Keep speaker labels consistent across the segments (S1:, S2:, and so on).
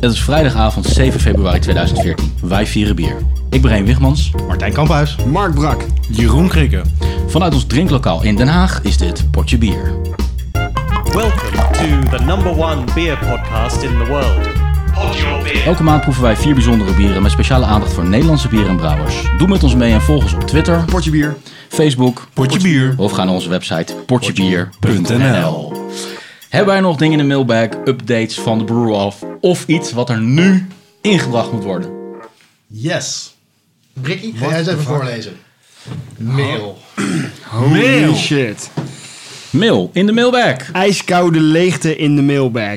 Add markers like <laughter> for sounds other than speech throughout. S1: Het is vrijdagavond 7 februari 2014. Wij vieren bier. Ik ben Reen Wigmans.
S2: Martijn Kamphuis.
S3: Mark Brak.
S2: Jeroen Krikke.
S1: Vanuit ons drinklokaal in Den Haag is dit Potje Bier.
S4: Welcome to the number one beer podcast in the world. Pod your beer.
S1: Elke maand proeven wij vier bijzondere bieren met speciale aandacht voor Nederlandse bieren en brouwers. Doe met ons mee en volg ons op Twitter,
S3: Potje bier.
S1: Facebook
S2: Potje bier.
S1: of ga naar onze website potjebier.nl.
S2: potjebier.nl.
S1: Hebben wij nog dingen in de mailbag, updates van de brew af of iets wat er nu ingebracht moet worden?
S5: Yes. Brikkie, ga jij eens even voorlezen. Mail.
S3: Holy shit.
S1: Mail in de mailbag.
S3: IJskoude leegte in de mailbag.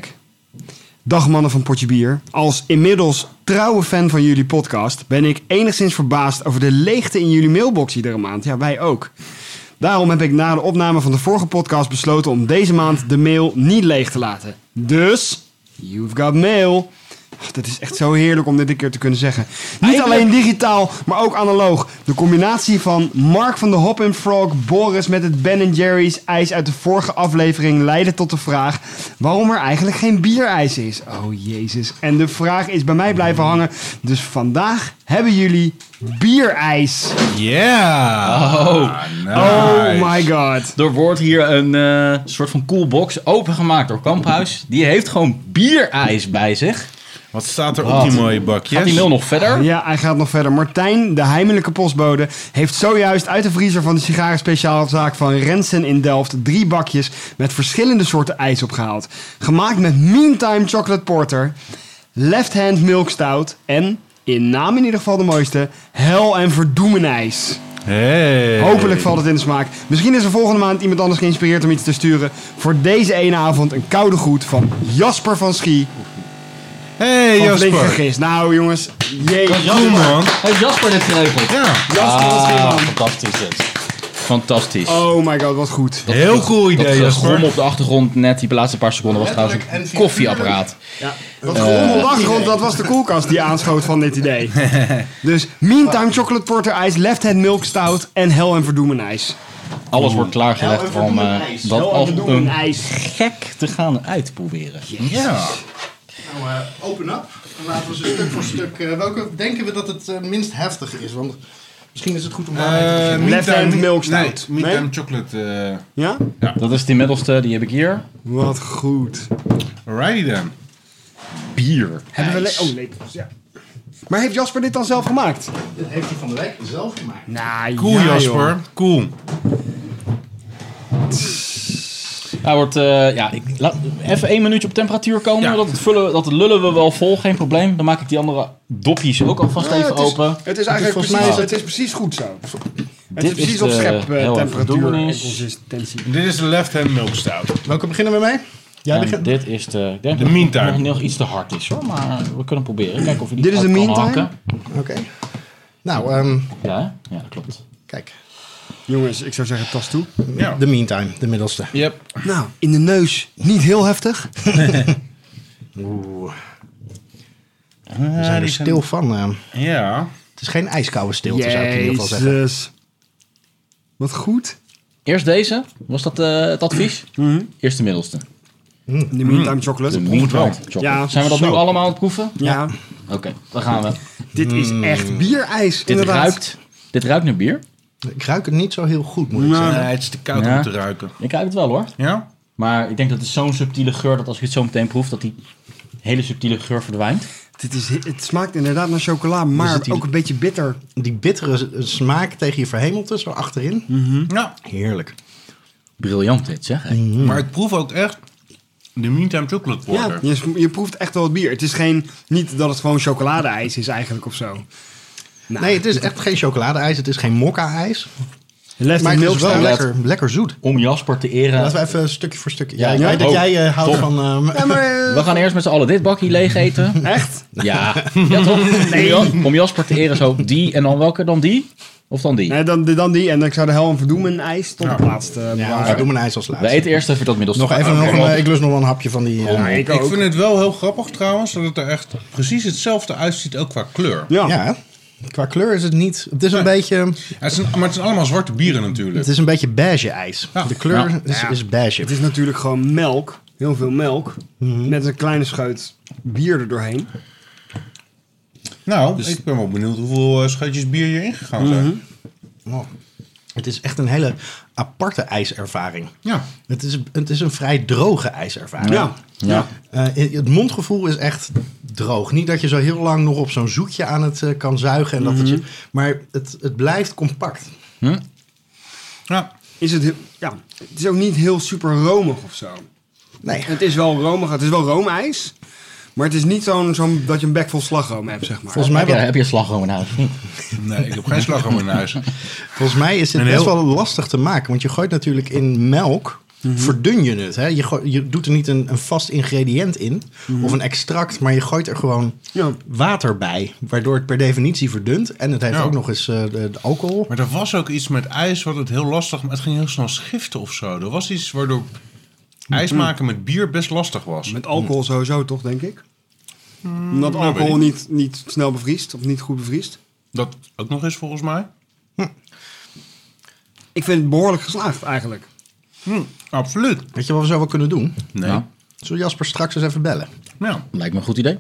S3: Dag mannen van Potje Bier. Als inmiddels trouwe fan van jullie podcast ben ik enigszins verbaasd over de leegte in jullie mailbox iedere maand. Ja, wij ook. Daarom heb ik na de opname van de vorige podcast besloten om deze maand de mail niet leeg te laten. Dus, you've got mail. Ach, dat is echt zo heerlijk om dit een keer te kunnen zeggen. Niet alleen digitaal, maar ook analoog. De combinatie van Mark van de Hop and Frog, Boris met het Ben Jerry's ijs uit de vorige aflevering leidde tot de vraag waarom er eigenlijk geen bierijs is. Oh jezus. En de vraag is bij mij blijven hangen. Dus vandaag hebben jullie bierijs.
S2: Yeah. Ah,
S1: Oh,
S2: Nice.
S3: Oh my god.
S1: er wordt hier een eh, soort van coolbox opengemaakt door Kamphuis. Die heeft gewoon bierijs bij zich.
S2: Wat staat er op
S1: Wat?
S2: die mooie bakjes?
S1: Gaat die mail nog verder?
S3: Ja, hij gaat nog verder. Martijn, de heimelijke postbode, heeft zojuist uit de vriezer van de sigarenspeciaalzaak van Rensen in Delft drie bakjes met verschillende soorten ijs opgehaald. Gemaakt met Meantime Chocolate Porter, Left Hand Milk Stout en, in naam in ieder geval de mooiste, Hel en Verdoemen ijs.
S2: Hey.
S3: Hopelijk valt het in de smaak. Misschien is er volgende maand iemand anders geïnspireerd om iets te sturen. Voor deze ene avond een koude groet van Jasper van Schie
S2: Hey
S3: van
S2: Jasper.
S3: Flinkergis. Nou jongens,
S2: Kom
S3: jee.
S2: man.
S1: Heeft Jasper dit geregeld? Ah.
S2: Ja.
S3: Jasper van
S2: Ah,
S3: Schie, man.
S1: fantastisch dit. Fantastisch.
S3: Oh my god, wat goed.
S2: Heel cool
S1: Dat
S2: idee
S1: gegrom
S2: Jasper.
S1: op de achtergrond net, die laatste paar seconden, was trouwens
S5: Letterlijk
S1: een
S5: en
S1: koffieapparaat.
S3: Dat
S1: Eh.
S3: gerommel achtergrond, dat was de koelkast die aanschoot van dit idee. Dus Meantime Chocolate Porter IJs, Left Hand Milk Stout en Hel en Verdoemen IJs.
S1: Alles wordt klaargelegd
S5: Ja,
S1: om
S5: een
S1: eh,
S5: ijs.
S1: dat als een
S3: IJs.
S1: gek te gaan uitproberen.
S2: Ja.
S5: Nou, eh, open up. En laten we ze stuk voor stuk... eh, welke denken we dat het eh, minst heftig is? Want misschien is het goed om daarmee te beginnen.
S3: Left hand milk
S2: Eh, Nee,
S3: stout.
S2: meat
S3: Nee?
S2: and chocolate. eh,
S3: Ja?
S1: Dat is die middelste, die heb ik hier.
S3: Wat goed.
S2: Alrighty then.
S1: Bier.
S3: Hebben we
S1: ijs.
S3: le- oh, lepels, ja. Maar heeft Jasper dit dan zelf gemaakt?
S5: Dit heeft hij van de week zelf gemaakt.
S3: Nou,
S2: Cool Jasper. Cool.
S1: Hij wordt, eh, ja, ik, laat even één minuutje op temperatuur komen.
S2: Ja.
S1: Dat, het vullen, dat lullen we wel vol, geen probleem. Dan maak ik die andere dopjes ook alvast even
S3: het, is,
S1: open.
S3: het is eigenlijk
S1: volgens
S3: precies,
S1: mij-
S3: het is precies goed zo. Het
S1: Dit
S3: is
S1: is
S3: precies
S1: de
S3: op schep eh,
S1: Hel en
S3: temperatuur
S1: Verdoemen
S3: en
S1: IJs.
S3: consistentie.
S2: Dit is de left hand milk stout.
S5: Welke beginnen we mee? Jij
S1: En
S5: begint.
S1: dit is de... Ik denk
S2: De
S1: dat het
S2: meantime.
S1: nog, nog iets te hard is hoor, maar we kunnen proberen. Kijken of je die
S3: Dit is
S1: hard
S3: de
S1: kan
S3: meantime?
S1: hakken.
S5: Oké. Nou, ehm,
S1: Ja, hè? ja, dat klopt.
S5: kijk.
S3: Jongens, ik zou zeggen tas toe.
S2: Ja.
S5: De meantime, de middelste.
S2: Yep.
S3: Nou, in de neus niet heel heftig.
S5: Oeh.
S2: We
S5: We zijn er stil van. eh.
S2: Ah, Ja.
S5: het is geen ijskoude stilte, zou ik in ieder geval zeggen.
S3: Jezus. Wat goed.
S1: Eerst deze, was dat eh, het advies?
S3: Mhm.
S1: Eerst de middelste.
S3: De
S5: Mm.
S3: meantime chocolate.
S1: De moet
S2: wel.
S3: Ja,
S1: Zijn we dat
S3: zo.
S1: nu allemaal aan het proeven?
S3: Ja,
S1: Oké, dan gaan we.
S3: dit is
S5: Mm.
S3: echt bierijs.
S1: Dit
S3: inderdaad.
S1: ruikt, dit ruikt naar bier.
S5: Ik ruik het niet zo heel goed, moet ik
S2: Nou, Nee,
S5: zeggen.
S2: het is te koud
S1: Ja.
S2: om te ruiken.
S1: Ik ruik het wel hoor.
S2: Ja?
S1: Maar ik denk dat het zo'n subtiele geur dat als je het zo meteen proeft, dat die hele subtiele geur verdwijnt.
S3: Dit is, het smaakt inderdaad naar chocola, maar
S5: zit hier-
S3: ook een beetje bitter.
S5: Die bittere smaak tegen je verhemelte, zo achterin.
S2: Ja.
S5: Heerlijk.
S1: Briljant dit zeg. hé.
S3: Mm.
S2: Maar ik proef ook echt de meantime chocolate
S3: Hmm. Ja,
S2: porter.
S3: je, sm- je proeft echt wel het bier. Het is geen, niet dat het gewoon chocoladeijs is eigenlijk of zo. Nou,
S5: Nee, het is echt geen chocoladeijs, het is geen mokka-ijs.
S3: Left
S5: Maar
S3: in
S5: het
S3: milk
S5: is wel
S3: stout.
S5: lekker, lekker zoet.
S1: Om Jasper te eren.
S5: Laten we even stukje voor stukje.
S1: Ja,
S5: Ja,
S1: ik
S5: ik weet
S3: Oh,
S5: dat
S1: ook.
S5: jij eh, houdt
S1: Tom.
S5: van... ehm,
S3: Ja, maar,
S1: We gaan eerst met z'n allen dit bakje leeg eten.
S3: eh, <laughs> echt?
S5: <laughs>
S1: Ja, ja toch? Om, Jas- om Jasper te eren zo die en dan welke dan die? Of dan die?
S3: Nee, dan, dan die en dan ik zou de hel en verdoemen ijs tot de laatste.
S5: ja,
S3: belangrijk.
S5: we doen een ijs als
S1: We
S5: laatste.
S1: eten eerst even dat middelste.
S5: Nog even,
S1: Oké,
S5: nog een,
S1: want-
S5: eh, ik lust nog wel een hapje van die... eh,
S3: Ja, ik
S2: Oh, Ik
S3: ook.
S2: vind het wel heel grappig trouwens, dat het er echt precies hetzelfde uitziet, ook qua kleur.
S3: Ja.
S5: ja, hè? qua kleur is het niet... Het is een beetje...
S2: Het zijn, maar het zijn allemaal zwarte bieren natuurlijk.
S5: Het is een beetje beige ijs.
S2: Ja.
S5: De kleur
S1: Ja.
S5: is, is beige.
S3: Het is natuurlijk gewoon melk. heel veel melk.
S5: Mhm.
S3: Met een kleine scheut bier er doorheen.
S2: Nou, ik ben wel benieuwd hoeveel eh, scheutjes bier hierin gegaan zijn.
S3: Mhm.
S5: Oh. Het is echt een hele aparte ijservaring.
S3: Ja.
S5: Het is, het is een vrij droge ijservaring.
S3: Ja.
S1: Ja.
S5: Eh, het mondgevoel is echt droog. Niet dat je zo heel lang nog op zo'n zoetje aan het eh, kan zuigen. En dat het je, maar het, het blijft compact.
S1: Hm?
S2: Ja.
S3: Is het, heel- ja. het is ook niet heel super romig of zo.
S5: Nee.
S3: Het is wel romig. Het is wel roomijs. Maar het is niet zo'n zo'n dat je een bek vol slagroom hebt, zeg maar.
S5: Volgens mij,
S1: Heb je,
S5: wel-
S1: heb je slagroom in huis?
S2: Nee, ik heb geen slagroom in huis.
S5: volgens mij is dit
S2: Een
S5: best
S2: heel-
S5: wel lastig te maken. Want je gooit natuurlijk in melk,
S3: Mhm.
S5: verdun je het. Hè? Je, gooi- je doet er niet een, een vast ingrediënt in of een extract. Maar je gooit er gewoon
S3: Mhm. Ja.
S5: water bij. Waardoor het per definitie verdunt. En het heeft
S2: Ja.
S5: ook nog eens eh, de, de alcohol.
S2: Maar er was ook iets met ijs wat het heel lastig... Maar het ging heel snel schiften of zo. Er was iets waardoor ijs
S3: Mhm.
S2: maken met bier best lastig was. Nou,
S3: Met alcohol sowieso toch, denk ik?
S5: Hmm.
S3: Omdat alcohol
S2: weet
S3: niet, niet snel bevriest of niet goed bevriest.
S2: Dat ook nog eens volgens mij.
S5: Hm.
S3: Ik vind het behoorlijk geslaagd eigenlijk. Hm,
S2: Absoluut.
S5: Weet je wat we zo wel kunnen doen?
S2: Nee.
S1: Ja.
S5: Zullen we Jasper straks eens even bellen?
S2: Nou,
S1: Lijkt me een goed idee.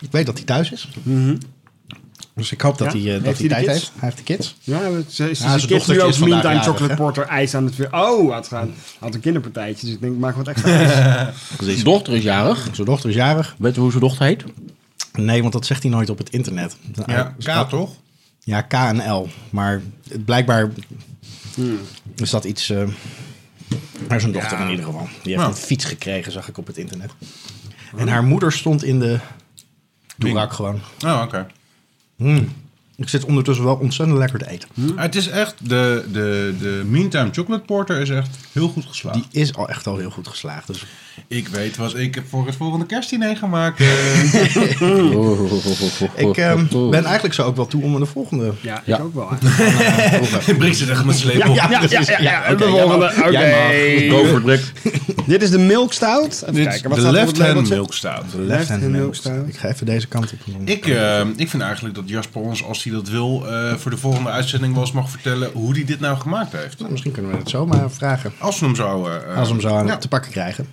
S5: Ik weet dat hij thuis is. Dus ik hoop dat
S3: Mhm. Ja?
S5: hij, eh, dat
S3: Heeft
S5: hij
S3: hij de
S5: tijd
S3: kids?
S5: heeft. Hij heeft de kids.
S3: Ja, het is, is,
S5: Ja, zijn
S3: is
S5: dochtertje
S3: nu ook
S5: is vandaag
S3: meantime
S5: jarig,
S3: chocolate
S5: hè?
S3: porter ijs aan het weer. Oh, had, gaan, had een kinderpartijtje, dus ik denk, ik maak wat
S5: <laughs>
S3: extra ijs.
S1: <laughs> Zijn dochter is jarig.
S5: Zijn dochter is jarig.
S1: Weet je hoe zijn dochter heet?
S5: Nee, want dat zegt hij nooit op het internet.
S2: ja, K toch?
S5: Ja, K en L. Maar het- blijkbaar
S1: Hmm.
S5: is dat iets... eh maar zijn dochter in ieder geval. Die heeft
S2: Ja. Nou.
S5: een fiets gekregen, zag ik op het internet.
S2: Hm.
S5: En haar moeder stond in de doerak gewoon.
S2: Oh, oké.
S5: Mm. Ik zit ondertussen wel ontzettend lekker te
S1: <laughs>
S5: eten.
S3: Hm?
S2: Het is echt, de, de, de Meantime Chocolate Porter is echt heel goed geslaagd.
S5: Die is al echt al heel goed geslaagd. Dus
S2: Ik weet wat ik heb voor het volgende kerstdiner
S3: <laughs>
S2: gemaakt. eh.
S5: ik eh, ben eigenlijk zo ook wel toe om aan de volgende
S3: Ja,
S1: Ja.
S3: <laughs> ik ook wel. eigenlijk.
S2: Brink ze echt met sleep op.
S3: ja, ja, ja, ja, de volgende. Oké.
S1: Go for it.
S3: Dit is de milk stout. Even
S2: Dit is
S3: kijken, wat
S2: de
S3: staat er op het
S2: left hand
S3: labeltje?
S2: milk stout.
S5: Left hand
S3: Left-hand
S5: milk
S3: milk
S5: stout.
S3: stout.
S5: Ik ga even deze kant op.
S2: Ik, eh, ik vind eigenlijk dat Jasper ons, als hij dat wil, eh, voor de volgende uitzending wel eens mag vertellen hoe hij dit nou gemaakt heeft.
S5: Nou, misschien kunnen we het zomaar vragen.
S2: Als we hem zo... eh, eh,
S5: Als we hem zo aan
S2: ja.
S5: te pakken krijgen.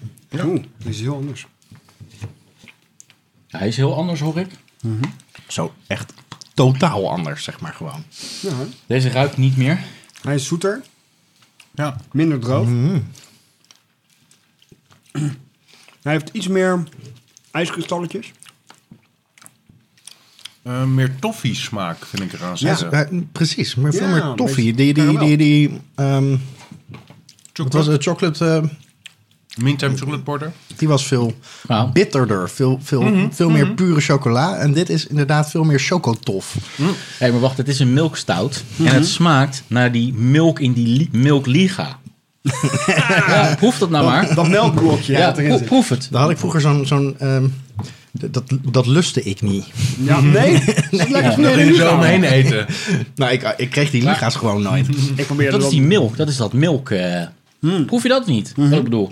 S3: Oeh, die is heel anders.
S1: Hij is heel anders, hoor ik.
S5: Mhm. Zo echt totaal anders, zeg maar gewoon.
S3: Ja, hè.
S1: Deze ruikt niet meer.
S3: hij is zoeter,
S2: Ja.
S3: minder droog.
S5: Mhm.
S3: <clears throat> Hij heeft iets meer ijskristalletjes.
S2: Eh, meer toffee smaak vind ik eraan zitten.
S5: Ja, eh, precies. Maar veel
S3: Ja,
S5: meer toffee. Die,
S3: beetje
S5: die, die,
S3: karamel.
S5: die, ehm, wat was het? Chocolate, eh,
S2: Meantime chocolate porter.
S5: die was veel
S1: Ja.
S5: bitterder. Veel, veel,
S3: Mhm,
S5: veel meer pure chocola. En dit is inderdaad veel meer chocotof. Mhm.
S1: Hé, maar wacht, het is een milkstout. En het smaakt naar die milk in die li- milkliga. ja, proef dat nou maar.
S3: Dat melkblokje.
S1: Ja,
S3: dat erin
S1: pro-
S3: zit.
S1: proef het.
S5: Daar had ik vroeger zo'n... zo'n ehm, d- dat, dat lustte ik niet.
S3: Ja,
S5: <laughs>
S1: <laughs>
S3: nee. Zit lekker
S2: Daar
S3: smerig
S2: ging
S3: in
S2: je
S3: de
S2: zo
S3: kamer.
S2: omheen eten.
S5: Nou, ik, ik kreeg die liga's gewoon
S1: <laughs>
S5: nooit.
S3: Ik probeer
S1: Dat is die milk, dat is dat milk. eh. Proef je dat niet?
S5: Mhm.
S1: Wat ik bedoel.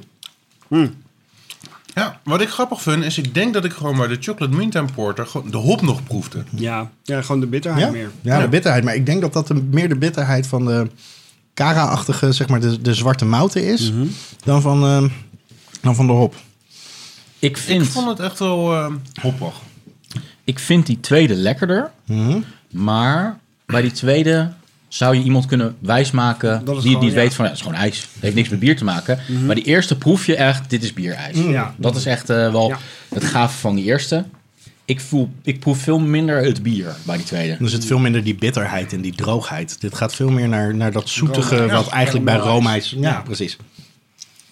S2: Ja, wat ik grappig vind is, ik denk dat ik gewoon bij de chocolate meantime porter gewoon de hop nog proefde.
S3: Ja. ja, gewoon de bitterheid
S5: Ja,
S3: meer.
S5: ja, de bitterheid. Maar ik denk dat dat de, meer de bitterheid van de Cara-achtige, zeg maar, de, de zwarte mouten is. dan, van, ehm, dan van de hop.
S1: Ik
S2: Ik
S1: vind,
S2: vond het echt wel eh, hoppig.
S1: ik vind die tweede lekkerder.
S5: Mhm.
S1: Maar bij die tweede zou je iemand kunnen wijsmaken die
S3: Dat is
S1: het niet
S3: gewoon, ja.
S1: weet van... Ja, het is gewoon ijs. Het heeft niks met bier te maken.
S2: Mhm.
S1: Maar die eerste proef je echt, dit is bierijs.
S3: Ja.
S1: Dat is echt eh, wel
S3: Ja.
S1: het gave van die eerste. Ik, voel, ik proef veel minder het bier bij die tweede.
S5: Er zit Dus veel minder die bitterheid en die droogheid. Dit gaat veel meer naar, naar dat zoetige,
S2: Roomijs.
S5: wat
S2: Ja,
S5: eigenlijk bij
S3: roomijs.
S5: roomijs... Ja,
S3: Ja.
S5: precies.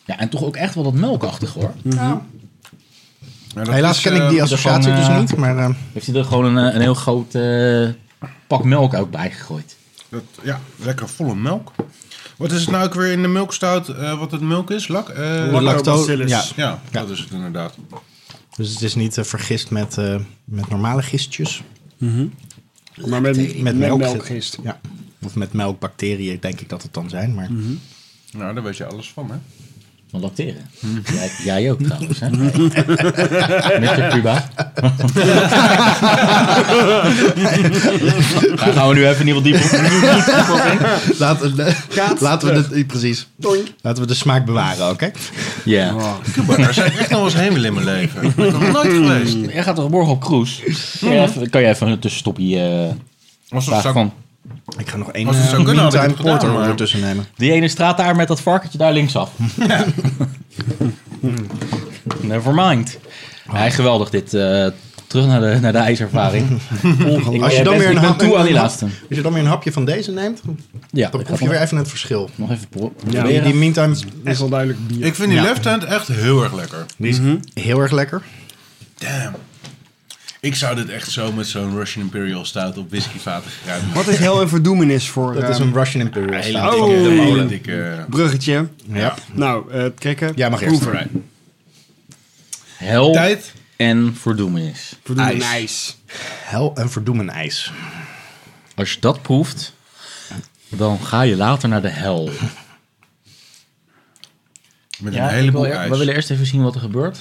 S1: Ja, en toch ook echt wel dat melkachtig hoor.
S2: Mhm. Ja, dat
S5: Helaas
S2: is,
S5: ken ik
S2: eh,
S5: die
S1: dat is
S5: associatie
S1: gewoon,
S5: dus
S1: eh,
S5: niet, maar... ehm,
S1: Heeft hij er gewoon een, eh, een heel groot eh, pak melk ook bij gegooid.
S2: Dat, ja, lekker volle melk. Wat is het nou ook weer in de milkstout? eh, wat het milk is? Lak? eh,
S3: Lak-
S5: lactobacillus. Ja.
S3: Ja.
S2: Ja, dat is het inderdaad.
S5: Dus het is niet eh, vergist met, eh, met normale gistjes.
S3: Maar met, met,
S5: melk zit-
S3: melkgist.
S5: Ja. Of met melkbacteriën denk ik dat het dan zijn, maar...
S2: Nou, daar weet je alles van, hè? <laughs>
S1: van <laughs> lacteren. Mhm. Jij, jij ook trouwens, hè? <laughs> Met je
S5: <laughs>
S1: puba. Daar gaan we nu even in ieder geval
S5: <laughs>
S1: dieper op.
S5: Laten, we- laten we het, precies. Laten we de smaak bewaren, oké? Oh,
S1: Ja.
S2: Cuba, daar zijn echt nog eens heen willen in mijn leven. Ik ben nog nooit geweest.
S5: Mm.
S1: Jij gaat toch morgen op cruise? Kan jij even, kan jij even een tussenstopje eh,
S2: Als het
S1: vragen
S2: zou,
S1: van...
S5: Ik ga nog één
S2: Als het
S5: eh,
S2: zou kunnen, had ik
S5: meantime
S2: het gedaan,
S5: porter
S2: maar-
S5: ondertussen nemen.
S1: Die ene straat daar met dat varkentje daar
S2: <laughs>
S1: linksaf. <laughs> Never mind. Hij geweldig dit. eh, terug naar de, naar de
S5: <laughs>
S1: ijservaring. Ongelooflijk.
S5: Als je, dan
S1: Ik eh,
S5: weer
S1: ben
S5: een hap-
S1: toe aan die
S5: een hap-
S1: laatste.
S5: als je dan weer een hapje van deze neemt,
S1: Ja,
S5: dan
S1: ik ga
S5: proef je
S1: nog,
S5: weer even het verschil.
S1: nog even pro-
S5: Ja,
S1: proberen.
S5: die, die meantime
S3: Is wel duidelijk bier.
S2: Ik vind die left hand echt heel erg lekker.
S5: die is heel erg lekker.
S2: Damn. Ik zou dit echt zo met zo'n Russian Imperial Stout op whiskyvaten geruimd maken.
S3: Wat is heel en verdoemenis voor
S5: Dat
S3: eh,
S5: is een Russian Imperial
S2: Hele
S5: Stout.
S2: dikke,
S3: Oh.
S2: hele dikke...
S3: bruggetje?
S5: Ja.
S3: Nou, eh krikken.
S5: Jij mag eerst.
S3: Proeven.
S1: Hel
S2: Tijd.
S1: en verdoemenis.
S3: Verdoemenis.
S5: Ijs. Hel en verdoemen ijs.
S1: Als je dat proeft, dan ga je later naar de hel.
S2: Met een heleboel ijs.
S1: We willen eerst even zien wat er gebeurt.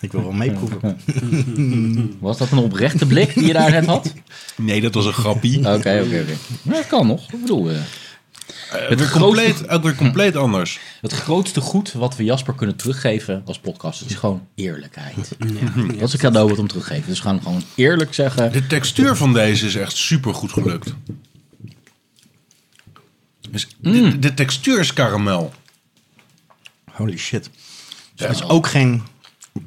S5: Ik wil wel meeproeven.
S1: <laughs> Was dat een oprechte blik die je daar net had?
S2: Nee, dat was een grappie.
S1: Oké, oké, oké. Ja, dat kan nog. Ik bedoel, eh,
S2: het
S1: grootste-
S2: compleet, ook weer compleet anders.
S1: Het grootste goed wat we Jasper kunnen teruggeven als podcast is gewoon
S2: <laughs>
S1: eerlijkheid. Dat is een cadeau wat we hem teruggeven. Dus we gaan hem gewoon eerlijk zeggen.
S2: De textuur van deze is echt super goed gelukt. Dus
S3: Mm.
S2: de, de textuur is karamel.
S5: Holy shit. Het is ook geen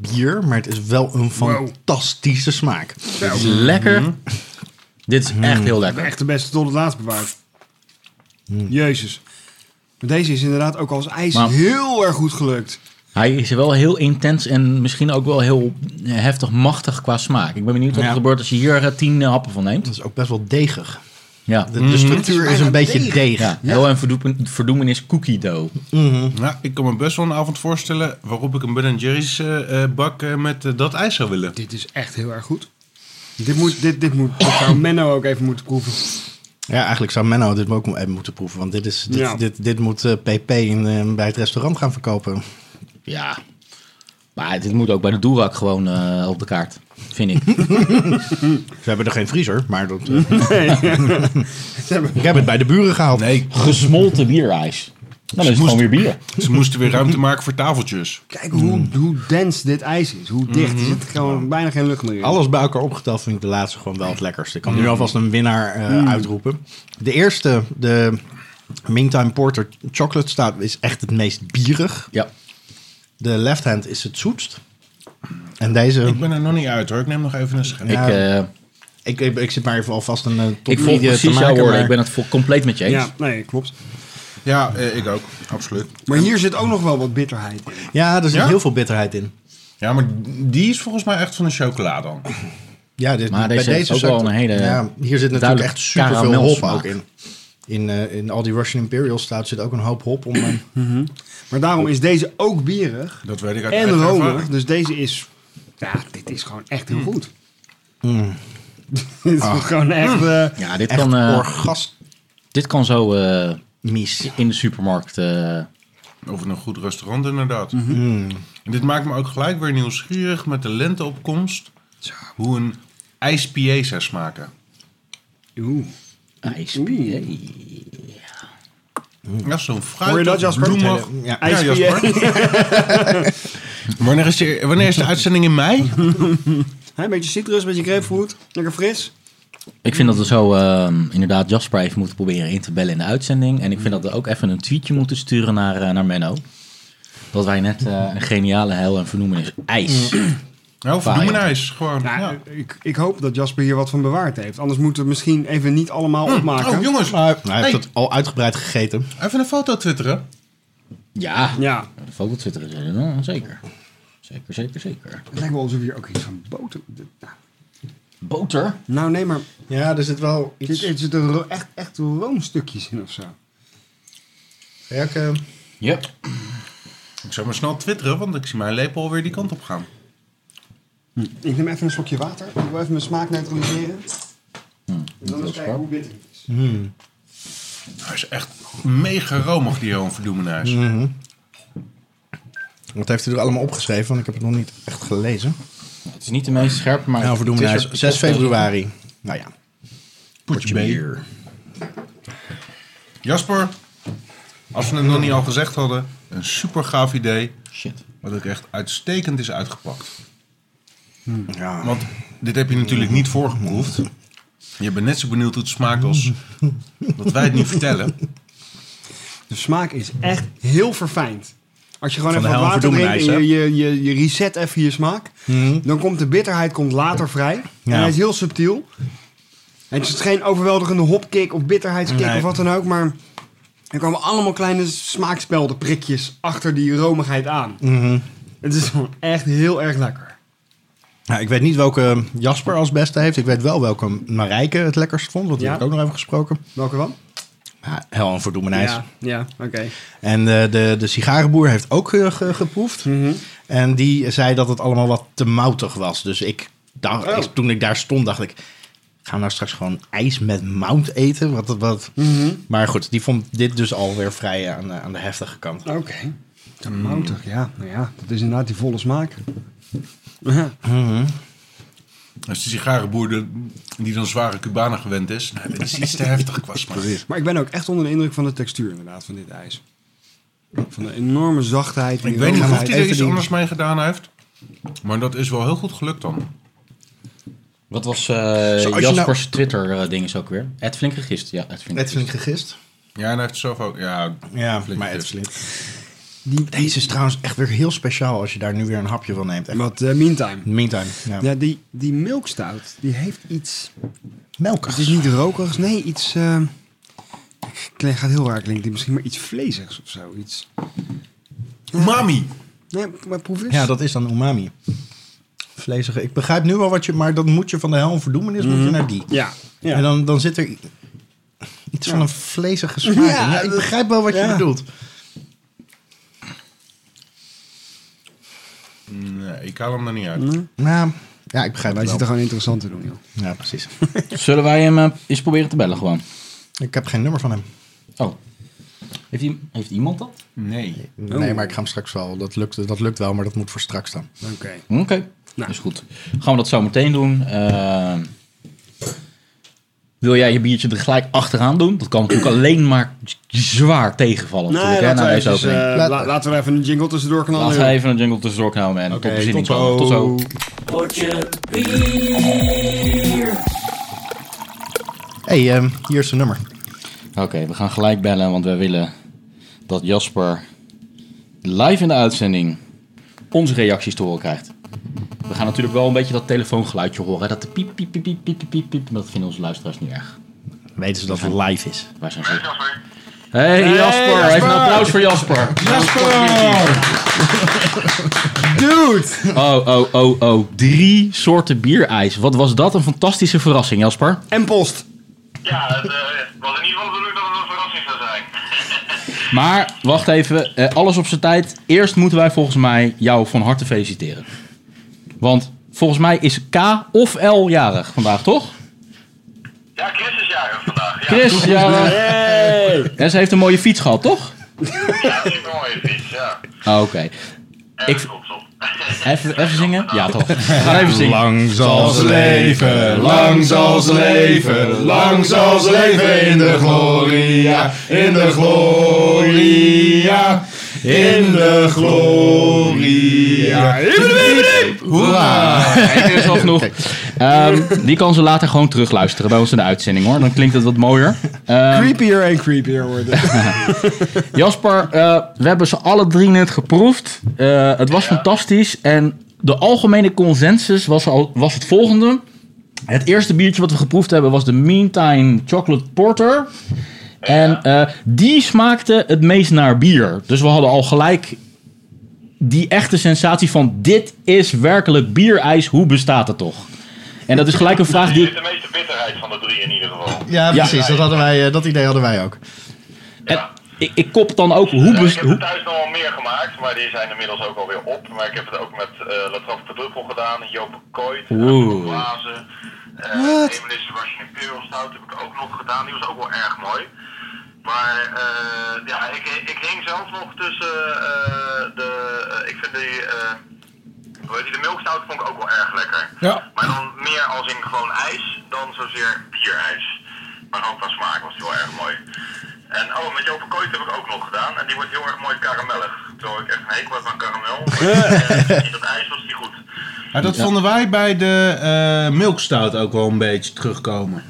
S5: bier, maar het is wel een fantastische smaak. Mhm.
S1: Dit is lekker. Dit is echt heel lekker.
S3: Echt de beste tot het laatst bewaard. Jezus. Maar deze is inderdaad ook als ijs
S1: Maar-
S3: heel erg goed gelukt.
S1: Hij is wel heel intens en misschien ook wel heel heftig machtig qua smaak. Ik ben benieuwd wat er
S5: Ja.
S1: gebeurt als je hier eh, tien eh, happen van neemt.
S5: Dat is ook best wel degig.
S1: Ja.
S5: De, de structuur Mhm. is een beetje deeg.
S1: Ja, heel en verdoepen- verdoemenis cookie dough.
S3: Mhm.
S2: Ja, Nou, ik kan me best wel een avond voorstellen waarop ik een Ben Jerry's eh, eh, bak eh, met eh, dat ijs zou willen.
S3: Dit is echt heel erg goed. Dit moet, dit, dit moet, dit zou Menno ook even moeten proeven.
S5: Ja, eigenlijk zou Menno dit ook even moeten proeven. Want dit, is, dit,
S3: Ja.
S5: dit, dit moet eh, PP in, eh, bij het restaurant gaan
S3: <laughs>
S5: verkopen.
S1: Ja. Maar dit moet ook bij de Doerak gewoon eh, op de kaart.
S5: <laughs>
S1: Vind ik.
S5: Ze hebben er geen vriezer, maar dat, eh,
S3: Ze hebben-
S5: ik heb het bij de buren gehaald.
S2: Nee,
S1: Gesmolten bierijs. Dan is het
S2: Smoest-
S1: gewoon weer bier.
S2: ze moesten weer ruimte maken voor tafeltjes.
S3: Kijk
S1: Hmm.
S3: hoe, hoe dens dit ijs is. Hoe dicht. Er zit gewoon bijna geen lucht meer in.
S5: Alles bij elkaar opgeteld vind ik de laatste gewoon wel het lekkerste. Ik kan nu alvast een winnaar eh,
S1: Hmm.
S5: uitroepen. De eerste, de Meantime Porter Chocolate Stout, is echt het meest bierig.
S1: Ja.
S5: De left hand is het zoetst. En deze,
S2: Ik ben er nog niet uit hoor, ik neem nog even een schijn.
S1: Ik,
S5: Ja.
S1: eh,
S5: ik, ik, ik zit maar even alvast een eh, top
S1: ik volg
S5: drie, eh, te
S1: precies jouw
S5: maken,
S1: woorden.
S5: maar
S1: Ik ben het vol- compleet met je eens.
S3: Ja, nee, klopt.
S2: Ja, eh, ik ook, absoluut.
S3: Maar hier zit ook nog wel wat bitterheid in.
S5: Ja, er zit
S2: Ja?
S5: heel veel bitterheid in.
S2: Ja, maar die is volgens mij echt van de chocola dan.
S5: Ja, dit,
S1: Maar
S5: bij
S1: deze
S5: deze,
S1: heeft ook
S5: zakt-
S1: wel een hele
S5: Ja, hier zit natuurlijk
S1: duidelijk
S5: echt super veel hop
S1: karamelsmaak.
S5: ook in. In, eh, in al die Russian Imperial stout zit ook een hoop hop om. eh,
S1: Mhm.
S3: Maar daarom is deze ook bierig.
S2: Dat weet ik uit
S3: En
S2: eigen
S3: romig.
S2: ervaring.
S3: Dus deze is... Ja, dit is gewoon echt
S1: Hmm.
S3: heel goed.
S5: mm.
S3: dit is
S5: Ah.
S3: gewoon echt... eh,
S1: Ja, dit,
S5: echt
S1: kan, eh,
S5: orgasmisch.
S1: dit kan zo eh, in de supermarkt. eh,
S2: Of in een goed restaurant inderdaad.
S5: Mhm.
S2: En dit maakt me ook gelijk weer nieuwsgierig met de lenteopkomst. Hoe een ijs-PA zou smaken.
S3: Oeh.
S1: ISPA.
S2: Ja, zo'n fruit.
S3: Hoor je dat, Jasper?
S2: bloemig-
S5: Ja.
S2: Ja,
S3: ISPA.
S2: Jasper. wanneer, is de, wanneer is de uitzending in mei?
S3: <laughs> Hè, Een beetje citrus, een beetje grapefruit. Lekker fris.
S1: Ik vind dat we zo ehm, inderdaad Jasper even moeten proberen in te bellen in de uitzending. En ik vind dat we ook even een tweetje moeten sturen naar, eh, naar Menno. Dat wij net eh, een geniale hel en vernoemen is ijs.
S2: Nou, voldoende ijs. Gewoon.
S3: Ja,
S2: ja.
S3: Ik, ik hoop dat Jasper hier wat van bewaard heeft. Anders moeten we het misschien even niet allemaal <laughs> opmaken.
S2: Oh, jongens.
S5: Nou, hij heeft
S2: Hey,
S5: dat al uitgebreid gegeten.
S2: Even een foto twitteren.
S1: Ja,
S3: Ja,
S1: de foto twitteren ze dan, eh, nou, zeker. Zeker, zeker, zeker.
S3: het lijkt wel alsof hier ook iets van boter... Nou,
S1: Boter?
S3: Nou, nee, maar
S5: Ja, er zit wel
S3: er
S5: iets.
S3: zitten ro- echt, echt roomstukjes in of zo.
S5: Ja, ik, eh,
S1: Ja.
S2: Ik zou maar snel twitteren, want ik zie mijn lepel alweer die kant op gaan.
S3: Ik neem even een slokje water. Ik
S5: Hmm,
S3: wil even mijn smaak neutraliseren. En dan eens kijken hoe bitter het is.
S2: Hij is echt mega romig, die Johan Verdoemenhuis.
S3: Mhm.
S5: Wat heeft u er allemaal opgeschreven? Want ik heb het nog niet echt gelezen.
S1: Het is niet de meest scherpe, maar...
S5: Nou, verdoemen, hij is 6 februari. Nou ja.
S2: Potje Jasper, als we het nog niet al gezegd hadden, een super gaaf idee.
S1: Shit.
S2: Wat ook echt uitstekend is uitgepakt.
S5: Ja.
S2: Want dit heb je natuurlijk niet voorgeproefd. Je bent net zo benieuwd hoe het
S5: <laughs>
S2: smaakt als dat wij het nu vertellen.
S3: De smaak is echt heel verfijnd. Als je gewoon
S5: Van de
S3: even wat
S5: hel
S3: water
S5: verdoemen
S3: drinkt en je,
S5: ijs,
S3: je, je, je reset even je smaak, dan komt de bitterheid komt later vrij. En
S5: Ja.
S3: hij is heel subtiel. En het is geen overweldigende hopkick of bitterheidskick
S5: Nee.
S3: of wat dan ook, maar er komen allemaal kleine smaakspelden, prikjes achter die romigheid aan.
S5: Mhm.
S3: Het is gewoon echt heel erg lekker.
S5: Ja, ik weet niet welke Jasper als beste heeft. Ik weet wel welke Marijke het lekkerst vond. Want die
S3: Ja.
S5: heb ik ook nog even gesproken.
S3: Welke dan?
S5: Ja, hel en verdoemenijs.
S3: Ja, ja oké.
S5: En eh, de, de sigarenboer heeft ook eh, ge- geproefd.
S3: Mhm.
S5: En die zei dat het allemaal wat te moutig was. Dus ik dacht,
S3: Oh.
S5: ik- toen ik daar stond, dacht ik... Gaan we nou straks gewoon ijs met mout eten? Wat, wat.
S3: Mhm.
S5: Maar goed, die vond dit dus alweer vrij aan, de- aan de heftige kant.
S3: Oké. Te moutig, ja. Nou ja, dat is inderdaad die volle smaak. Ja.
S5: Mhm.
S2: Als de sigarenboer de- die dan zware Cubanen gewend is. Nee, dit is iets te heftig qua smaak.
S3: Maar ik ben ook echt onder de indruk van de textuur inderdaad van dit ijs. Van de enorme zachtheid. en
S2: Ik
S3: die
S2: weet niet of
S3: romigheid.
S2: hij er
S5: Even
S2: iets
S5: die-
S2: anders mee gedaan heeft. Maar dat is wel heel goed gelukt dan.
S1: Wat was eh,
S5: nou-
S1: Jaspers Twitter-ding is ook weer? Ed Flink Regist. Ja, Ed Flink.
S5: Net flink gegist.
S2: Ja, en hij heeft zelf ook... Ja,
S5: Ja,
S2: flink
S5: maar
S2: gegist.
S5: Edslink. Deze is trouwens echt weer heel speciaal als je daar nu weer een hapje van neemt. Echt.
S3: Wat eh, meantime.
S5: Meantime, ja.
S3: Ja, die, die milkstout, die heeft iets... Het
S5: melkig.
S3: is niet rokerig, nee, iets... eh, ik gaat heel raar klinken, misschien maar iets vleesigs of zo. Iets.
S2: Umami!
S3: Nee, maar proef eens.
S5: Ja, dat is dan umami. Vleesige. Ik begrijp nu wel wat je... Maar dat moet je van de hel en verdoemenis Dus
S1: Mhm.
S5: moet je naar die.
S3: Ja. Mhm. ja.
S5: En dan, dan zit er i- iets van een vleesige smaak in.
S3: Ja,
S5: Ja, ik begrijp wel wat je
S3: ja.
S5: bedoelt.
S2: Nee, ik haal hem er niet uit.
S1: Mhm.
S3: Mhm.
S5: Ja, ja ik begrijp
S3: Wij
S5: het
S3: zitten
S5: wel.
S3: gewoon interessant te doen, joh.
S5: Ja,
S3: <laughs>
S5: precies.
S1: Zullen wij hem eh, eens proberen te bellen gewoon?
S5: ik heb geen nummer van hem.
S1: Oh. Heeft, i- heeft iemand dat? Oh.
S2: Nee.
S5: Nee, maar ik ga hem straks wel. Dat lukt, dat lukt wel, maar dat moet voor straks dan.
S3: Oké. Nou.
S1: Oké, is goed. Gaan we dat zo meteen doen. Ehm, wil jij je biertje er gelijk achteraan doen? Dat kan natuurlijk alleen maar z- zwaar tegenvallen.
S3: Nee,
S1: natuurlijk, hè,
S3: laten,
S1: na
S3: we
S1: deze
S3: eventjes,
S1: opening.
S3: eh, la- laten we even een jingle tussendoor knallen.
S1: Laten
S3: joh.
S1: we even een jungle tussendoor knallen en tot bezinning
S5: tot
S1: komen. Tot
S5: zo.
S1: zo.
S5: Hé, hey, ehm, hier is zijn nummer.
S1: Oké, we gaan gelijk bellen, want wij willen dat Jasper live in de uitzending onze reacties te horen krijgt. We gaan natuurlijk wel een beetje dat telefoongeluidje horen. hè, Dat de piep, piep, piep, piep, piep, piep, piep, piep. Maar dat vinden onze luisteraars niet erg.
S5: Weten ze dat het live is.
S1: Wij zijn zo... Hey, Jasper, even een applaus voor Jasper. <laughs>
S3: Dude!
S1: Oh, oh, oh, oh. Drie soorten bierijs. Wat was dat een fantastische verrassing, Jasper.
S3: En post.
S6: Ja, het eh, was in ieder geval de bedoeling dat het een verrassing zou zijn.
S1: Maar wacht even, eh, alles op zijn tijd. Eerst moeten wij volgens mij jou van harte feliciteren. Want volgens mij is K of L jarig vandaag, toch?
S6: Ja, Chris is jarig vandaag. Ja,
S1: Chris, jarig. En ze heeft een mooie fiets gehad, toch?
S6: ja super mooie fiets, ja.
S1: Ah, Oké.
S6: En
S1: Ik-
S6: klopt op.
S1: Even, even zingen? Ja,
S6: <laughs>
S1: toch. Ga even zingen.
S5: Lang zal
S1: ze
S5: leven,
S7: Lang zal ze leven, lang zal ze leven in de gloria, in de gloria, in de gloria.
S1: Kijk, er is
S7: <laughs>
S1: al
S6: Eh,
S1: genoeg. Ehm, die kan ze later gewoon terugluisteren bij ons in de uitzending, hoor. Dan klinkt het wat mooier. Ehm,
S3: Creepier en creepier worden.
S1: <laughs> Jasper, eh, we hebben ze alle drie net geproefd. Eh, het was fantastisch. En de algemene consensus was, al, was het volgende. Het eerste biertje wat we geproefd hebben was de Meantime Chocolate Porter. En eh, die smaakte het meest naar bier. Dus we hadden al gelijk die echte sensatie van... dit is werkelijk bierijs, hoe bestaat het toch? En dat is gelijk een vraag die
S6: Hier
S1: ik
S6: is de meeste bitterheid van de drie in ieder geval.
S5: Ja, precies. Dat, hadden wij, eh, dat idee hadden wij ook.
S1: En ik, ik kop dan ook hoe...
S6: Ja, ik
S1: best-
S6: heb er
S1: hoe
S6: thuis nog wel meer gemaakt, maar die zijn inmiddels ook alweer op. Maar ik heb het ook met eh Latraf de Druppel gedaan, Joop Kooit,
S1: Oeh.
S6: Blazen. eh, Uh, Emily Sebastian Imperial Stout heb ik ook nog gedaan, die was ook wel erg mooi. Maar eh, ja, ik, ik hing zelf nog tussen eh, de. eh, ik vind die. eh, hoe heet die, de milkstout vond ik ook wel erg lekker.
S8: Ja.
S6: Maar dan meer als in gewoon ijs dan zozeer bierijs. Maar ook van smaak was die wel erg mooi. En oh, met Jopen Kooit heb ik ook nog gedaan. En die wordt heel erg mooi karamellig. Terwijl ik echt een hekel heb aan karamel. Maar eh, in dat ijs was die goed.
S2: Ja, dat vonden wij bij de eh milkstout ook wel een beetje
S5: <laughs>
S2: terugkomen.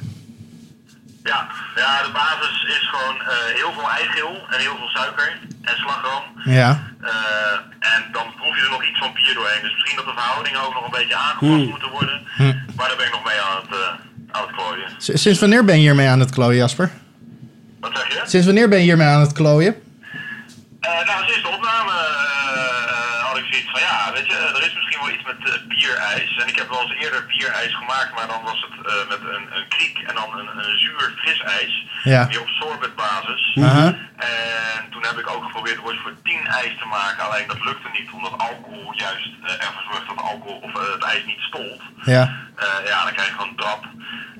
S6: Ja, ja, de basis is gewoon eh, heel veel eigeel en heel veel suiker en slagroom.
S5: Ja.
S6: Eh, en dan proef je er nog iets van bier doorheen. Dus misschien dat de verhoudingen ook nog een beetje aangepast
S3: Hmm.
S5: Hm.
S6: moeten worden. Maar daar ben ik nog mee aan het, eh, aan het klooien.
S5: S- Sinds wanneer ben je hiermee aan het klooien, Jasper?
S6: Wat zeg je?
S5: Sinds wanneer ben je hiermee aan het klooien?
S6: Eh, nou, sinds de opname eh, eh, had ik zoiets van ja, weet je, er is misschien wel iets met eh, bierijs. En ik heb wel eens eerder bierijs gemaakt, maar dan was het eh, met een, een kriek en dan een, een zuur fris ijs.
S5: Ja. Mhm. Uh-huh.
S6: Weer op sorbetbasis. En toen heb ik ook geprobeerd ooit voor 10 ijs te maken, alleen dat lukte niet, omdat alcohol juist eh, ervoor zorgt dat alcohol of eh, het ijs niet stolt.
S5: Ja.
S6: Eh, ja, dan krijg je gewoon drap.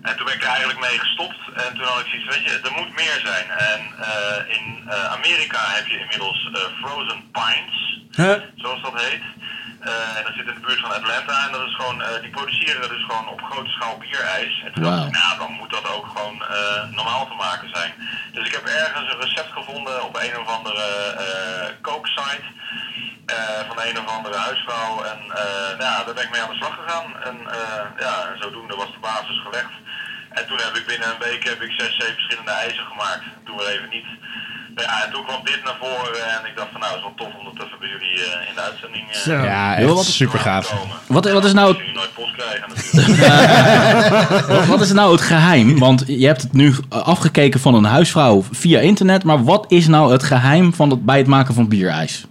S6: En toen ben ik er eigenlijk mee gestopt. En toen had ik zoiets, weet je, er moet meer zijn. En eh, in eh, Amerika heb je inmiddels eh, frozen pints, zoals dat heet. Eh, en dat zit in de buurt van Atlanta. En dat is gewoon, eh, die produceren dus gewoon op grote schaal bierijs. En toen dacht ik,
S1: Wauw.
S6: nou, dan moet dat ook gewoon eh, normaal te maken zijn. Dus ik heb ergens een recept gevonden op een of andere eh kooksite. eh, van een of andere huisvrouw. En eh, nou, ja, daar ben ik mee aan de slag gegaan. En eh, ja, en zodoende was de basis gelegd. En toen heb ik binnen een week heb ik zes, zeven verschillende ijzen gemaakt. Toen weer even niet. Ja, en toen kwam dit naar voren en ik dacht van nou, het is wel tof om dat even bij jullie eh, in de uitzending eh,
S3: Zo.
S5: Ja,
S1: Heel
S5: echt
S1: wat-
S5: super gaaf.
S6: komen.
S1: Wat- wat is nou-
S6: Dat jullie nooit post krijgen natuurlijk.
S1: <laughs> Wat, wat is nou het geheim? Want je hebt het nu eh, afgekeken van een huisvrouw via internet. Maar wat is nou het geheim van het, bij het maken van bierijs?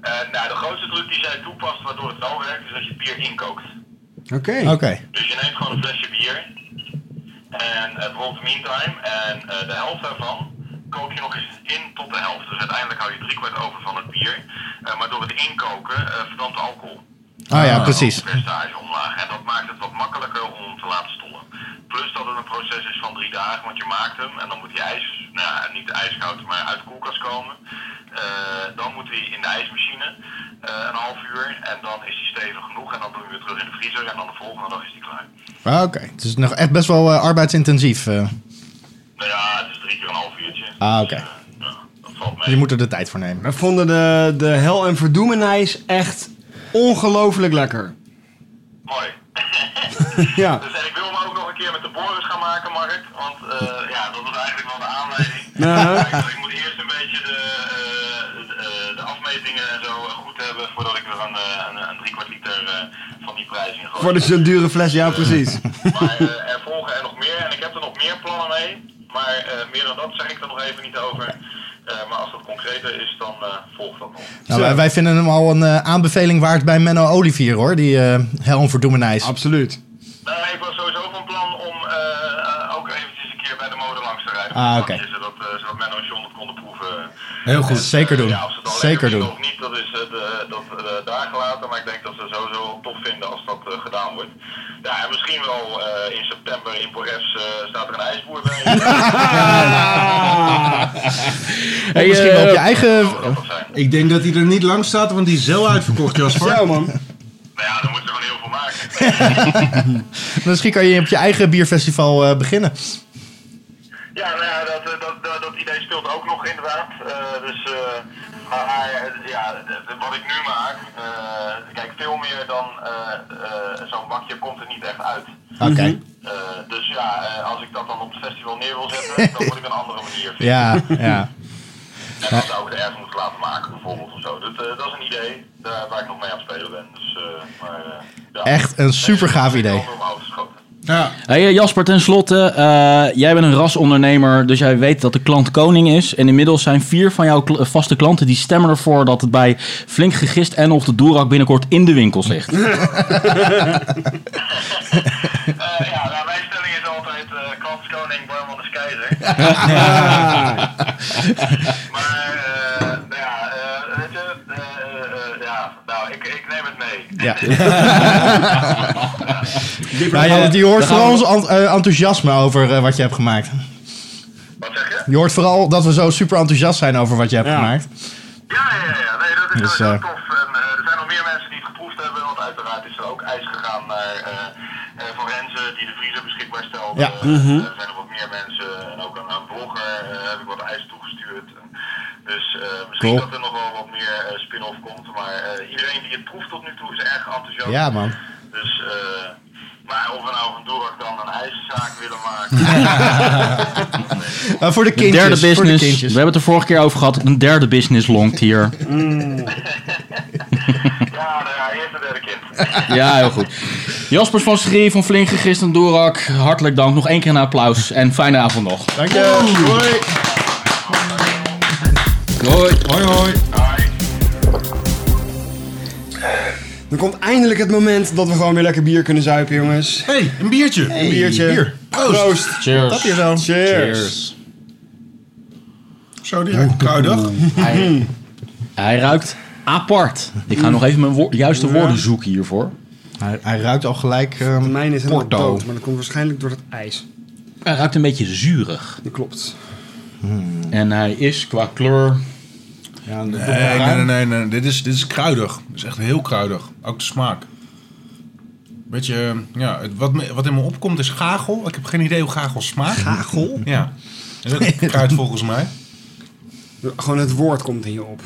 S6: Eh, nou, de grootste truc die zij toepast waardoor het wel werkt, is dat je het bier inkookt.
S5: Oké.
S6: Dus je neemt gewoon een flesje bier. En eh, bijvoorbeeld meantime. En eh, de helft daarvan kook je nog eens in tot de helft. Dus uiteindelijk hou je drie kwart over van het bier. Eh, maar door het inkoken eh verdampt de alcohol.
S5: Ah
S6: Dus
S5: ja, precies.
S6: De percentage omlaag. En dat maakt het wat makkelijker om hem te laten stollen. Plus dat het een proces is van drie dagen, want je maakt hem en dan moet hij ijs, nou ja, niet ijskoud, maar uit de koelkast komen. Eh, dan moet hij in de ijsmachine eh, een half uur en dan is hij stevig genoeg en dan doen we hem weer terug in de vriezer en dan de volgende dag is hij klaar.
S5: Ah, Oké. Het is nog echt best wel eh, arbeidsintensief. eh.
S6: Nou ja, het is drie keer een half uurtje.
S5: Ah,
S6: Dus,
S5: oké.
S6: eh, ja, dat valt mee.
S5: je moet er de tijd voor nemen.
S3: We vonden de, de hel en verdoemenijs echt ongelooflijk lekker.
S6: Mooi.
S3: <laughs> Ja.
S6: Dus en ik wil hem ook nog een keer met de Boris gaan maken, Mark. Want eh, ja, dat was eigenlijk wel de aanleiding.
S3: Ja.
S6: Ik moet eerst een beetje de, eh, de, eh, de afmetingen en zo goed hebben voordat ik er een, eh, een, een drie kwart liter eh, van die prijs in gooi.
S3: Voor de zo'n dure fles, ja precies.
S6: <laughs> Maar eh, er volgen er nog meer en ik heb er nog meer plannen mee. Maar eh, meer dan dat zeg ik er nog even niet over. Eh, maar als dat concreter is, dan eh, volgt dat nog.
S5: Nou, wij, wij vinden hem al een eh, aanbeveling waard bij Menno Olivier hoor. Die eh Helm voor Doemenijs.
S3: Absoluut.
S6: Nou, ik was sowieso van plan om eh, eh, ook eventjes een keer bij de mode langs te rijden.
S5: Ah, oké.
S6: Zodat, eh zodat Menno en John het konden proeven. eh,
S5: Heel goed. Zeker doen.
S6: Ja, of ze het al
S5: Zeker
S6: lekker vinden
S5: doen.
S6: Of niet, dat is eh, de- dat, eh, daar gelaten. Maar ik denk dat ze het sowieso wel tof vinden als dat eh, gedaan wordt. Ja, en misschien wel eh, in september in Pores eh, staat er een ijsboer bij.
S2: Ah!
S1: Hey,
S5: Misschien wel op
S1: eh,
S5: je eigen...
S6: Dat kan zijn.
S2: Ik denk dat hij er niet lang staat, want die is zo uitverkocht, Jasper.
S3: Zo man.
S6: Nou ja, dan moeten we gewoon heel veel maken.
S5: Misschien kan je op je eigen bierfestival eh, beginnen.
S6: Ja, nou ja, dat, eh, dat, dat, dat idee speelt ook nog inderdaad. Eh, dus, eh, maar eh, ja, eh, wat ik nu maak, eh, kijk, veel meer dan eh, eh, zo'n bakje komt er niet echt uit.
S5: Oké.
S6: Eh, dus ja, eh, als ik dat dan op het festival neer wil
S5: <laughs>
S6: zetten, dan moet ik een andere manier vinden.
S5: Ja, ja.
S6: En dan zou ik het ergens moeten laten maken bijvoorbeeld of zo. Dat, eh, dat is een idee daar, waar ik nog mee aan het spelen ben. Dus, eh, maar, eh, ja.
S5: Echt een supergaaf
S6: Ik ben
S5: idee.
S6: over mijn hoofd geschoten.
S2: Ja.
S1: Hey eh, Jasper, ten slotte, eh, jij bent een rasondernemer, dus jij weet dat de klant koning is. En inmiddels zijn vier van jouw kl- eh, vaste klanten die stemmen ervoor dat het bij Flink Gegist en of de Doerak binnenkort in de winkels ligt.
S6: Eh, ja, nou, mijn stelling is altijd eh klant is koning, barman is keizer. <laughs>
S5: Ah.
S6: maar eh, nou ja, eh, weet je, eh, eh, eh, ja, nou, ik, ik neem het mee. <laughs>
S5: Ja. Nou, je, je hoort vooral ons ant- eh, enthousiasme over eh, wat je hebt gemaakt.
S6: Wat zeg je?
S5: Je hoort vooral dat we zo super enthousiast zijn over wat je hebt
S3: Ja.
S5: gemaakt.
S6: Ja, ja, ja, ja. Nee, dat is
S5: Dus,
S6: wel heel
S5: eh,
S6: tof. En, eh, er zijn nog meer mensen die het geproefd hebben, want uiteraard is er ook ijs gegaan naar eh eh, Van Renze, die de vriezer beschikbaar stelde.
S5: Ja.
S6: Eh, Er zijn nog wat meer mensen en ook aan een blogger eh, heb ik wat ijs toegestuurd. En dus eh, misschien
S5: Cool.
S6: dat er nog wel wat meer eh, spin-off komt, maar eh, iedereen die het proeft tot nu toe is erg enthousiast.
S5: Ja, man.
S6: Dus, eh, maar of we nou van Dorak dan een ijszaak willen maken...
S3: <laughs>
S5: <laughs> Eh, <laughs> voor de kindjes.
S1: Derde
S5: voor de
S1: business. We
S5: kindjes.
S1: hebben het er vorige keer over gehad. Een derde business longt
S5: <laughs>
S1: hier.
S3: Mm.
S6: ja, nou ja, eerst een derde kind.
S1: Ja, heel goed. Jaspers van Schrie van Flinke, Christen Dorak. Hartelijk dank. Nog één keer een applaus. En fijne avond nog.
S5: Dank je.
S1: Hoi.
S2: Hoi hoi.
S3: Dan komt eindelijk het moment dat we gewoon weer lekker bier kunnen zuipen, jongens.
S2: Hey, een biertje.
S3: Een biertje.
S5: bier.
S3: Proost.
S1: Cheers.
S5: Heb je zo.
S3: Cheers.
S2: Zo direct kruidig.
S1: Mm. Hij, hij ruikt apart. Ik ga nog even mijn woor- juiste woorden zoeken hiervoor.
S5: Hij, hij ruikt al gelijk eh,
S2: ehm,
S3: De mijne is helemaal
S5: Porto.
S3: dood, maar dat komt waarschijnlijk door dat ijs.
S1: Hij ruikt een beetje zuurig.
S3: Dat klopt.
S1: En hij is qua kleur...
S5: Ja, de-
S2: Nee, nee, nee, nee, nee. Dit, is, dit is kruidig. Dit is echt heel kruidig. Ook de smaak. Beetje, eh, ja, het- wat, me- wat in me opkomt is gagel. Ik heb geen idee hoe gagel smaakt. Gagel? Ja. Is ook kruid volgens mij. Mhm.
S3: Gewoon het woord komt in je op.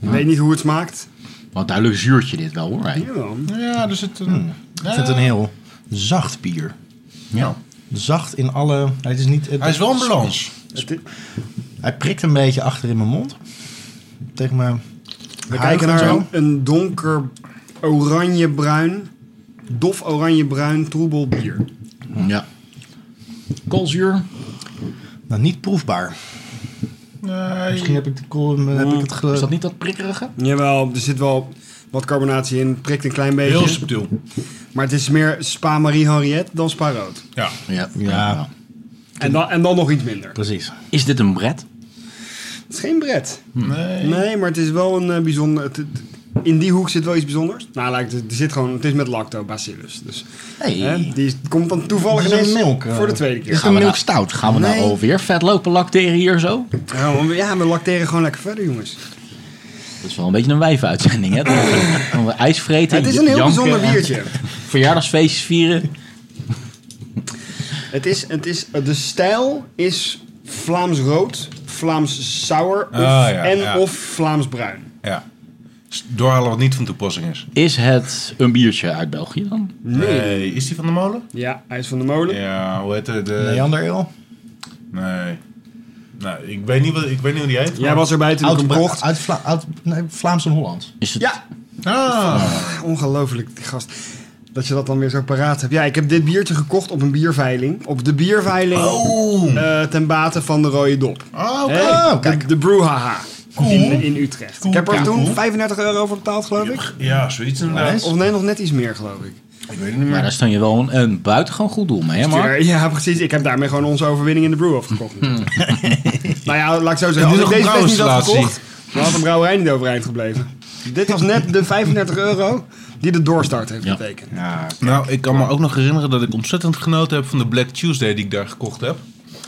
S3: Ik weet niet hoe het smaakt.
S1: Wat duidelijk zuurtje dit wel hoor. Hij-
S3: Jawel.
S2: Ja, er zit een...
S5: Ik vind het Hmm. een heel zacht bier.
S2: Ja.
S5: Zacht in alle... Het is niet, het-
S2: Hij is wel een balans.
S3: Het is-
S5: Hij prikt een beetje achter in mijn mond. Tegen mijn...
S3: We kijken naar een, een donker oranje-bruin, dof oranje-bruin troebel bier.
S1: Ja. Koolzuur.
S5: Nou, niet proefbaar. Misschien
S2: Nee.
S5: heb ik, de, kool- heb ik het
S1: Mm. Is
S5: geluid.
S1: dat niet dat prikkerige?
S3: Jawel, er zit wel wat carbonatie in, het prikt een klein beetje.
S2: Heel subtiel.
S3: Maar het is meer Spa Marie Henriette dan Spa Rood.
S2: Ja.
S1: Ja.
S5: Ja.
S3: En dan, en dan nog iets minder.
S5: Precies.
S1: Is dit een bret?
S3: Het is geen bret.
S2: Nee.
S3: Nee, maar het is wel een eh, bijzonder... het- het- in die hoek zit wel iets bijzonders. Nou, lijkt het, er zit gewoon, het is met lactobacillus. Dus,
S1: Hey.
S3: hè, die is- komt dan toevallig
S5: Het is een
S3: ineens
S5: milk, eh,
S3: voor de tweede
S1: Is
S3: keer.
S1: het een
S5: we
S1: milk
S5: nou-
S1: stout? Gaan we nou
S3: Nee.
S1: alweer vet lopen lacteren hier zo?
S3: Ja, want we- ja, we lacteren gewoon lekker verder, jongens.
S1: Dat is wel een beetje een wijfuitzending, hè? Dat we ijs vreten.
S3: het is een heel
S1: janken
S3: bijzonder
S1: en
S3: biertje.
S1: Verjaardagsfeestjes vieren.
S3: Het is, het is, de stijl is Vlaams rood, Vlaams sour of,
S2: Ah, ja,
S3: en
S2: ja.
S3: of Vlaams bruin.
S2: Ja. S- Doorhalen wat niet van toepassing is.
S1: Is het een biertje uit België dan?
S2: Nee. Is die van de molen?
S3: Ja, hij is van de molen.
S2: Ja, hoe heet het? De...
S5: Neander ale?
S2: Nee. Nou, ik weet niet, wat, ik weet niet hoe die heet.
S3: Jij was erbij toen ik hem
S5: Oud,
S3: kocht.
S5: uit, Vla- uit
S2: Eh,
S5: nee, Vlaams en Holland.
S1: Is het...
S3: Ja,
S2: Ah.
S3: ongelooflijk, die gast. Dat je dat dan weer zo paraat hebt. Ja, ik heb dit biertje gekocht op een bierveiling. Op de bierveiling
S2: Oh.
S3: eh, ten bate van de Rode Dop.
S2: Ah, oké.
S3: Hè?
S5: Oh, kijk.
S3: de, de Brouhaha in, in Utrecht. ik heb er
S2: Ja,
S3: toen
S2: cool.
S3: 35 euro voor betaald, geloof ik.
S2: Ja, zoiets inderdaad.
S3: Of nee, nog net iets meer, geloof ik.
S2: Ik weet het niet meer.
S1: Maar daar staan je wel een, een buitengewoon goed doel mee, hè Mark?
S3: Dus <laughs> Ja, precies. Ik heb daarmee gewoon onze overwinning in de brew afgekocht. natuurlijk. <laughs> nou ja, laat ik zo zeggen.
S2: En
S3: Als
S2: nu
S3: ik
S2: Hmm. nog
S3: deze
S2: een
S3: fles niet had
S2: brouwinstallatie.
S3: gekocht, dan had de brouwerij niet overeind gebleven. Dit was net de 35 euro die de doorstart heeft
S1: Ja.
S3: betekend.
S2: Nou, ik kan me ook nog herinneren dat ik ontzettend genoten heb van de Black Tuesday die ik daar gekocht heb.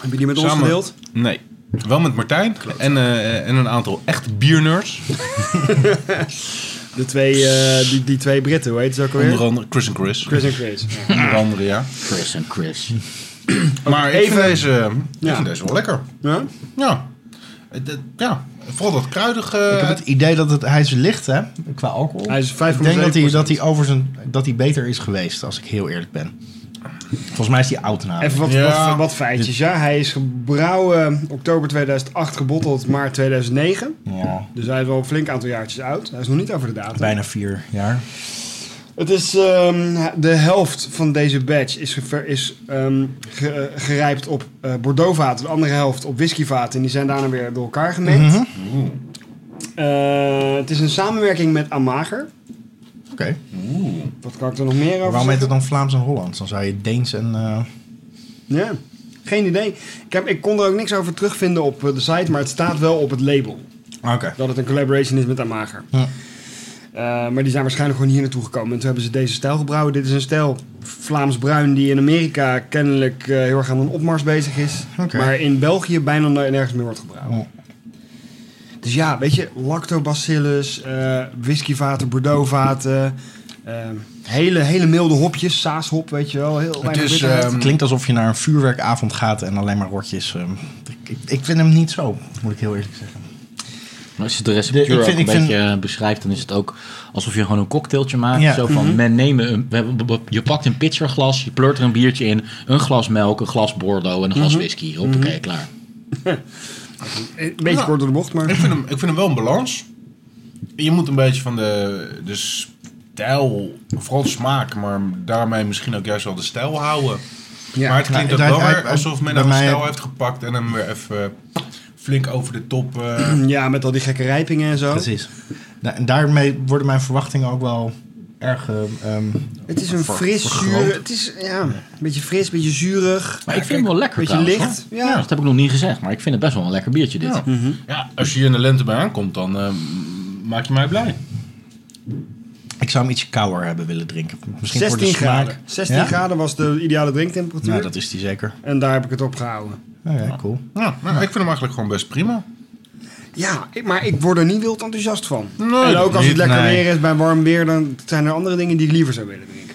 S3: Heb je die met ons
S2: Samen-
S3: gedeeld?
S2: Nee. Wel met Martijn en, eh, en een aantal
S3: <laughs>
S2: echt biernerds.
S3: De twee, eh, die, die twee Britten, hoe heet ze ook
S2: Onder
S3: alweer?
S2: andere Chris en Chris.
S3: Chris en Chris.
S2: <laughs> Onder andere, ja.
S1: Chris en
S3: <clears throat>
S1: Chris.
S2: Maar ik vind,
S3: even-
S2: deze, ik
S3: Ja.
S2: vind deze wel lekker.
S3: Ja?
S2: Ja. Eh, dat- ja. Vooral dat kruidige.
S5: Ik heb het idee dat het, hij is licht, hè? Qua alcohol.
S3: Hij is 5,7%.
S5: ik denk dat hij, dat, hij over zijn, dat hij beter is geweest, als ik heel eerlijk ben. Volgens mij is hij oud namelijk.
S3: Even wat,
S2: Ja.
S3: wat, wat feitjes, ja. Hij is gebrouwen oktober 2008, gebotteld maart 2009.
S5: Ja,
S3: Dus hij is wel een flink aantal jaartjes oud. Hij is nog niet over de datum.
S5: bijna vier jaar.
S3: Het is, ehm, de helft van deze batch is, gever- is ehm, ge- eh, gerijpt op eh Bordeaux-vaten, de andere helft op whisky-vaten. En die zijn daarna weer door elkaar gemengd.
S5: Mhm.
S3: Eh, het is een samenwerking met Amager.
S5: Oké.
S3: Wat kan ik er nog meer over
S5: Waarom heet
S3: zeggen?
S5: het dan Vlaams en Hollands? Dan zou je Deens en... eh,
S3: Ja, geen idee. Ik, heb, ik kon er ook niks over terugvinden op eh, de site, maar het staat wel op het label.
S5: Oké.
S3: Dat het een collaboration is met Amager.
S5: Ja.
S3: Eh, maar die zijn waarschijnlijk gewoon hier naartoe gekomen. En toen hebben ze deze stijl gebrouwen. Dit is een stijl Vlaams bruin die in Amerika kennelijk eh, heel erg aan een opmars bezig is.
S5: Oké.
S3: Maar in België bijna no- nergens meer wordt gebrouwen. Dus ja, weet je, lactobacillus, eh whiskyvaten, bordeauxvaten. eh, hele, hele milde hopjes, saashop, weet je wel. Heel
S2: Het
S3: weinig
S2: is,
S3: bitterheid.
S2: ehm,
S5: Het klinkt alsof je naar een vuurwerkavond gaat en alleen maar rotjes. ehm, ik, ik- ik vind hem niet zo, moet ik heel eerlijk zeggen.
S1: Maar als je de receptuur
S5: De- ik
S1: ook
S5: vind-
S1: een
S5: ik vind-
S1: beetje eh, beschrijft, dan is het ook alsof je gewoon een cocktailtje maakt.
S5: Ja.
S1: Zo van,
S3: Mhm.
S1: men nemen een, we hebben- we- je pakt een pitcherglas, je pleurt er een biertje in, een glas melk, een glas Bordeaux en een
S3: Mhm.
S1: glas whisky.
S3: <laughs>
S1: Hoppakee, klaar.
S3: Een beetje
S2: Nou,
S3: kort door de bocht, maar...
S2: Ik vind, hem, ik vind hem wel een balans. Je moet een beetje van de, de stijl, vooral de smaak, maar daarmee misschien ook juist wel de stijl houden.
S3: Ja,
S2: maar het klinkt ook
S5: nou,
S2: wel
S5: hij-
S2: weer
S5: hij-
S2: alsof men
S5: bij
S2: een
S5: mij-
S2: stijl heeft gepakt en hem weer even flink over de top. eh,
S3: <clears throat> Ja, met al die gekke rijpingen en zo.
S5: Precies. Da- en daarmee worden mijn verwachtingen ook wel erg. eh, ehm,
S3: Het is een
S5: ver-
S3: fris,
S5: vergroot.
S3: zuur... Het is, ja, een beetje fris, een beetje zuurig.
S1: Maar ik vind hem wel lekker
S3: Beetje
S1: trouwens,
S3: licht.
S1: hoor.
S3: Ja.
S1: Dat heb ik nog niet gezegd, maar ik vind het best wel een lekker biertje dit. Mhm.
S2: ja. ja, als je hier in de lente bij aankomt, dan eh, maak je mij blij.
S5: Ik zou hem ietsje kouder hebben willen drinken. Misschien voor de
S3: 16
S5: smaak.
S3: graden. 16
S5: Ja?
S3: graden was de ideale drinktemperatuur.
S5: Nou, dat is die zeker.
S3: En daar heb ik het op gehouden.
S5: Oké, cool.
S2: Ja, nou, ik vind hem eigenlijk gewoon best prima.
S3: Ja, ik- maar ik word er niet wild enthousiast van.
S2: Nee,
S3: en ook als het
S5: niet,
S3: lekker
S5: nee.
S3: weer is bij warm weer, dan zijn er andere dingen die ik liever zou willen drinken.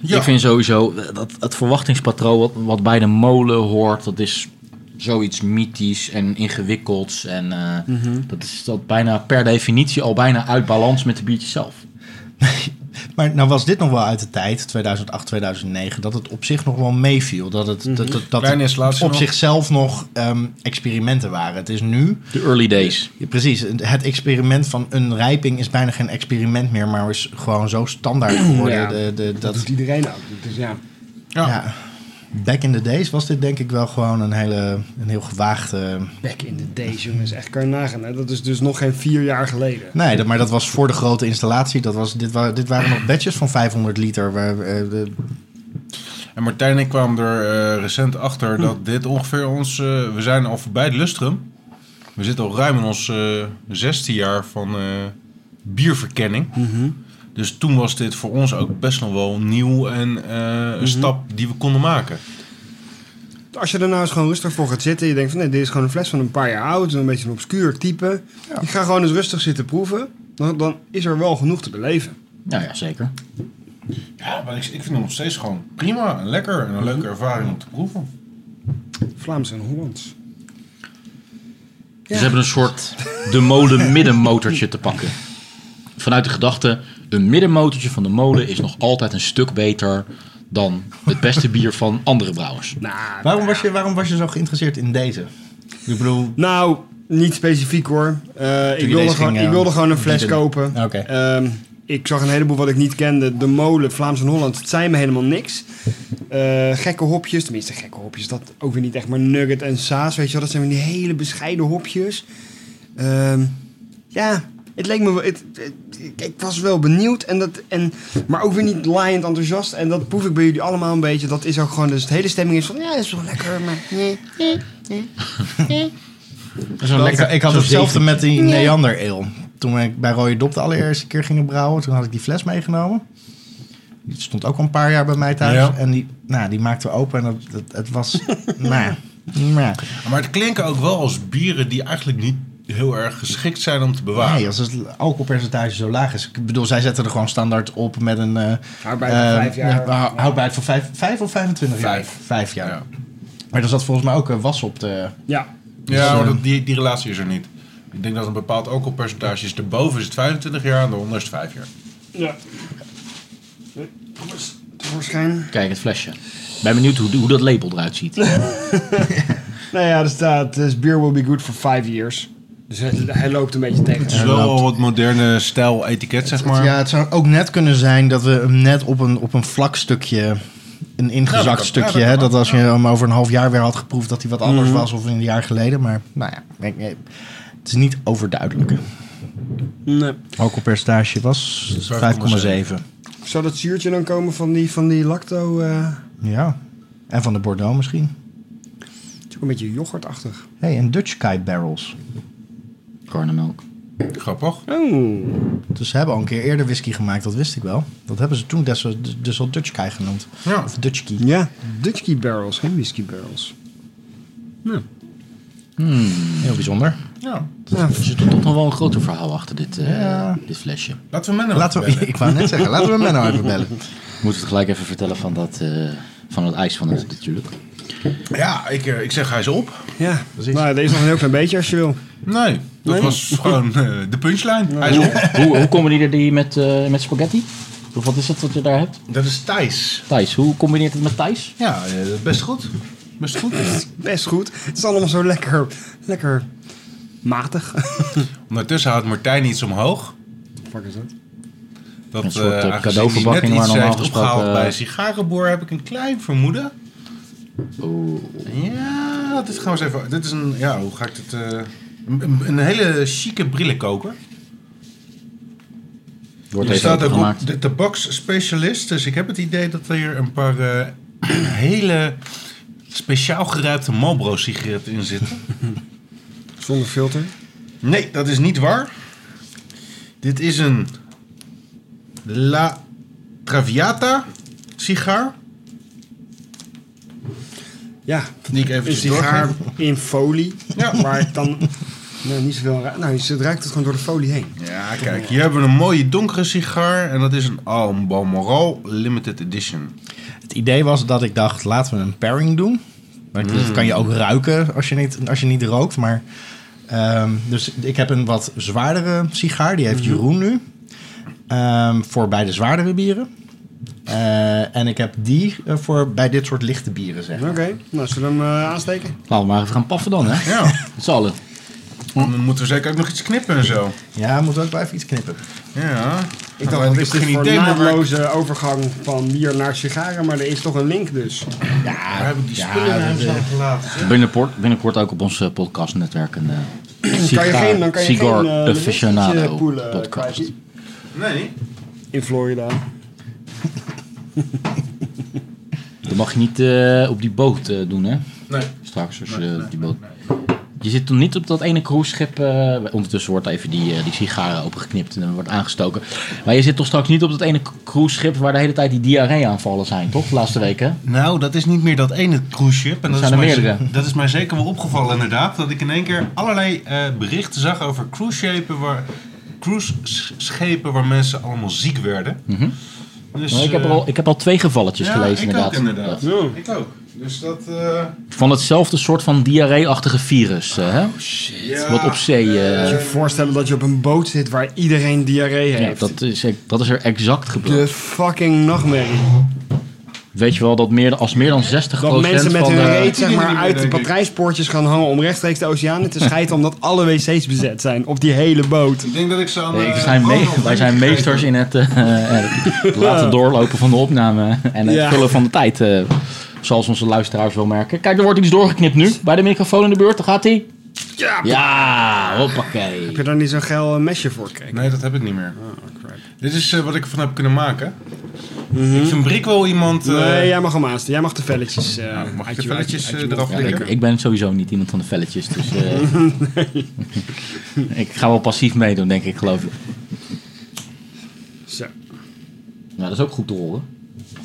S2: Ja.
S1: Ik vind sowieso eh, dat het verwachtingspatroon wat, wat bij de molen hoort, dat is zoiets mythisch en ingewikkelds. En eh,
S2: Mhm.
S1: dat is dat bijna per definitie al bijna uit balans met de biertjes zelf.
S5: Maar nou was dit nog wel uit de tijd, 2008, 2009, dat het op zich nog wel meeviel. Dat het dat,
S3: Mhm.
S5: dat, dat
S2: Kleine
S5: het
S2: slaatsen
S5: op
S2: nog.
S5: zichzelf nog ehm, experimenten waren. Het is nu,
S1: De early days.
S5: ja, precies, het experiment van een rijping is bijna geen experiment meer, maar is gewoon zo standaard geworden.
S3: Ja.
S5: de, de,
S3: Dat,
S5: dat,
S3: doet iedereen ook. Dus ja.
S2: Ja.
S5: ja. Back in the days was dit denk ik wel gewoon een, hele, een heel gewaagde...
S3: Back in the days, jongens. Echt kan je nagaan. Hè? Dat is dus nog geen vier jaar geleden.
S5: Nee, dat, maar dat was voor de grote installatie. Dat was, dit, wa- dit waren nog batches van 500 liter. Waar, eh, de-
S2: En Martijn en ik kwamen er eh, recent achter
S3: Hm.
S2: dat dit ongeveer ons... eh, we zijn al voorbij het lustrum. We zitten al ruim in ons eh, zesde jaar van eh, bierverkenning.
S3: Mhm.
S2: Dus toen was dit voor ons ook best nog wel nieuw en eh, een
S3: Mhm.
S2: stap die we konden maken.
S3: Als je er nou eens gewoon rustig voor gaat zitten. Je denkt van nee, dit is gewoon een fles van een paar jaar oud. Een beetje een obscuur type. Ik ga gewoon eens rustig zitten proeven. Dan, dan is er wel genoeg te beleven.
S1: Nou ja, zeker.
S2: Ja, maar ik, ik vind hem nog steeds gewoon prima en lekker en een leuke ervaring om te proeven.
S3: Mhm. Vlaams en Hollands.
S1: Dus ze hebben een soort de molen middenmotortje te pakken. Vanuit de gedachte, een middenmotortje van de molen is nog altijd een stuk beter dan het beste bier van andere brouwers.
S3: Nou,
S5: waarom, was je, waarom was je zo geïnteresseerd in deze? Ik bedoel,
S3: Nou, niet specifiek hoor. Eh, ik,
S5: je
S3: wilde
S5: deze
S3: gewoon,
S5: ging,
S3: ik
S5: eh,
S3: wilde gewoon een fles
S5: diepen.
S3: kopen.
S5: Oké.
S3: Ehm, ik zag een heleboel wat ik niet kende. De molen, Vlaams en Holland, het zei me helemaal niks. Eh, gekke hopjes, tenminste gekke hopjes, dat ook weer niet echt. Maar nugget en saas, weet je wel, dat zijn weer die hele bescheiden hopjes. Ehm, ja, het leek me wel... Het, het- ik- ik was wel benieuwd, en dat, en, maar ook weer niet laaiend enthousiast. En dat proef ik bij jullie allemaal een beetje. Dat is ook gewoon, dus de hele stemming is van, ja, dat is wel lekker, maar... nee.
S5: Dat- ik had hetzelfde met die Neander Ale. Toen ik bij Rode Dop de allereerste keer ging brouwen, toen had ik die fles meegenomen. Die stond ook al een paar jaar bij mij thuis.
S2: Ja.
S5: En die, nou, die maakten we open en dat, dat- het was... <laughs> nou, nou.
S2: Maar het klinken ook wel als bieren die eigenlijk niet heel erg geschikt zijn om te bewaren.
S5: Nee, als het alcoholpercentage zo laag is. Ik bedoel, zij zetten er gewoon standaard op met een... eh,
S3: Houdbaar van
S5: eh,
S3: vijf jaar.
S5: ja, houdbaarheid van vijf, vijf of 25 jaar?
S2: Vijf.
S5: Vijf jaar.
S2: Ja.
S5: Maar er zat volgens mij ook eh, was op de...
S3: Ja,
S2: Ja,
S5: Dus,
S2: maar
S5: eh,
S2: dat- die, die relatie is er niet. Ik denk dat een bepaald alcoholpercentage is. Daarboven is het 25 jaar en daaronder is het 5 jaar.
S3: Ja. Tevoorschijn.
S1: Kijk, het flesje. Ben benieuwd hoe, hoe dat label eruit ziet.
S3: Nou ja, er staat, this beer will be good for five years. Dus hij, hij loopt een beetje tegen.
S2: Het is wel al wat moderne stijl etiket, zeg maar.
S5: Ja, het zou ook net kunnen zijn dat we hem net op een, op een vlak stukje, een ingezakt
S2: Ja, dat kan.
S5: stukje,
S2: Ja, Mhm. dat
S5: hè,
S2: kan.
S5: dat als je hem over een half jaar weer had geproefd, dat hij wat anders was of in een jaar geleden. Maar nou ja, ik- ik- het is niet overduidelijk.
S3: Nee.
S5: Alcoholpercentage was 5,7.
S2: 5,7.
S3: Zou dat zuurtje dan komen van die, van die lacto? eh
S5: Ja. En van de Bordeaux misschien.
S3: het is ook een beetje yoghurtachtig.
S5: Hé, hey, en Dutch Sky Barrels.
S1: Karnemelk.
S2: Grappig.
S3: Oh.
S5: Dus ze hebben al een keer eerder whisky gemaakt, dat wist ik wel. Dat hebben ze toen des, dus al Dutch Kei genoemd.
S2: Ja.
S5: Of Dutch Key.
S3: Ja, Dutchkey barrels, geen whisky barrels. Nou,
S1: Hmm. Heel bijzonder.
S2: Ja.
S3: ja,
S1: Dus Er zit toch nog wel een groter verhaal achter dit, eh, dit flesje.
S2: Laten we Menno
S5: Laten we,
S1: <laughs>
S2: bellen.
S5: ik wou net zeggen, laten we Menno even bellen.
S1: Moeten we het gelijk even vertellen van, dat, eh, van het ijs van het natuurlijk.
S2: Ja, ik, eh, ik zeg hij is op.
S3: ja. Nou, deze nog een heel klein beetje als je wil.
S2: Nee, dat
S3: Nee.
S2: was gewoon eh,
S1: <laughs>
S2: de punchline. Hij is op.
S1: hoe, hoe combineerde die met, eh, met spaghetti? Of wat is het wat je daar hebt?
S2: Dat is Thijs.
S1: Thijs, hoe combineert het met Thijs?
S2: Ja, eh, best goed. Best goed.
S3: <laughs> Best goed. Het is allemaal zo lekker, lekker matig.
S2: Ondertussen houdt Martijn iets omhoog.
S3: Fuck is dat?
S2: Dat
S1: Een soort, eh,
S2: eh, aangezien
S1: cadeauverpakking
S2: hij net
S1: waar
S2: iets
S1: normaal
S2: heeft
S1: gesproken,
S2: opgehaald
S1: eh,
S2: bij een sigarenboer heb ik een klein vermoeden. Ja, dit gaan we eens even. Dit is een. Ja, hoe ga ik dit. eh, een, een hele chique brillenkoker.
S1: Wordt
S2: Er
S1: even
S2: staat ook
S1: gemaakt.
S2: op de tabaksspecialist. Dus ik heb het idee dat er hier een paar eh, <clears throat> hele speciaal geruipte Marlboro sigaretten in zitten.
S3: <laughs> Zonder filter.
S2: Nee, dat is niet waar. Dit is een La Traviata sigaar.
S3: Ja,
S2: Die ik
S3: een
S2: eventjes
S3: sigaar
S2: doorga.
S3: in folie.
S2: Ja.
S3: Waar ik dan nou, niet zoveel aan raak. Nou, het ruikt het gewoon door de folie heen.
S2: Ja, kijk, hier hebben we een mooie donkere sigaar. En dat is een Albemarle Limited Edition.
S5: Het idee was dat ik dacht, laten we een pairing doen. Want
S2: Mm.
S5: Dat kan je ook ruiken als je niet, als je niet rookt. Maar, ehm, dus ik heb een wat zwaardere sigaar. Die
S2: Mhm.
S5: heeft Jeroen nu. Ehm, voor bij de zwaardere bieren. Eh, en ik heb die eh, voor bij dit soort lichte bieren, zeg
S3: Oké,
S5: maar.
S3: nou zullen we hem eh, aansteken?
S1: Laten we maar even gaan paffen dan, hè?
S2: Ja,
S1: Met z'n allen.
S2: dan moeten we zeker ook nog iets knippen en zo.
S5: Ja, moet ook wel even iets knippen.
S2: Ja.
S3: Ik
S2: Nou,
S3: dacht, wat
S2: ik
S3: is
S2: heb
S3: dit
S2: geen
S3: voor
S2: idee meer waar ik-
S3: naadloze overgang van bier naar sigaren? Maar er is toch een link dus.
S5: Ja,
S2: Waar heb ik die
S5: ja,
S2: spullen naar hem
S5: dat, eh,
S2: staan gelaten? zeg?
S1: Binnenkort, binnenkort ook op ons eh, podcastnetwerk een eh
S3: Kan je geen, dan
S1: cigar,
S3: kan je geen
S1: cigar
S3: eh,
S1: aficionado
S3: Lewinsky'tje poelen,
S1: podcast.
S3: Kwaakie.
S2: Nee.
S3: In Florida.
S1: Dat mag je niet eh, op die boot eh, doen, hè?
S2: Nee.
S1: Straks als je eh, op die boot... Je zit toen niet op dat ene cruiseschip. eh, ondertussen wordt even die, eh, die sigaren opengeknipt en dan wordt aangestoken. Maar je zit toch straks niet op dat ene cruiseschip waar de hele tijd die diarree-aanvallen zijn, toch? De laatste weken.
S2: Nou, dat is niet meer dat ene cruise ship. En dat,
S1: Er zijn
S2: is
S1: er
S2: mij-
S1: meerdere.
S2: dat is mij zeker wel opgevallen inderdaad. Dat ik in één keer allerlei eh, berichten zag over cruise schepen waar, cruise sch- schepen waar mensen allemaal ziek werden. Dus,
S1: ik, heb er
S2: eh,
S1: al, ik heb al twee gevalletjes
S2: ja,
S1: gelezen,
S2: ik
S1: inderdaad.
S2: Ook, inderdaad.
S1: Ja.
S2: Ik ook. Dus dat... eh,
S1: Van hetzelfde soort van diarree-achtige virus, eh,
S3: Oh,
S1: hè?
S2: ja,
S1: Wat op zee... eh,
S3: Moet je je voorstellen dat je op een boot zit waar iedereen diarree
S1: ja,
S3: heeft.
S1: dat, is, e- dat is er exact gebeurd.
S3: De fucking nachtmerrie.
S1: Weet je wel dat meer, dan- als meer dan 60%
S3: Dat mensen met
S1: van eh,
S3: hun
S1: de-
S3: reet zeg maar,
S2: Iedereen
S3: uit de
S2: denk ik.
S3: patrijspoortjes gaan hangen om rechtstreeks de oceanen te
S1: <laughs>
S3: scheiden omdat alle wc's bezet zijn op die hele boot.
S2: Ik denk dat ik ze aan...
S1: Nee,
S2: eh,
S1: we zijn
S2: Ronald
S1: mee-
S2: heb
S1: wij zijn
S2: gegeven.
S1: meesters in het eh, eh, laten doorlopen van de opname en het
S3: Ja.
S1: vullen van de tijd. eh, zoals onze luisteraars wel merken. Kijk, er wordt iets doorgeknipt nu. Bij de microfoon in de buurt, daar gaat hij.
S3: Ja.
S1: Ja, hoppakee.
S3: Heb je daar niet zo'n geil eh, mesje voor gekregen?
S2: Nee, dat heb ik niet meer. Dit is eh, wat ik ervan heb kunnen maken.
S1: Mhm.
S2: Ik vind Brik wel iemand... eh,
S3: Mhm. Nee, jij mag hem aanstaan. Jij mag de velletjes eh
S2: mag ik
S3: uit
S2: de
S3: je-
S2: velletjes
S3: uit
S2: eh,
S3: je mond.
S2: eraf
S1: Ja,
S2: likken?
S1: ik, ik ben sowieso niet iemand van de velletjes, dus eh,
S5: <laughs>
S1: <laughs> ik ga wel passief meedoen, denk ik, geloof ik.
S3: Zo.
S1: Nou, dat is ook goed te horen.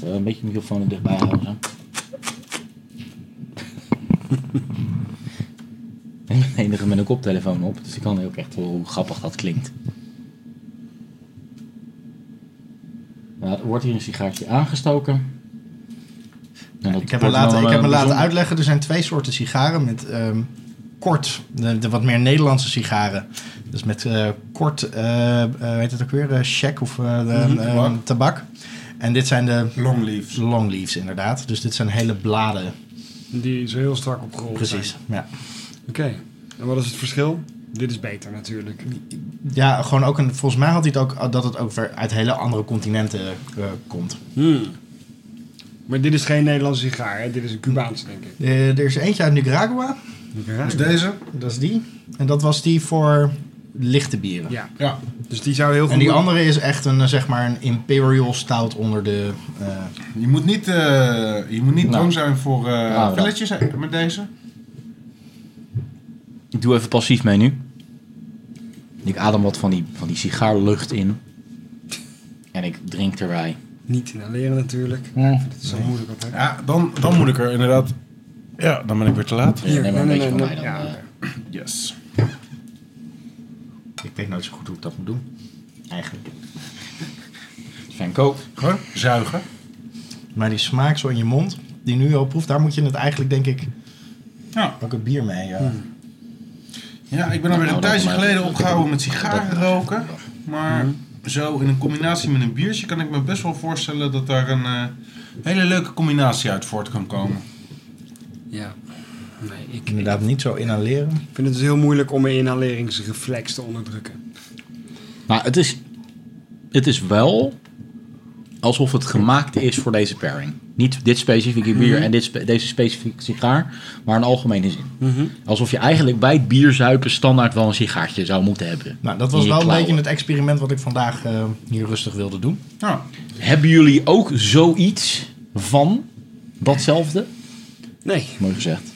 S1: Eh, een beetje de microfoon er dichtbij houden. Zo. <laughs> ik ben de enige met een koptelefoon op, dus ik kan ook echt horen hoe grappig dat klinkt. Nou, er wordt hier een sigaartje aangestoken. En dat
S5: Ik heb me
S1: wordt
S5: laten,
S1: wel
S5: ik heb me laten
S1: een bijzonder-
S5: uitleggen, er zijn twee soorten sigaren met ehm, kort, de, de wat meer Nederlandse sigaren. Dus met eh, kort, eh, eh, hoe heet het ook weer, eh check of eh, de, ehm,
S2: tabak.
S5: tabak. En dit zijn de
S2: Longleaves.
S5: long leaves inderdaad. Dus dit zijn hele bladen.
S3: Die is heel strak opgerold.
S5: Precies.
S3: zijn.
S5: Ja.
S3: Oké. En wat is het verschil? Dit is beter natuurlijk.
S5: ja, gewoon ook een, volgens mij had hij het ook dat het ook weer uit hele andere continenten eh, komt.
S3: Hmm. Maar dit is geen Nederlandse sigaar, hè? dit is een Cubaanse, denk ik.
S5: Eh, er is eentje uit Nicaragua,
S2: Dus deze?
S5: dat is die. En dat was die voor lichte bieren.
S3: Ja,
S2: Ja.
S3: dus die zou heel goed...
S5: En die andere is echt een, eh, zeg maar, een imperial stout onder de... eh,
S2: Je moet niet, eh, je moet niet bang zijn voor eh
S1: Nou, dat-
S2: velletjes hè, met deze.
S1: Ik doe even passief mee nu. Ik adem wat van die, van die sigaarlucht in. En ik drink erbij.
S3: Niet inhaleren natuurlijk. Dat is zo moeilijk altijd.
S2: Ja, dan, dan moet ik er inderdaad... Ja, dan ben ik weer te laat.
S1: Ja, neem maar een
S3: nee,
S1: beetje
S3: nee, nee.
S1: van mij dan.
S3: Ja,
S1: eh.
S3: oké.
S2: Yes.
S5: Ik weet nooit zo goed hoe ik dat moet doen. Eigenlijk. <laughs>
S1: Fenko.
S2: Gewoon zuigen.
S5: Maar die smaak zo in je mond, die nu al proeft, daar moet je het eigenlijk, denk ik,
S2: Ja. Hmm.
S5: ook een bier mee. eh,
S2: Ja, ik ben alweer een
S1: Nou,
S2: tijdje
S1: dat-
S2: geleden
S1: dat-
S2: opgehouden
S1: dat-
S2: met sigaren
S1: dat-
S2: roken. Maar zo in een combinatie met een biertje kan ik me best wel voorstellen dat daar een eh, hele leuke combinatie uit voort kan komen.
S3: Ja. Nee, ik,
S5: Inderdaad, niet zo inhaleren.
S3: ik vind het dus heel moeilijk om mijn inhaleringsreflex te onderdrukken.
S1: Nou, het is, het is wel alsof het gemaakt is voor deze pairing. Niet dit specifieke bier
S3: Mhm.
S1: en dit spe- deze specifieke sigaar, maar in algemene zin.
S3: Mhm.
S1: Alsof je eigenlijk bij het bier zuipen standaard wel een sigaartje zou moeten hebben.
S5: Nou, dat was
S1: In je
S5: wel een
S1: klauwen.
S5: beetje het experiment wat ik vandaag eh, hier rustig wilde doen.
S2: Ja,
S1: Hebben jullie ook zoiets van datzelfde?
S3: Nee.
S1: Mooi gezegd.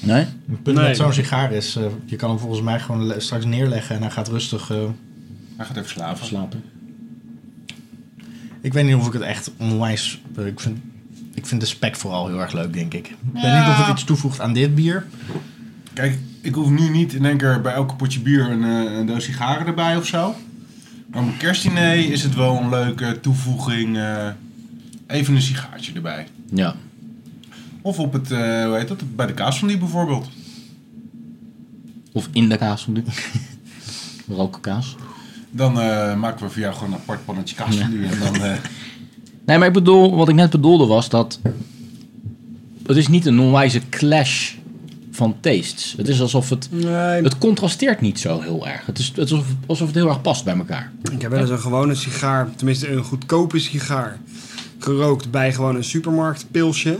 S1: Nee?
S5: Het punt
S3: Nee.
S5: met zo'n sigaar is, eh, je kan hem volgens mij gewoon le- straks neerleggen en hij gaat rustig. eh,
S2: hij gaat even slapen.
S1: Slapen.
S5: ik weet niet of ik het echt onwijs. eh, ik, vind, ik vind de spek vooral heel erg leuk, denk ik. Ik weet
S2: Ja.
S5: niet of het iets toevoegt aan dit bier.
S2: Kijk, ik hoef nu niet in één keer bij elke potje bier een, eh, een doos sigaren erbij of zo. Maar op een kerstdiner is het wel een leuke toevoeging. eh, even een sigaartje erbij.
S1: Ja.
S2: Of op het, eh, hoe heet dat, bij de kaas van die bijvoorbeeld.
S1: Of in de kaas van nu. <laughs> Rokenkaas.
S2: Dan eh, maken we voor jou gewoon een apart pannetje kaas van die. En dan, eh,
S1: Nee, maar ik bedoel, wat ik net bedoelde was dat. Het is niet een onwijze clash van tastes. Het is alsof het.
S3: Nee.
S1: Het contrasteert niet zo heel erg. Het is, het is alsof, alsof het heel erg past bij elkaar.
S3: Ik heb wel eens een gewone sigaar, tenminste een goedkope sigaar, gerookt bij gewoon een supermarktpilsje.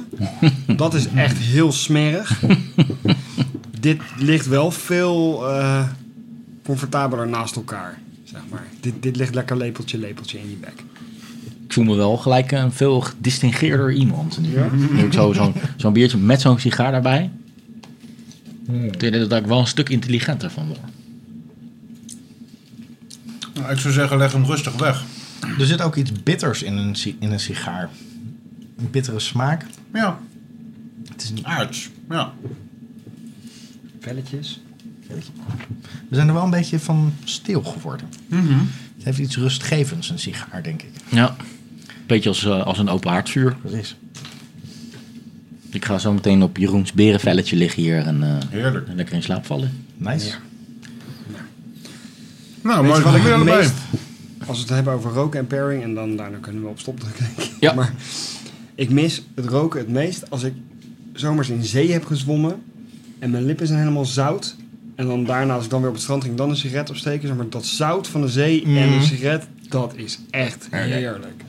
S3: Dat is echt heel smerig. Dit ligt wel veel eh, comfortabeler naast elkaar, zeg maar. Dit, dit ligt lekker lepeltje, lepeltje in je bek.
S1: Ik voel me wel gelijk een veel gedistingeerder iemand nu. Nu ik zo- zo'n zo'n biertje met zo'n sigaar daarbij. Ik denk dat ik wel een stuk intelligenter van word.
S2: nou, ik zou zeggen, leg hem rustig weg.
S5: Er zit ook iets bitters in een, si- in een sigaar. Een bittere smaak.
S2: Ja,
S5: Het is niet,
S2: aards. Ja.
S3: Velletjes.
S5: we zijn er wel een beetje van stil geworden.
S2: Mhm.
S5: Het heeft iets rustgevends, een sigaar, denk ik.
S1: Ja. Beetje als, eh, als een open haardvuur.
S5: Precies.
S1: Ik ga zo meteen op Jeroens berenvelletje liggen hier en eh,
S2: Heerlijk.
S1: lekker in slaap vallen.
S5: Nice.
S2: Nou,
S3: Weet je wat
S2: mooi van
S3: ik het
S2: jullie erbij.
S3: meest, als we het hebben over roken en pairing, en dan daarna kunnen we op stop drukken, denk ik.
S1: Ja.
S3: Maar ik mis het roken het meest als ik zomers in zee heb gezwommen en mijn lippen zijn helemaal zout. En dan daarna, als ik dan weer op het strand ging, dan een sigaret opsteken. Zeg maar dat zout van de zee en een sigaret, dat is echt heerlijk.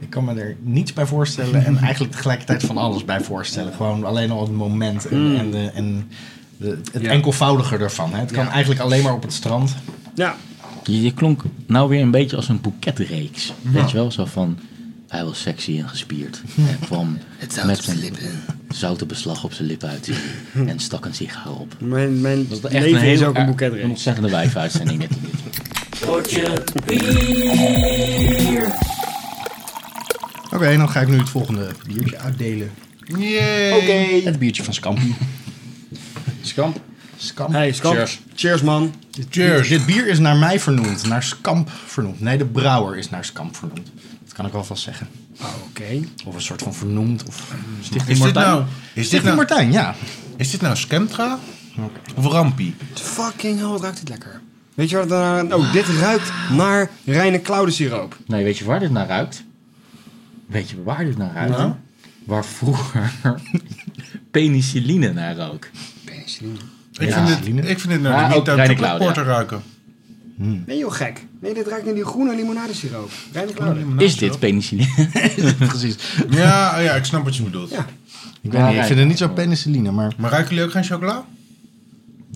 S5: Ik kan me er niets bij voorstellen en eigenlijk tegelijkertijd van alles bij voorstellen. Gewoon alleen al het moment en, en, de, en de, het
S3: Ja.
S5: enkelvoudiger ervan. Hè. Het kan
S3: Ja.
S5: eigenlijk alleen maar op het strand.
S3: Ja,
S1: Je, je klonk nou weer een beetje als een boeketreeks. Weet je wel, zo van... Hij was sexy en gespierd. En kwam met een zouten beslag op zijn lippen uit. En stak een sigaar op.
S3: mijn, mijn
S1: Dat is echt
S3: leven
S1: een heel,
S3: is ook een
S1: Een
S3: boeketreeks.
S1: ontzettende wijfuitzending. dit.
S5: Oké, dan ga ik nu het volgende biertje uitdelen.
S2: Yay.
S5: Het biertje van Skamp.
S2: Skamp.
S5: Skamp.
S3: Hey, Skamp.
S2: Cheers.
S3: Cheers. man.
S2: Cheers.
S5: Dit bier is naar mij vernoemd, naar Skamp vernoemd. Nee, de brouwer is naar Skamp vernoemd. Dat kan ik alvast zeggen.
S3: Oh, Oké.
S5: Of een soort van vernoemd. Of Stichting
S2: Is dit
S5: Martijn.
S2: nou, is dit
S5: Stichting
S2: nou,
S5: Martijn, ja.
S2: is dit nou Skemtra of Rampi?
S3: Fucking hell, wat ruikt dit lekker. Weet je wat het daaraan... Oh, dit ruikt naar reine klauwdensiroop.
S1: Nee, weet je waar dit naar ruikt? Weet je waar dit naar ruikt?
S2: Nou?
S1: Waar vroeger <laughs> penicilline naar rook.
S3: Penicilline.
S2: Ik,
S1: Ja.
S2: vind dit, ik vind dit nou
S1: Ja, ook
S2: niet uit
S1: Reine
S2: de
S1: Claudia.
S2: porter ruiken.
S3: Nee joh, gek. Nee, dit ruikt naar die groene limonadesiroop. Reine klauwen.
S1: Is dit penicilline?
S2: <laughs>
S5: Precies.
S2: Ja, oh ja, ik snap wat je bedoelt.
S3: Ja.
S5: Ik, weet niet, ik vind het niet zo penicilline, maar...
S2: Maar ruiken jullie ook geen chocola?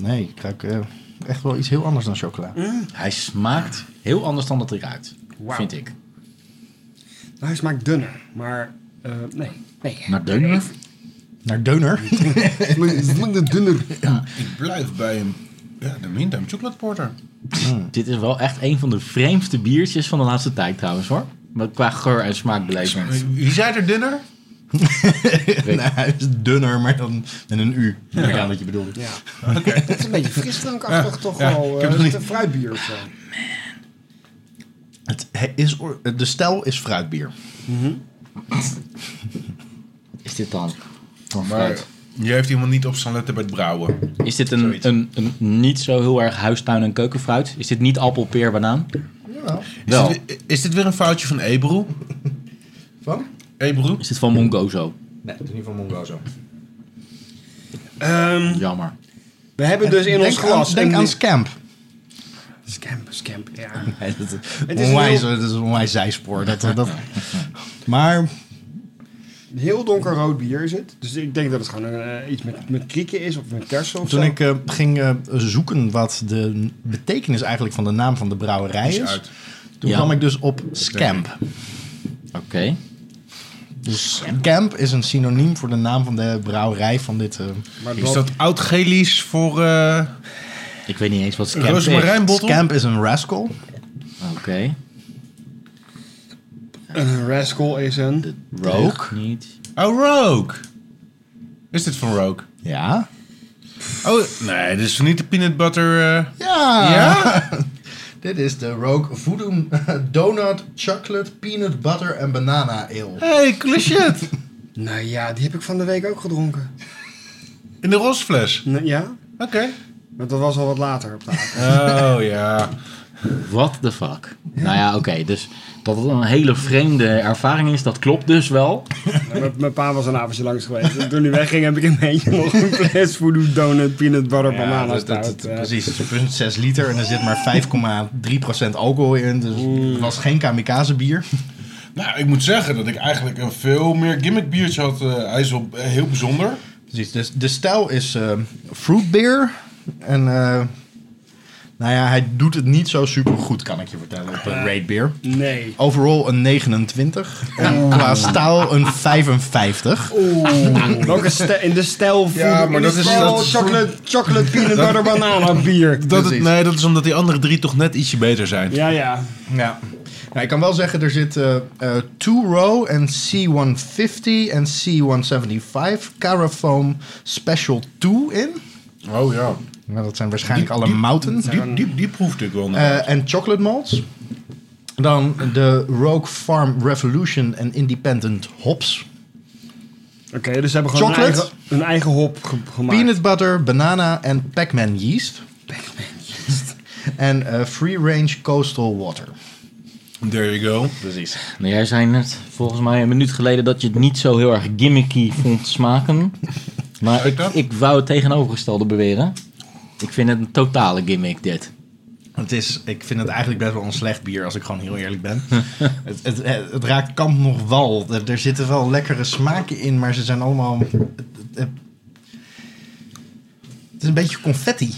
S5: Nee, ik ruik eh, echt wel iets heel anders dan chocola.
S3: Hm?
S2: Mm.
S1: Hij smaakt heel anders dan dat hij ruikt. Vind ik.
S3: Nou, hij smaakt dunner, maar... eh, nee. Nee.
S1: Maar deunen?
S5: Naar deuner. <laughs>
S3: Het smaakt dunner.
S2: Ik blijf bij hem. Ja, de Meantime Chocolate Porter.
S3: Hmm.
S1: Dit is wel echt een van de vreemdste biertjes van de laatste tijd trouwens hoor. Maar qua geur en smaakbeleving.
S2: <laughs> Wie zei er dunner?
S5: nou, hij is dunner, maar dan met een U. Ja. aan wat je
S3: <laughs> <laughs>
S5: bedoelt.
S3: Ja. Het is een beetje frisdrankachtig toch
S2: ja, ik
S3: wel.
S2: heb
S3: eh,
S2: het
S3: het is
S2: niet-
S3: een fruitbier of zo.
S5: Het hij is, or- de stijl is fruitbier.
S3: Mhm.
S5: <laughs>
S1: Is dit dan?
S2: Maar je heeft iemand niet op zijn letten bij het brouwen.
S1: Is dit een, een, een niet zo heel erg huistuin- en keukenfruit? Is dit niet appel, peer, banaan?
S2: Is,
S1: Wel.
S2: dit, weer- is dit weer een foutje van Ebro?
S5: Van?
S2: Ebro?
S1: Is dit van Mongozo?
S5: Nee, het is niet van Mongozo.
S1: Jammer.
S3: Ehm, We hebben dus in
S5: Denk
S3: ons glas...
S5: aan, denk
S3: een-
S5: aan Scamp.
S3: Scamp, scamp, ja.
S5: <laughs> Nee, dat,
S3: is
S5: is onwijs, dat is een onwijs zijspoor. Dat, dat, Maar
S3: Een Heel donker rood bier is het. Dus ik denk dat het gewoon eh, iets met, met krieken is of met kersen of
S5: toen
S3: zo.
S5: ik eh, ging eh, zoeken wat de betekenis eigenlijk van de naam van de brouwerij
S2: Is
S5: is,
S2: uit.
S5: toen
S1: Ja.
S5: kwam ik dus op Scamp.
S1: Oké.
S5: Dus Camp is een synoniem voor de naam van de brouwerij van dit... eh,
S3: Maar
S2: Is dat oud-gelisch voor eh
S1: Ik weet niet eens wat scamp is. Oké.
S2: rozemarijnbottel?
S5: Scamp is een rascal.
S3: Een rascal is een...
S1: Rook? Niet.
S2: Oh, Rogue. Is dit van Rogue?
S5: Ja.
S2: Oh, nee, dit is niet de peanut butter... eh
S5: Ja. <laughs>
S2: Ja?
S5: Dit is de Rogue Voodoo eh, Donut Chocolate Peanut Butter en Banana Ale.
S2: hey, coole
S5: <laughs>
S2: shit.
S3: Nou ja, die heb ik van de week ook gedronken.
S2: In de rosfles.
S3: Nou, ja?
S2: Oké.
S3: Maar dat was al wat later op de avond. <laughs>
S2: Oh, ja.
S1: What the fuck? Nou ja, oké. Dus dat het een hele vreemde ervaring is, dat klopt dus wel.
S3: Nou, mijn- Mijn pa was een avondje langs geweest. En toen hij wegging heb ik in mijn eentje nog een fles voodoo donut peanut butter banana
S5: dat- dat-
S3: stout. eh.
S5: precies, het is 0,6 liter en er zit maar 5,3% alcohol in. Dus het was geen kamikaze bier.
S2: Nou, ik moet zeggen dat ik eigenlijk een veel meer gimmick biertje had. eh, hij is wel eh, heel bijzonder.
S5: Precies, dus de stijl is eh, fruit beer. En eh, nou ja, hij doet het niet zo super goed, kan ik je vertellen, op een rate beer.
S3: Eh, Nee. Oh.
S5: Overall een 29. En qua stijl een 55.
S3: Oeh. Welke ste- in de stijl voodoo.
S2: Ja, maar
S3: in de
S2: dat is-
S3: stijl
S2: dat is-
S3: chocolate, chocolate peanut butter banana bier.
S2: <laughs> Dat
S5: Precies.
S2: het, nee, dat is omdat die andere drie toch net ietsje beter zijn.
S3: Ja, ja.
S5: Ja. Nou, ik kan wel zeggen, er zit eh eh, Two Row en C150 en C175 Carafoam Special 2 in.
S2: Oh ja.
S5: Nou, dat zijn waarschijnlijk alle mouten.
S2: Die, die, die proefde ik wel. nog.
S5: Eh, en chocolate malts. Dan de Rogue Farm Revolution en Independent Hops.
S3: Oké, dus ze hebben gewoon een
S5: Chocolate?
S3: eigen, een eigen hop ge- gemaakt.
S5: Peanut butter, banana en Pac-Man yeast. <laughs> En eh, free range coastal water.
S2: There you go.
S5: Precies.
S1: Nou, jij zei net volgens mij een minuut geleden dat je het niet zo heel erg gimmicky vond
S2: <laughs>
S1: smaken. Maar
S2: Zei ik
S1: ik,
S2: dat?
S1: ik wou het tegenovergestelde beweren. Ik vind het een totale gimmick dit.
S5: Het is, ik vind het eigenlijk best wel een slecht bier, als ik gewoon heel eerlijk
S1: <laughs>
S5: ben. het, het, het, het raakt kant nog wal. Er, er zitten wel lekkere smaken in, maar ze zijn allemaal... Het, het- het- het is een beetje confetti.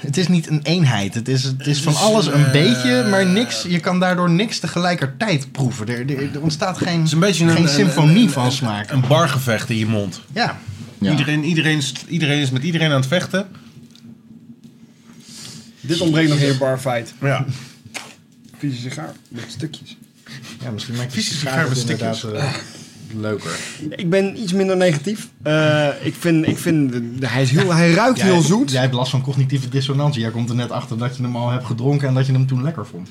S5: Het is niet een eenheid. Het is, het is van alles
S2: eh,
S5: een beetje, maar niks, je kan daardoor niks tegelijkertijd proeven. Er, er, er ontstaat geen,
S2: Het is een beetje een,
S5: geen
S2: een-
S5: symfonie
S2: een-
S5: van
S2: een-
S5: smaak.
S2: Een bargevecht in je mond.
S5: ja.
S1: Ja.
S2: Iedereen, iedereen, is, iedereen is met iedereen aan het vechten.
S3: Dit ontbreekt nog in je barfight.
S2: Ja.
S3: Vieze sigaar met stukjes.
S5: ja, misschien maakt
S2: Vieze
S5: het
S2: sigaar met
S5: inderdaad
S2: stukjes.
S5: eh, leuker.
S3: Ik ben iets minder negatief. Eh, ik vind, ik vind de- de- hij, is heel, hij ruikt heel zoet.
S5: Jij hebt last van cognitieve dissonantie. Jij komt er net achter dat je hem al hebt gedronken en dat je hem toen lekker vond.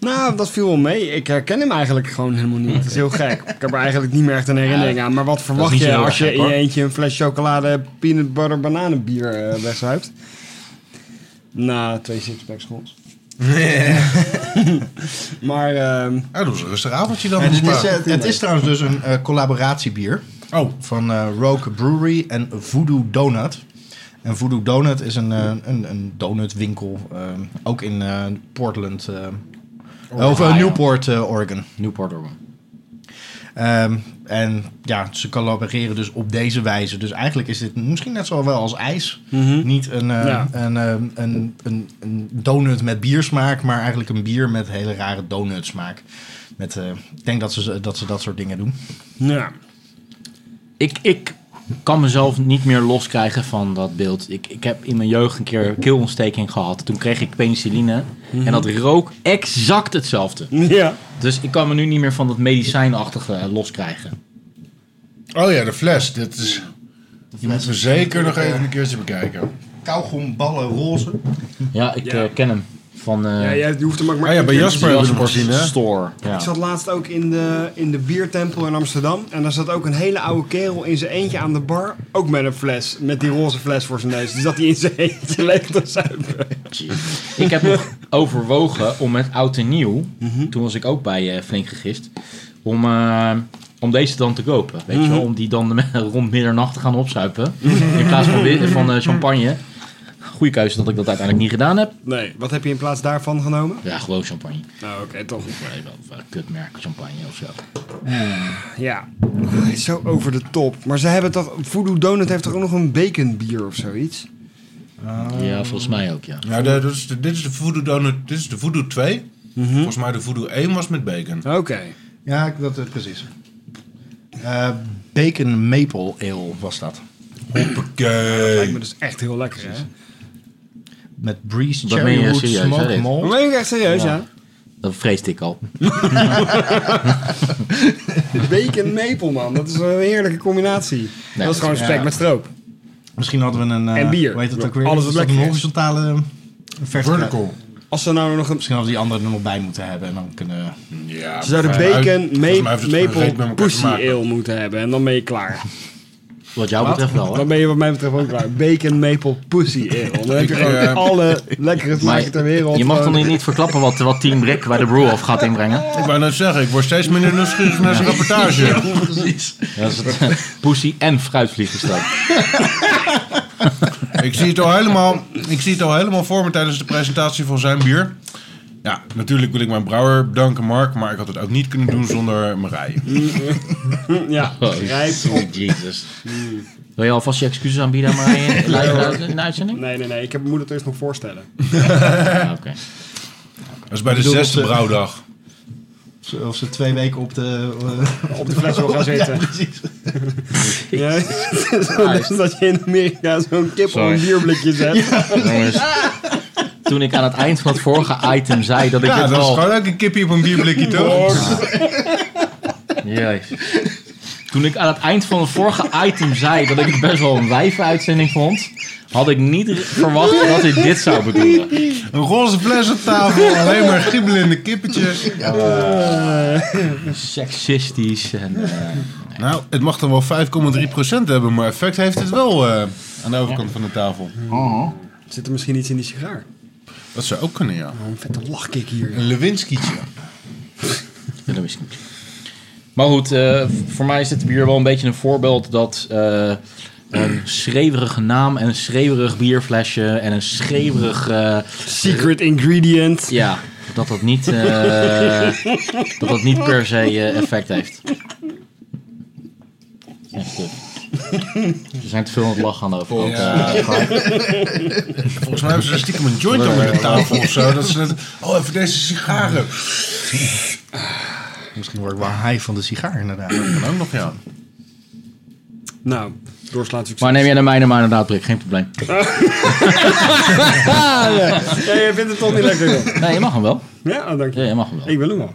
S3: Nou, dat viel wel mee. Ik herken hem eigenlijk gewoon helemaal niet. Dat is heel gek. Ik heb er eigenlijk niet meer echt een herinnering aan. Maar wat verwacht
S1: niet zo
S3: je
S1: heel
S3: als je
S1: gek,
S3: in
S1: hoor.
S3: je eentje een fles chocolade peanut butter bananenbier eh, wegzuipt? Na twee sixpacks goals. <laughs> maar ehm,
S2: Ah, dat was een rustig avondje dan.
S5: het, is, eh, het is trouwens dus een eh, collaboratiebier
S2: oh,
S5: van eh, Rogue Brewery en Voodoo Donut. En Voodoo Donut is een, eh, een, een donutwinkel, eh, ook in eh, Portland, eh, of eh, Newport, eh, Oregon.
S1: Newport Oregon.
S5: Ehm, en ja, ze collaboreren dus op deze wijze. Dus eigenlijk is dit misschien net zo wel als ijs.
S1: Mhm.
S5: Niet een, eh,
S3: Ja.
S5: een, eh, een, een, een donut met biersmaak, maar eigenlijk een bier met hele rare donutsmaak. Met, eh, ik denk dat ze, dat ze dat soort dingen doen.
S3: ja.
S1: Ik, ik kan mezelf niet meer loskrijgen van dat beeld. Ik, ik heb in mijn jeugd een keer keelontsteking gehad. Toen kreeg ik penicilline.
S2: Mhm.
S1: En dat rook exact hetzelfde.
S8: Ja.
S1: Dus ik kan me nu niet meer van dat medicijnachtige eh, loskrijgen.
S2: Oh ja, de fles. Dit is... Die moeten we zeker nog even een keertje bekijken.
S5: eh, Kauwgomballen, roze.
S1: Ja, ik eh, ken hem. Van, eh,
S3: Ja, jij hoeft hem ook maar...
S2: Ah ja, bij
S3: één keer
S2: Jasper
S3: te
S2: hebben
S3: zien.
S2: we hem gezien, hè?
S1: Store. Ja.
S3: Ik zat laatst ook in de, in de biertempel in Amsterdam. En daar zat ook een hele oude kerel in zijn eentje aan de bar. Ook met een fles. Met die roze fles voor zijn neus. Die zat hij in zijn eentje <laughs> leeg te zuipen.
S1: Ik
S3: <laughs>
S1: heb nog overwogen om met oud en nieuw,
S3: Mhm.
S1: toen was ik ook bij eh, Flink gegist, om, eh, om deze dan te kopen. Weet
S3: Mhm.
S1: je wel, om die dan <laughs> met- rond middernacht te gaan opzuipen. In plaats van, wi- van eh, champagne. Goeie keuze dat ik dat uiteindelijk niet gedaan heb.
S3: Nee, wat heb je in plaats daarvan genomen?
S1: Ja, gewoon champagne.
S3: Nou, oké, toch.
S1: Nee, wel, wel een Kutmerk champagne of zo.
S3: Eh, Ja. Hij is zo over de top. Maar ze hebben toch... Voodoo Donut heeft toch ook nog een baconbier of zoiets?
S1: Ja, volgens mij ook, ja.
S2: Ja, de- dit, is de, dit is de Voodoo Donut, dit is de Voodoo 2.
S1: Mhm.
S2: Volgens mij de Voodoo 1 was met bacon.
S3: Oké.
S5: Ja, ik- dat is precies. Eh, bacon maple ale was dat.
S3: Lijkt me
S2: Hoppakee.
S3: dus echt heel lekker, hè?
S5: Met breeze,
S1: Dat meen je
S5: cherrywood,
S1: serieus, hè,
S5: smoke,
S1: dit?
S5: malt.
S3: Maar ben ik echt serieus, ja?
S1: Dat vreesde ik
S3: <laughs>
S1: al.
S3: Bacon maple, man. Dat is een heerlijke combinatie.
S1: Nee,
S3: dat is gewoon
S5: ja.
S3: spek met stroop.
S5: Misschien hadden we een... eh,
S3: En bier.
S5: Hoe heet dat ook weer?
S3: Alles wat
S5: Is dat
S3: lekker
S5: een
S3: is.
S5: horizontale... eh, een verticale-
S2: Vertical.
S3: Als ze nou nog een...
S5: Misschien hadden we die andere er nog bij moeten hebben. En dan kunnen...
S2: Ja,
S3: Ze zouden
S2: maar uit-
S3: bacon,
S2: volgens mij heeft
S3: ma-
S2: het geen reet met
S3: maple,
S2: elkaar te
S3: pussy
S2: maken.
S3: ale moeten hebben. En dan ben je klaar.
S1: Wat jou betreft wel, hè.
S3: Dan ben je wat mij betreft ook klaar. Bacon, maple, pussy ale. Dan heb je
S2: Ik,
S3: gewoon
S2: eh,
S3: alle lekkere smaken ter wereld. eh.
S1: je mag
S3: gewoon.
S1: dan niet- niet verklappen wat, wat Team Brick bij de Brew-Off gaat inbrengen.
S2: Ik wou net zeggen, ik word steeds minder nieuwsgierig naar zijn rapportage.
S1: <laughs> Ja, dat is het. Pussy en fruitvliegers dan.
S2: <laughs> Ik zie, het al helemaal, ik zie het al helemaal voor me tijdens de presentatie van zijn bier. Ja, natuurlijk wil ik mijn brouwer bedanken, Mark. Maar ik had het ook niet kunnen doen zonder
S1: <laughs>
S2: Marije.
S3: <laughs> Ja, rijp op.
S1: Jesus. Wil je alvast je excuses aanbieden aan
S2: <laughs>
S1: mij in, in, de uitzending?
S3: Nee, nee, nee. Ik heb, moet het eerst nog
S5: <laughs>
S3: voorstellen.
S1: Ja, oké.
S2: Dat is bij de
S5: bedoel,
S2: zesde
S5: dat, eh,
S2: brouwdag.
S5: Zo- Of ze twee weken op de... eh,
S3: Op de fles wil gaan
S5: <laughs> ja,
S3: zitten.
S5: precies.
S3: <laughs> Ja, Zo <laughs> dat je in Amerika zo'n kip op
S1: Sorry.
S3: een bierblikje zet.
S1: Jongens, toen ik aan het eind van het vorige item zei dat ik
S2: Ja,
S1: het
S2: dat is
S1: wel...
S2: gewoon ook een kippie op een
S1: <laughs>
S2: bierblikje, toch?
S1: Jezus. Toen ik aan het eind van het vorige item zei dat ik het best wel een wijve uitzending vond, had ik niet r- verwacht dat ik dit zou bedoelen.
S2: Een roze fles op tafel, alleen maar giebelende kippetjes. Eh.
S1: Sexistisch en... eh,
S2: Nou, het mag dan wel 5,3% hebben, maar effect heeft het wel eh, aan de overkant van de tafel.
S3: Oh. Zit er misschien iets in die sigaar? Oh,
S2: Dat zou ook kunnen, ja.
S3: Een vette lachkick hier.
S2: Een Lewinskietje.
S1: Ja, dat wist ik niet. Maar goed, eh, voor mij is dit bier wel een beetje een voorbeeld dat eh, een schreeuwerige naam en een schreeuwerig bierflesje en een schreeuwerig... eh,
S3: Secret ingredient.
S1: ja, dat dat niet, eh, dat dat niet per se eh, effect heeft. Echt kut. We zijn te veel aan het lachen aan de overkant.
S2: Ja.
S1: eh, Frank.
S2: Volgens mij hebben ze er stiekem een joint onder de tafel of zo. Dat ze net, oh, even deze sigaren.
S5: Misschien word ik wel high van de sigaar, inderdaad.
S2: Kan ook nog, ja.
S1: <laughs>
S3: Nou, doorslaat succes.
S1: Maar neem jij naar mij naar maar inderdaad, Brik. Geen
S3: <laughs>
S1: probleem.
S3: Ja, jij vindt het toch niet lekker, joh.
S1: Nee, je mag hem wel.
S3: Ja, oh, dank
S1: Ja,
S3: je.
S1: je mag hem wel.
S3: Ik wil hem wel.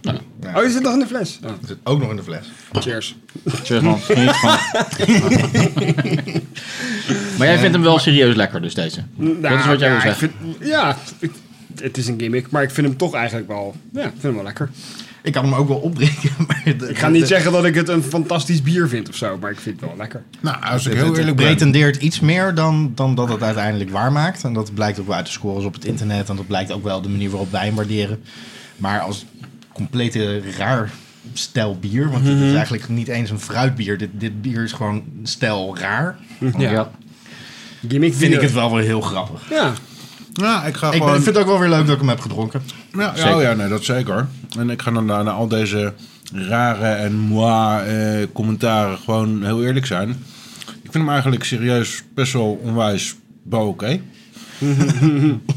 S3: Oh, je zit nog in de fles. Oh,
S5: Dat zit ook nog in de fles.
S3: cheers.
S1: Cheers man. Geniet van.
S3: <laughs>
S1: maar jij vindt hem wel serieus lekker, dus deze. dat is wat jij wil
S3: Nou, ja, ik
S1: zeggen.
S3: vind- ja, ik- het is een gimmick, maar ik vind hem toch eigenlijk wel, ja, ik vind hem wel lekker.
S5: Ik kan hem ook wel opdrinken, <laughs> maar... de-
S3: Ik ga niet
S5: de-
S3: zeggen dat ik het een fantastisch bier vind of zo, maar ik vind het wel lekker.
S2: Nou, als ik
S5: Het-
S2: heel
S5: het
S2: eerlijk ben.
S5: pretendeert iets meer dan, dan dat het uiteindelijk waar maakt. En dat blijkt ook wel uit de scores op het internet. En dat blijkt ook wel de manier waarop wij hem waarderen. Maar als complete raar stijl bier. Want
S3: Mhm.
S5: dit is eigenlijk niet eens een fruitbier. Dit, dit bier is gewoon stijl raar.
S1: Ja.
S3: Gimmick
S5: Vind ik het wel weer heel grappig.
S3: Ja,
S2: Ja, ik ga
S5: Ik, ben,
S2: gewoon...
S5: ik vind het ook wel weer leuk dat ik hem heb gedronken.
S2: ja, ja, oh ja, nee, dat zeker. En ik ga dan na, na al deze rare en moi eh, commentaren gewoon heel eerlijk zijn. Ik vind hem eigenlijk serieus best wel onwijs wel oké.
S5: <laughs>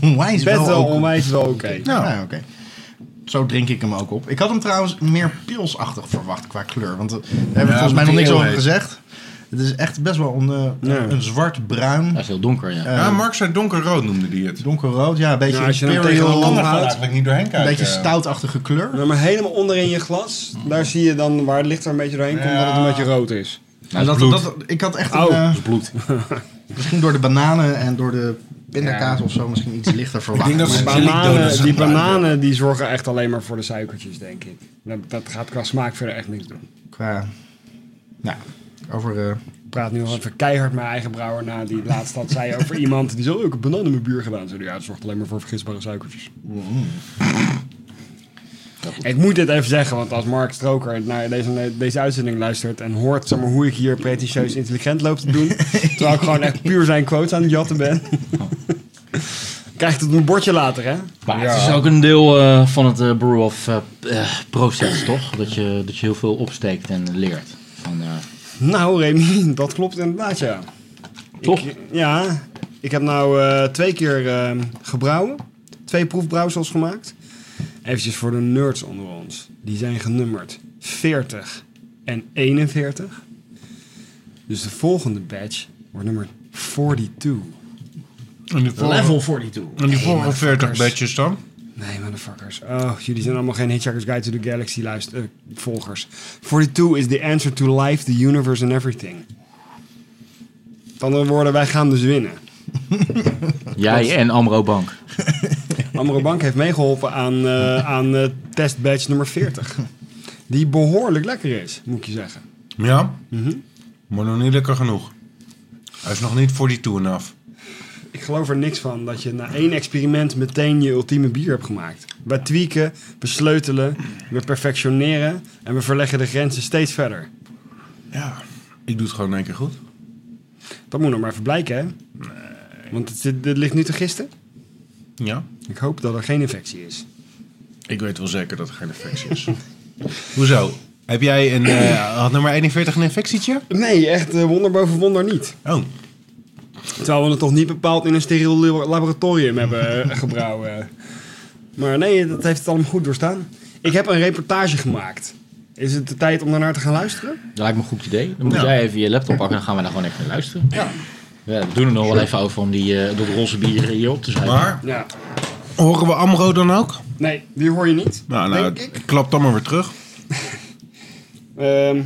S5: Onwijs
S3: best
S5: wel,
S3: wel
S5: ook-
S3: onwijs wel oké.
S5: Ja, oké.
S3: Nou.
S5: Zo drink ik hem ook op. Ik had hem trouwens meer pilsachtig verwacht qua kleur. Want eh, daar hebben we volgens mij nog
S2: omdat
S5: niks
S2: hij
S5: over
S2: heel
S5: gezegd. Het is echt best wel een, eh,
S3: Ja.
S5: een zwart-bruin,
S1: Dat is heel donker, ja.
S5: eh,
S2: Ja, Mark zei donkerrood noemde die het.
S5: donkerrood. Ja, een beetje
S3: Ja, als je hem
S5: imperial,
S3: tegen de
S2: kan
S3: lamp
S2: er gewoon
S3: houdt.
S2: eigenlijk niet doorheen kijken.
S5: een beetje stoutachtige kleur.
S3: Ja, maar helemaal onderin je glas, daar zie je dan waar het licht er een beetje doorheen komt,
S2: Ja.
S3: dat het een beetje rood is.
S5: En Nou, dat, dat, ik had echt een,
S3: Oh,
S5: eh,
S3: dat is bloed.
S5: <laughs> misschien door de bananen en door de pindakaas of zo misschien iets lichter verwacht.
S2: denk dat
S5: Maar
S2: ze
S5: het-
S2: Jellydonuts
S3: Bananen, die
S2: gebruiken.
S3: bananen die zorgen echt alleen maar voor de suikertjes, denk ik. Dat, dat gaat qua smaak verder echt niks doen.
S5: qua, nou, over eh,
S3: Ik praat nu al even keihard mijn eigen brouwer na, die laatst had zei "Oh, over iemand die zo ook een banaan in mijn buur gedaan. Zei, ja, het zorgt alleen maar voor vergisbare suikertjes. Ik moet dit even zeggen, want als Mark Stroker naar deze, deze uitzending luistert en hoort zeg maar, hoe ik hier pretentieus intelligent loop
S1: <laughs>
S3: te doen, terwijl ik gewoon echt puur zijn quotes aan het jatten ben, <laughs> krijgt het op mijn bordje later, hè?
S1: Oh. Maar het is ook een deel eh, van het eh, brew-off eh, eh, proces, toch? Dat je, dat je heel veel opsteekt en leert. Van, eh,
S3: Nou, Remy, <laughs> dat klopt inderdaad, ja.
S1: Toch?
S3: Ik, ja, ik heb nou eh, twee keer eh, gebrouwen. Twee proefbrouwsels gemaakt. Eventjes voor de nerds onder ons. Die zijn genummerd 40 en 41. Dus de volgende batch wordt nummer 42.
S2: En die vorige-
S5: level 42.
S2: en die vorige 40 bedjes dan?
S3: Nee, motherfuckers. Oh, jullie zijn allemaal geen Hitchhiker's Guide to the Galaxy luister, eh, volgers. 42 is the answer to life, the universe and everything. Met andere woorden, wij gaan dus winnen.
S1: jij en Amro Bank.
S3: Amro Bank heeft meegeholpen aan, eh, aan eh, testbatch nummer 40. Die behoorlijk lekker is, moet ik je zeggen.
S2: Ja.
S5: Mhm.
S2: Maar nog niet lekker genoeg. Hij is nog niet voor die tour af.
S3: Ik geloof er niks van dat je na één experiment meteen je ultieme bier hebt gemaakt. We tweaken, we sleutelen, we perfectioneren en we verleggen de grenzen steeds verder.
S2: Ja. Ik doe het gewoon in één keer goed.
S3: Dat moet nog maar even blijken, hè? Want het, zit- dit ligt nu te gisten.
S2: Ja.
S3: Ik hoop dat er geen infectie is.
S2: Ik weet wel zeker dat er geen infectie is. <laughs> Hoezo? Dus, Heb jij een, eh, had nummer 41 een infectietje?
S3: Nee, echt eh, wonder boven wonder niet.
S2: Oh.
S3: Terwijl we het toch niet bepaald in een steriel labo- laboratorium hebben
S2: <laughs>
S3: eh, gebrouwen. Maar nee, dat heeft het allemaal goed doorstaan. Ik heb een reportage gemaakt. Is het de tijd om daarnaar te gaan luisteren?
S1: Dat lijkt me een goed idee. Dan moet jij even je laptop pakken en dan gaan we daar gewoon even naar luisteren. Ja. we doen er nog wel even over om die, eh dat roze bier hier op te schrijven.
S2: Maar
S3: Ja.
S2: horen we Amro dan ook?
S3: Nee, die hoor je niet.
S2: Nou, nou
S3: Denk
S2: ik. klap dan maar weer terug.
S3: Ehm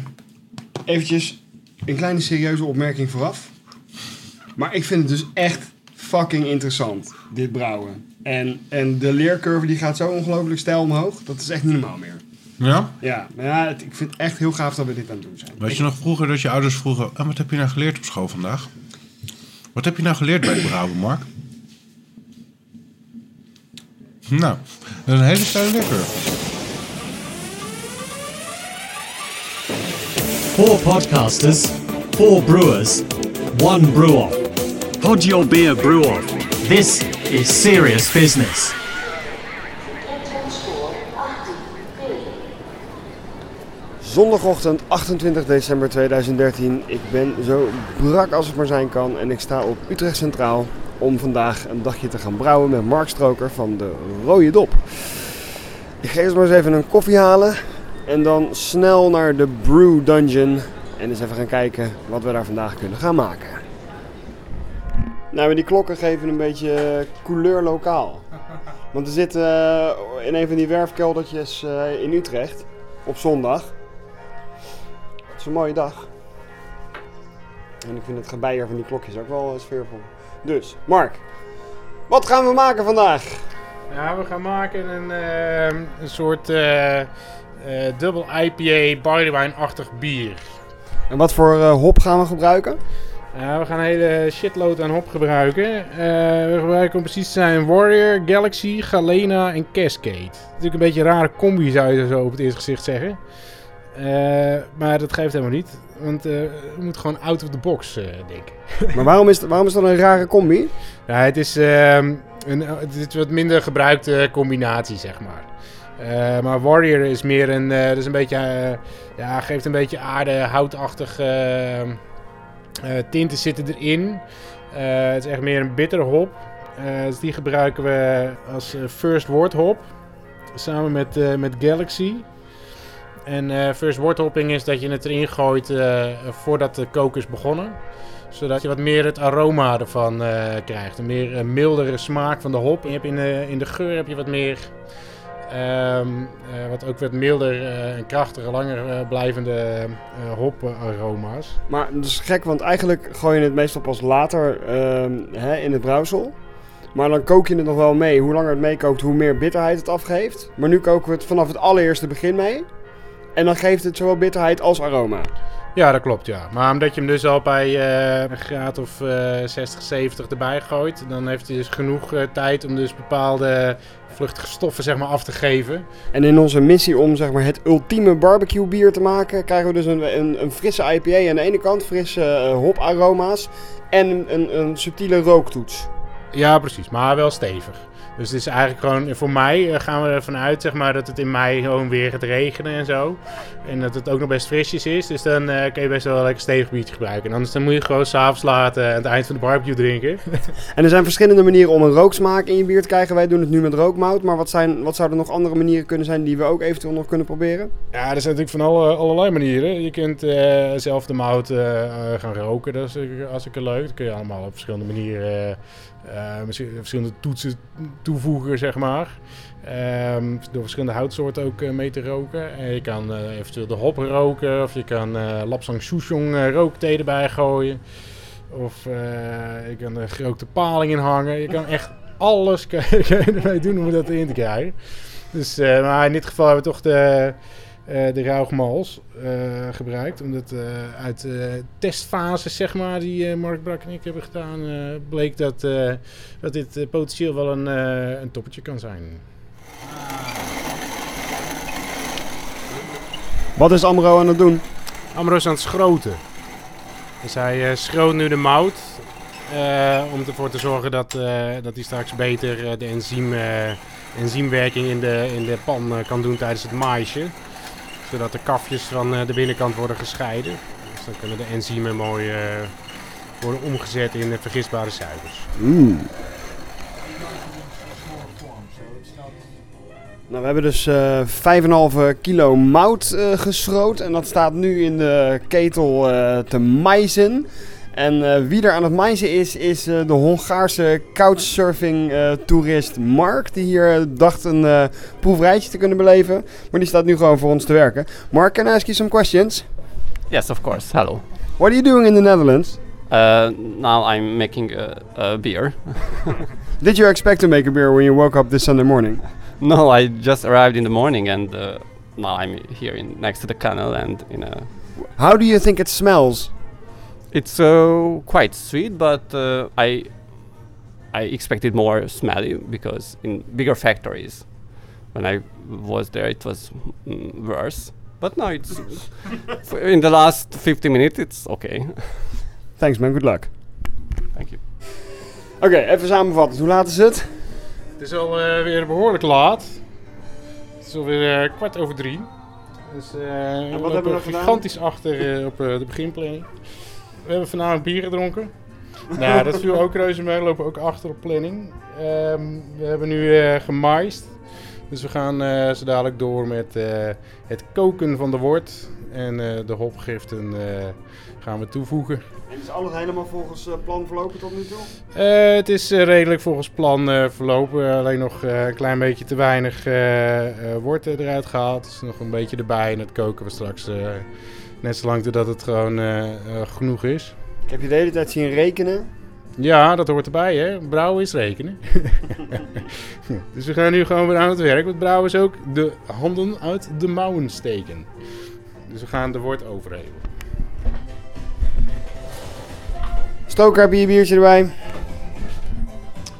S3: eventjes een kleine serieuze opmerking vooraf. Maar ik vind het dus echt fucking interessant, dit brouwen. En, en de leercurve die gaat zo ongelooflijk stijl omhoog. Dat is echt niet normaal meer.
S2: Ja?
S3: Ja, maar ja het- ik vind het echt heel gaaf dat we dit aan het doen zijn.
S2: Weet je nog vroeger dat je ouders vroegen... "Ah, wat heb je nou geleerd op school vandaag? Wat heb je nou geleerd bij het brouwen, Mark? Nou, dat is een hele steile lekker.
S4: Four podcasters, four brewers, one brew off. Pod your beer brew off. This is serious business.
S3: Zondagochtend 28 december 2013. Ik ben zo brak als het maar zijn kan en ik sta op Utrecht Centraal om vandaag een dagje te gaan brouwen met Mark Stroker van de Rode Dop. Ik ga eerst maar eens even een koffie halen en dan snel naar de Brew Dungeon en eens even gaan kijken wat we daar vandaag kunnen gaan maken. Nou, maar die klokken geven een beetje eh, couleur lokaal. Want we zitten eh, in een van die werfkeldertjes eh, in Utrecht op zondag. Het is een mooie dag. En ik vind het gebeier van die klokjes ook wel eh, sfeervol. Dus, Mark, wat gaan we maken vandaag?
S9: Ja, we gaan maken een, ehm, een soort eh, eh, dubbel IPA barlywine-achtig bier.
S3: En wat voor eh, hop gaan we gebruiken?
S9: Ja, we gaan een hele shitload aan hop gebruiken. Eh, we gebruiken om precies te zijn Warrior, Galaxy, Galena en Cascade. Natuurlijk een beetje een rare combi zou je zo op het eerste gezicht zeggen. Eh, maar dat geeft helemaal niet. Want eh we moeten gewoon out of the box eh, denken.
S3: <laughs> Maar waarom is, waarom is dat een rare combi?
S9: Ja, het is ehm, een het is wat minder gebruikte combinatie, zeg maar. Eh, maar Warrior is meer een, eh, dat is een beetje, eh, ja, geeft een beetje aarde, houtachtig eh, eh, tinten zitten erin. Eh, het is echt meer een bitter hop. Eh, dus die gebruiken we als eh, first word hop, samen met, eh, met Galaxy. En eh, first wort hopping is dat je het erin gooit eh, voordat de kook is begonnen. Zodat je wat meer het aroma ervan eh, krijgt. Een meer een mildere smaak van de hop. En je hebt in, de, in de geur heb je wat meer... ehm, eh, wat ook wat milder eh, en krachtiger, langer eh, blijvende eh, hoparoma's.
S3: Maar dat is gek, want eigenlijk gooi je het meestal pas later ehm, hè, in het brouwsel. Maar dan kook je het nog wel mee. Hoe langer het meekookt, hoe meer bitterheid het afgeeft. Maar nu koken we het vanaf het allereerste begin mee. En dan geeft het zowel bitterheid als aroma.
S9: Ja, dat klopt, ja. Maar omdat je hem dus al bij eh, een graad of eh, 60, 70 erbij gooit, dan heeft hij dus genoeg eh, tijd om dus bepaalde vluchtige stoffen zeg maar, af te geven.
S3: En in onze missie om zeg maar, het ultieme barbecue bier te maken, krijgen we dus een, een, een frisse IPA aan de ene kant, frisse eh, hoparoma's en een, een, een subtiele rooktoets.
S9: Ja, precies. Maar wel stevig. Dus het is eigenlijk gewoon, voor mij eh, gaan we ervan uit zeg maar, dat het in mei gewoon weer gaat regenen en zo. En dat het ook nog best frisjes is. Dus dan eh, kun je best wel een lekker stevig biertje gebruiken. En anders dan moet je gewoon s'avonds laat eh, aan het eind van de barbecue drinken.
S3: En er zijn verschillende manieren om een rooksmaak in je bier te krijgen. Wij doen het nu met rookmout, maar wat, zijn, wat zouden nog andere manieren kunnen zijn die we ook eventueel nog kunnen proberen?
S9: Ja, er zijn natuurlijk van alle, allerlei manieren. Je kunt eh, zelf de mout eh, eh, gaan roken, dat is eh, hartstikke leuk. Dat kun je allemaal op verschillende manieren, eh, eh, misschien verschillende toetsen toevoegen, zeg maar. Ehm, door verschillende houtsoorten ook eh, mee te roken. En je kan eh, eventueel de hop roken, of je kan eh lapsang souchong eh, rookthee erbij gooien. Of eh, je kan er gerookte paling in hangen. Je kan echt alles <laughs> kun je- kun je ermee doen om dat in te krijgen. Dus, eh, maar in dit geval hebben we toch de, eh de rauwmals gebruikt. Omdat eh, uit de testfases, zeg maar, die eh, Mark Brak en ik hebben gedaan, eh, bleek dat, eh, dat dit eh, potentieel wel een, eh, een toppetje kan zijn.
S3: Wat is Amro aan het doen?
S9: Amro is aan het schroten. Dus hij eh, schroot nu de mout. eh, om ervoor te zorgen dat, eh, dat hij straks beter eh, de enzym, eh, enzymwerking in de, in de pan eh, kan doen tijdens het maisje. Zodat de kafjes van eh, de binnenkant worden gescheiden. Dus dan kunnen de enzymen mooi eh, worden omgezet in eh, vergisbare suikers.
S3: Nou, we hebben dus eh 5,5 kilo mout eh geschroot. En dat staat nu in de ketel eh, te maizen. En eh, wie er aan het maizen is, is eh, de Hongaarse couchsurfing-toerist Mark. Die hier eh, dacht een eh, proefrijtje te kunnen beleven. Maar die staat nu gewoon voor ons te werken. Mark, can I ask you some questions?
S6: <laughs> Yes, of course. Hello.
S3: What are you doing in the Netherlands?
S6: Uh, now I'm making a, a beer.
S3: Did you expect to make a beer when you woke up this Sunday morning?
S6: <laughs> no, I just arrived in the morning and uh, now I'm here in, next to the canal and in a.
S3: How do you think it smells?
S6: It's uh, quite sweet, but uh, I I expected more smelly because in bigger factories, when I was there, it was mm, worse. But now
S3: <laughs>
S6: it's f- in the last 50 minutes, it's okay.
S3: <laughs> Thanks man, good luck.
S6: Thank you.
S3: Oké, even samenvatten. Hoe laat is het?
S9: Het is alweer weer behoorlijk laat. Het is alweer weer kwart over drie. Dus eh, we
S3: hebben we
S9: lopen
S3: nog gedaan?
S9: gigantisch achter eh, op eh, de beginplanning. We hebben vanavond bier gedronken. nou, dat viel ook reuze mee. We lopen ook achter op planning. Ehm, we hebben nu eh, gemaist. Dus we gaan eh, zo dadelijk door met eh, het koken van de wort. En eh, de hopgiften eh, gaan we toevoegen.
S3: En is alles helemaal volgens eh, plan verlopen tot nu toe?
S9: Eh, het is eh, redelijk volgens plan eh, verlopen. alleen nog eh, een klein beetje te weinig eh eh, wort eh, eruit gehaald. Dus nog een beetje erbij. En het koken we straks eh, net zo lang totdat het gewoon eh, eh, genoeg is.
S3: Ik heb je de hele tijd zien rekenen.
S9: Ja, dat hoort erbij hè. Brouwen is rekenen. dus we gaan nu gewoon weer aan het werk. Want brouwen is ook de handen uit de mouwen steken. Dus we gaan de wort overhevelen.
S3: Stoker, heb je je biertje erbij?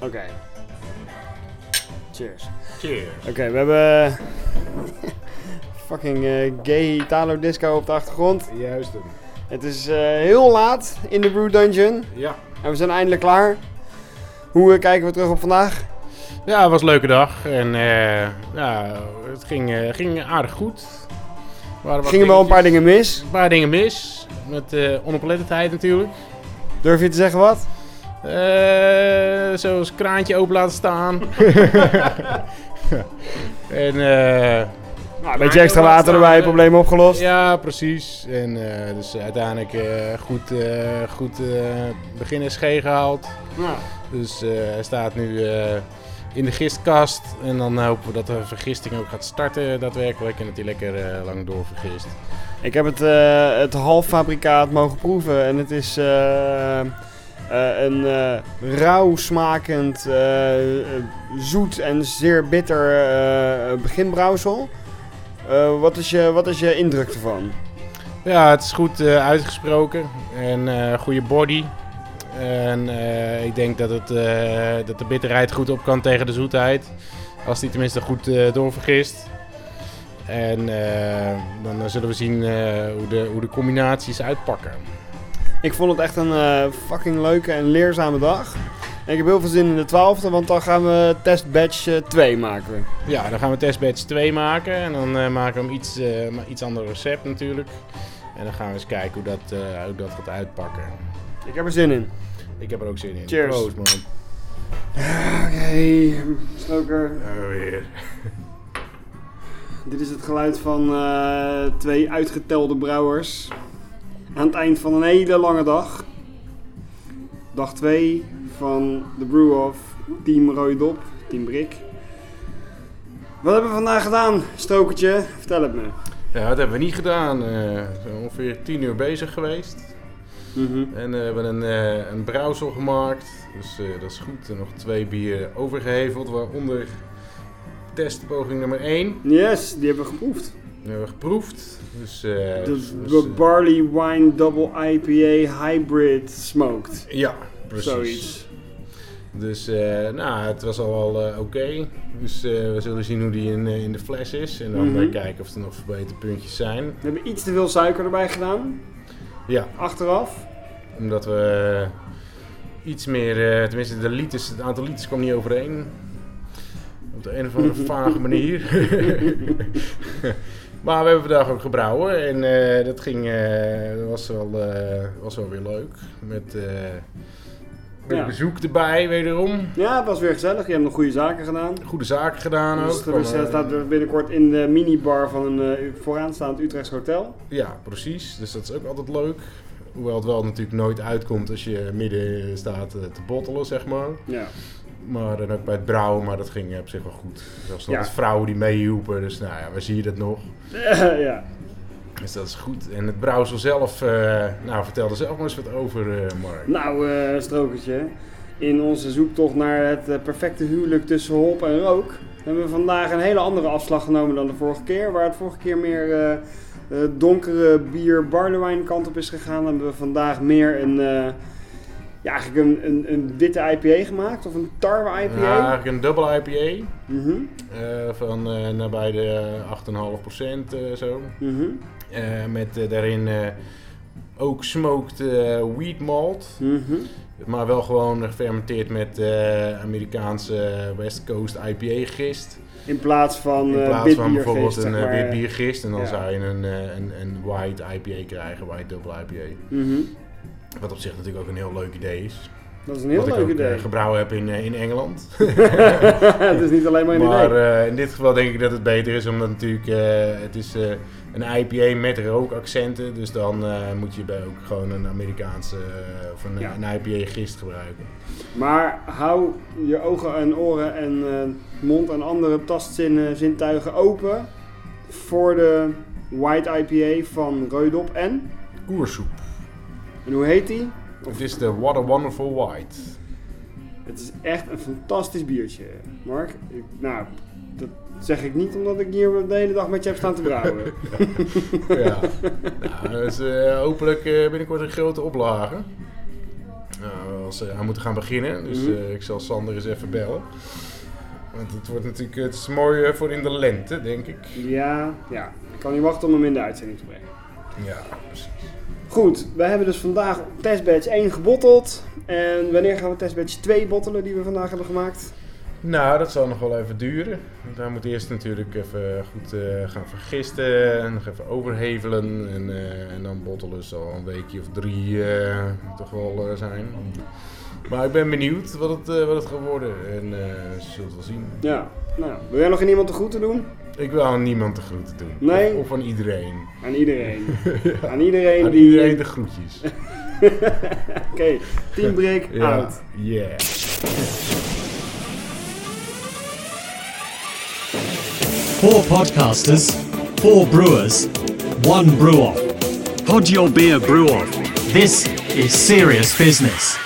S3: Oké. Cheers.
S9: Cheers.
S3: Oké, we hebben eh, <laughs> fucking eh, gay Italo disco op de achtergrond.
S9: Juist hem.
S3: Het is eh, heel laat in de Brew Dungeon
S9: Ja.
S3: en we zijn eindelijk klaar. Hoe eh, kijken we terug op vandaag?
S9: Ja, het was een leuke dag. En eh, ja, het ging, eh, ging aardig goed. Er waren wat
S3: Gingen wel een paar
S9: dingetjes-
S3: dingen mis.
S9: een paar dingen mis. Met eh, onoplettendheid natuurlijk.
S3: Durf je te zeggen wat?
S9: Eh, zoals
S3: <laughs>
S9: <laughs> kraantje open laten staan. eh, en eh,
S3: een beetje extra water erbij, eh, probleem opgelost.
S9: Ja, precies. En eh, dus uiteindelijk eh, goed, eh, goed eh, begin SG gehaald. Dus eh, hij staat nu eh, in de gistkast. En dan hopen we dat de vergisting ook gaat starten daadwerkelijk. En dat hij lekker eh, lang doorvergist.
S3: Ik heb het, eh het halffabrikaat mogen proeven en het is eh, eh, een eh, rauw smakend, eh, eh, zoet en zeer bitter eh, beginbrouwsel. Eh, wat, is je, wat is je indruk ervan?
S9: Ja, het is goed eh, uitgesproken en eh goede body. En eh, ik denk dat, het, eh, dat de bitterheid goed op kan tegen de zoetheid. Als die tenminste goed eh, doorvergist. En eh, dan eh, zullen we zien eh, hoe, de, hoe de combinaties uitpakken.
S3: Ik vond het echt een eh, fucking leuke en leerzame dag. En ik heb heel veel zin in de twaalfde, want dan gaan we testbatch eh, 2 maken. we.
S9: Ja, dan gaan we testbatch 2 maken. En dan eh, maken we hem iets, eh, maar iets ander recept natuurlijk. En dan gaan we eens kijken hoe dat, eh, hoe dat gaat uitpakken.
S3: Ik heb er zin in.
S9: Ik heb er ook zin in.
S3: Cheers.
S9: Proost, man.
S3: Oké, ehm, stoker. Dit is het geluid van eh, twee uitgetelde brouwers. Aan het eind van een hele lange dag. Dag 2 van de Brew Off, Team Rooidop, Team Brik. Wat hebben we vandaag gedaan, Stokertje? Vertel het me.
S9: Ja, dat hebben we niet gedaan. Eh, we zijn ongeveer tien uur bezig geweest. En eh, we hebben een, eh een brouwsel gemaakt. Dus eh, dat is goed. En nog twee bieren overgeheveld, waaronder testpoging nummer 1.
S3: Yes, die hebben we geproefd.
S9: Die hebben we geproefd. Dus, eh,
S3: De
S9: dus,
S3: b-
S9: eh,
S3: Barley Wine Double IPA Hybrid Smoked.
S9: ja, precies.
S3: Zoiets.
S9: Dus eh, nou, het was al wel eh, oké. Dus eh, we zullen zien hoe die in, eh, in de fles is. En dan
S3: Mhm.
S9: eh, kijken of er nog verbeterpuntjes zijn.
S3: We hebben iets te veel suiker erbij gedaan,
S9: Ja,
S3: achteraf.
S9: Omdat we iets meer, eh, tenminste de liters, het aantal liters kwam niet overeen. Op de een of andere vage
S3: <laughs>
S9: manier. maar we hebben vandaag ook gebrouwen en eh, dat ging, eh, dat was wel, eh, was wel weer leuk. Met, eh, met
S3: Ja.
S9: bezoek erbij wederom.
S3: Ja, het was weer gezellig. Je hebt nog goede zaken gedaan.
S9: Goede zaken gedaan
S3: Dus
S9: ook.
S3: er is-
S9: Kwam, eh,
S3: staat er binnenkort in de minibar van een eh, vooraanstaand Utrechts hotel. <laughs>
S9: Ja, precies. Dus dat is ook altijd leuk. Hoewel het wel natuurlijk nooit uitkomt als je midden staat eh, te bottelen, zeg maar.
S3: Ja.
S9: Maar dan ook bij het brouwen, maar dat ging eh, op zich wel goed. Zelfs nog
S3: Ja.
S9: wat vrouwen die meehielpen, dus nou ja, waar zie je dat nog?
S3: ja.
S9: Dus dat is goed. En het brouwsel zelf, eh, nou vertel er zelf maar eens wat over, eh, Mark.
S3: Nou, eh strokertje. In onze zoektocht naar het eh, perfecte huwelijk tussen hop en rook... hebben we vandaag een hele andere afslag genomen dan de vorige keer. Waar het vorige keer meer eh, eh, donkere bier barlewijn kant op is gegaan... hebben we vandaag meer een... eh, ja, eigenlijk een, een, een witte IPA gemaakt. Of een tarwe IPA.
S9: Ja, eigenlijk een dubbel IPA
S3: Mhm,
S9: eh, van eh nabij de 8,5% eh zo.
S3: mhm,
S9: Eh, met eh, daarin eh, ook smoked eh, wheat malt.
S3: mhm.
S9: Maar wel gewoon gefermenteerd met eh, Amerikaanse eh, West Coast IPA gist.
S3: In plaats van
S9: In
S3: eh,
S9: plaats van
S3: bitbiergeest,
S9: bijvoorbeeld
S3: zeg
S9: een
S3: maar.
S9: eh, wit biergist en dan
S3: ja.
S9: zou je een, eh, een, een white IPA krijgen, white double IPA.
S3: Mhm.
S9: Wat op zich natuurlijk ook een heel leuk idee is.
S3: Dat is een heel
S9: Wat
S3: leuk
S9: ik ook eh,
S3: idee.
S9: gebrouwen heb in, eh, in Engeland.
S3: <laughs> het is niet alleen maar een
S9: maar
S3: idee.
S9: eh, in dit geval denk ik dat het beter is, omdat natuurlijk eh, het is eh, een IPA met rookaccenten. Dus dan eh, moet je bij ook gewoon een Amerikaanse eh, of een,
S3: Ja.
S9: een IPA gist gebruiken.
S3: Maar hou je ogen en oren en eh, mond en andere tastzintuigen open voor de White IPA van Reudop en...
S9: Koersoep.
S3: En hoe heet die?
S9: Het is de What a Wonderful White.
S3: Het is echt een fantastisch biertje, Mark. Ik- nou, dat zeg ik niet omdat ik hier de hele dag met je heb staan te brouwen.
S9: <laughs> Ja, nou, dus, eh, hopelijk eh, binnenkort een grote oplage. Nou, als ze aan moeten gaan beginnen, dus
S3: Mhm.
S9: eh, ik zal Sander eens even bellen. Want het wordt natuurlijk, het is mooi eh, voor in de lente, denk ik.
S3: ja, ja. Ik kan niet wachten om hem in de uitzending te brengen.
S9: Ja, precies.
S3: Goed, wij hebben dus vandaag testbatch 1 gebotteld. En wanneer gaan we testbatch 2 bottelen die we vandaag hebben gemaakt?
S9: Nou, dat zal nog wel even duren. Want hij moet eerst natuurlijk even goed eh, gaan vergisten en nog even overhevelen. En, eh, en dan bottelen zal een weekje of drie eh, toch wel eh, zijn. Maar ik ben benieuwd wat het, eh, wat het gaat worden. En eh, we zullen het wel zien.
S3: Ja. Nou, wil jij nog in iemand de groeten doen?
S9: Ik wil aan niemand de groeten doen.
S3: Nee?
S9: Of, of aan iedereen.
S3: Aan
S9: <laughs>
S3: iedereen. Aan iedereen
S9: Aan
S3: die-
S9: iedereen de groetjes.
S3: <laughs> Oké, teambreak
S9: <laughs> Ja.
S3: out.
S9: Yeah.
S4: Four podcasters, four brewers, one brewer. Pod your beer brew off. This is serious business.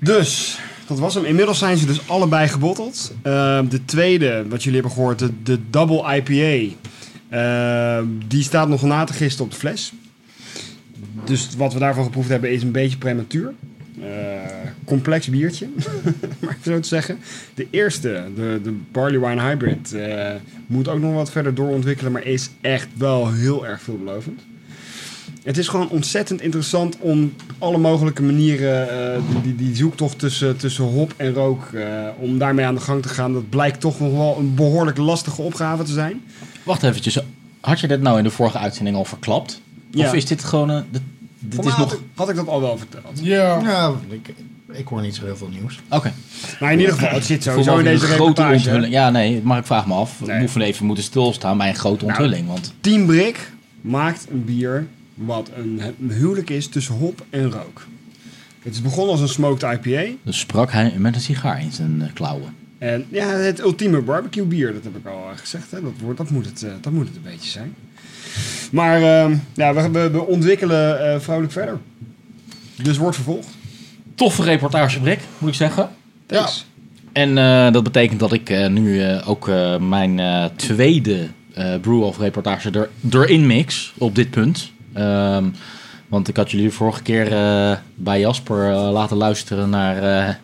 S3: Dus, dat was hem. Inmiddels zijn ze dus allebei gebotteld. Eh, de tweede, wat jullie hebben gehoord, de, de Double IPA. eh, die staat nog na te gisten op de fles. Dus wat we daarvan geproefd hebben is een beetje prematuur. Eh, complex biertje, <laughs> maar even zo te zeggen. De eerste, de, de Barley Wine Hybrid, eh, moet ook nog wat verder doorontwikkelen, maar is echt wel heel erg veelbelovend. Het is gewoon ontzettend interessant om alle mogelijke manieren, eh, die, die, die zoektocht tussen, tussen hop en rook, eh, om daarmee aan de gang te gaan. Dat blijkt toch nog wel een behoorlijk lastige opgave te zijn.
S1: Wacht eventjes. Had je dit nou in de vorige uitzending al verklapt?
S3: Ja.
S1: Of is dit gewoon... eh, dit dit is nog...
S3: Had ik dat al wel verteld?
S5: Ja. ja ik, ik hoor niet zo heel veel nieuws.
S1: Oké.
S3: Maar in ieder geval, het zit
S1: Ik voel
S3: sowieso
S1: me
S3: in
S1: als
S3: deze
S1: een grote
S3: reportage, hè?
S1: onthulling. Ja, nee, maar ik vraag me af. We hoeven even moeten stilstaan bij een grote
S3: Nou.
S1: onthulling. Want
S3: Team Brik maakt een bier wat een, een huwelijk is tussen hop en rook. Het is begonnen als een smoked IPA.
S1: dus sprak hij met een sigaar in zijn eh, klauwen.
S3: En ja, het ultieme barbecue bier, dat heb ik al eh, gezegd. Hè? Dat, wordt, dat, moet het, eh, dat moet het een beetje zijn. Maar ehm, ja, we, we, we ontwikkelen eh vrolijk verder. Dus wordt vervolgd.
S1: Toffe reportage, Brik, moet ik zeggen.
S3: Thanks.
S1: En eh, dat betekent dat ik eh, nu eh, ook eh, mijn eh, tweede eh Brew of reportage er, erin mix op dit punt. Ehm, want ik had jullie de vorige keer eh, bij Jasper eh, laten luisteren naar eh,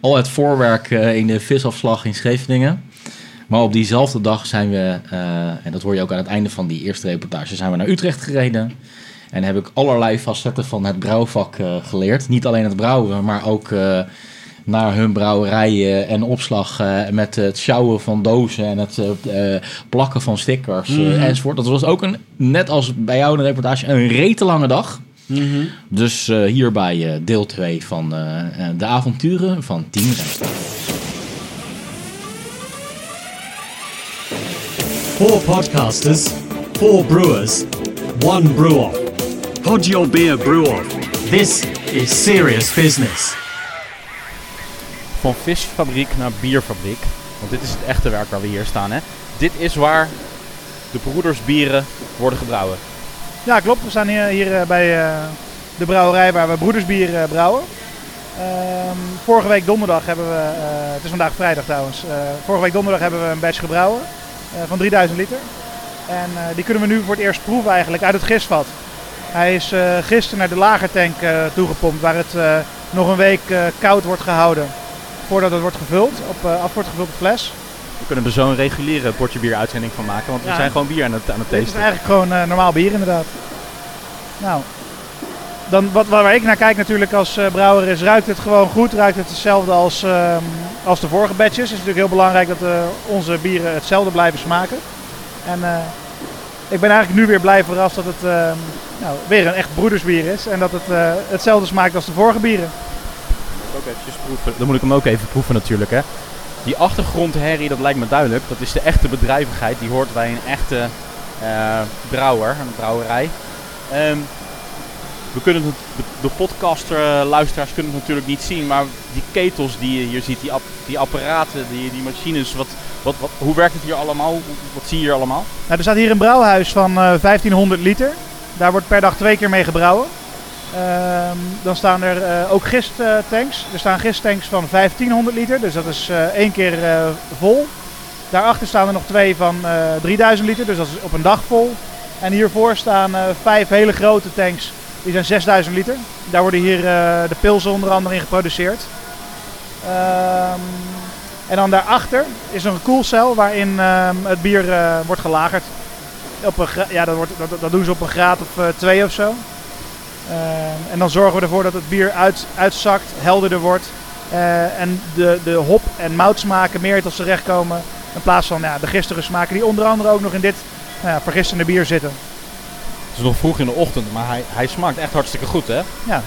S1: al het voorwerk eh, in de visafslag in Scheveningen. Maar op diezelfde dag zijn we, eh, en dat hoor je ook aan het einde van die eerste reportage, zijn we naar Utrecht gereden. En heb ik allerlei facetten van het brouwvak eh, geleerd. Niet alleen het brouwen, maar ook eh, naar hun brouwerijen en opslag eh, met het sjouwen van dozen en het eh, eh, plakken van stickers eh,
S7: Mhm.
S1: enzovoort. Dat was ook een, net als bij jou in de reportage, een rete lange dag. Dus eh, hierbij eh, deel 2 van eh, eh, de avonturen van Team Remstra.
S4: Four podcasters, four brewers, one brew off. Pod your beer brew off. This is serious business.
S10: Van visfabriek naar bierfabriek. Want dit is het echte werk waar we hier staan. Hè? Dit is waar de broedersbieren worden gebrouwen.
S11: Ja, klopt. We staan hier, hier eh, bij eh, de brouwerij waar we broedersbier eh, brouwen. Ehm, vorige week donderdag hebben we, eh, het is vandaag vrijdag trouwens, eh, vorige week donderdag hebben we een batch gebrouwen eh, van 3000 liter. En eh, die kunnen we nu voor het eerst proeven eigenlijk uit het gistvat. Hij is eh, gisteren naar de lagertank eh toegepompt waar het eh, nog een week eh, koud wordt gehouden voordat het wordt gevuld, op, eh, af wordt gevuld op fles.
S10: We kunnen er zo'n reguliere potje bier uitzending van maken, want we
S11: Ja.
S10: zijn gewoon bier aan het, aan het
S11: Dit is
S10: testen.
S11: eigenlijk gewoon eh, normaal bier inderdaad. Nou, dan wat, waar ik naar kijk natuurlijk als eh, brouwer is, ruikt het gewoon goed. Ruikt het hetzelfde als, ehm, als de vorige batches. Het is natuurlijk heel belangrijk dat eh, onze bieren hetzelfde blijven smaken. En eh, ik ben eigenlijk nu weer blij verrast dat het ehm, nou, weer een echt broedersbier is. En dat het eh, hetzelfde smaakt als de vorige bieren.
S10: Ook eventjes proeven. Dan moet ik hem ook even proeven natuurlijk, hè. Die achtergrondherrie, dat lijkt me duidelijk. Dat is de echte bedrijvigheid. Die hoort bij een echte eh, brouwer, een brouwerij. Ehm, we kunnen het, de, de podcaster-luisteraars kunnen het natuurlijk niet zien, maar die ketels die je hier ziet, die, ap- die apparaten, die, die machines, wat, wat, wat, hoe werkt het hier allemaal? Hoe- Wat zie je hier allemaal?
S11: Nou, er staat hier een brouwhuis van eh, 1500 liter. Daar wordt per dag twee keer mee gebrouwen. Ehm, dan staan er eh, ook gisttanks. Er staan gisttanks van 1500 liter, dus dat is eh, één keer eh, vol. Daarachter staan er nog twee van eh, 3000 liter, dus dat is op een dag vol. En hiervoor staan eh, vijf hele grote tanks, die zijn 6000 liter. Daar worden hier eh, de pilsen onder andere in geproduceerd. Ehm, en dan daarachter is nog een koelcel waarin ehm, het bier eh, wordt gelagerd. Op een gra- ja, dat, wordt, dat, dat doen ze op een graad of eh, twee of zo. Ehm, en dan zorgen we ervoor dat het bier uit, uitzakt, helderder wordt. eh, en de, de hop- en moutsmaken meer tot z'n recht komen. In plaats van ja, de gisteren smaken die onder andere ook nog in dit nou ja, vergistende bier zitten.
S10: Het is nog vroeg in de ochtend, maar hij, hij smaakt echt hartstikke goed, hè?
S11: Ja.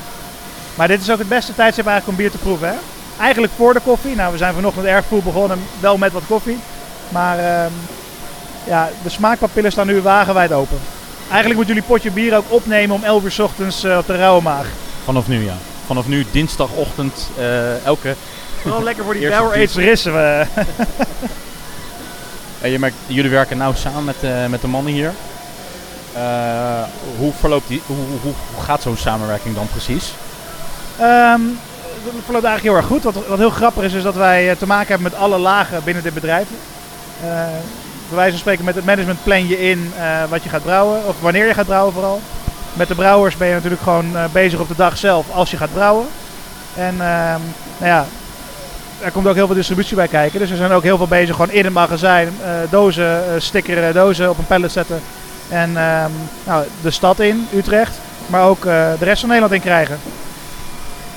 S11: Maar dit is ook het beste tijdstip eigenlijk om bier te proeven. Hè? Eigenlijk voor de koffie. Nou, we zijn vanochtend erg vroeg begonnen, wel met wat koffie. Maar ehm, ja, de smaakpapillen staan nu wagenwijd open. Eigenlijk moet jullie potje bier ook opnemen om 11 uur 's ochtends eh, op de rauwe maag.
S1: Vanaf nu, ja. Vanaf nu, dinsdagochtend, eh, elke...
S11: Wel lekker voor die
S1: Eerste
S11: Power Aids
S1: dienst-
S11: rissen
S1: <laughs>
S11: we.
S1: En je merkt, jullie werken nauw samen met, eh, met de mannen hier. Eh, hoe, verloopt die, hoe, hoe, hoe gaat zo'n samenwerking dan precies?
S11: Ehm dat verloopt eigenlijk heel erg goed. Wat, wat heel grappig is, is dat wij eh, te maken hebben met alle lagen binnen dit bedrijf. Eh bij wijze van spreken met het management plan je in eh, wat je gaat brouwen, of wanneer je gaat brouwen vooral. Met de brouwers ben je natuurlijk gewoon eh, bezig op de dag zelf als je gaat brouwen. En ehm, nou ja, er komt ook heel veel distributie bij kijken. Dus we zijn ook heel veel bezig gewoon in het magazijn eh, dozen eh, stickeren, dozen op een pallet zetten. En ehm, nou, de stad in, Utrecht, maar ook eh, de rest van Nederland in krijgen.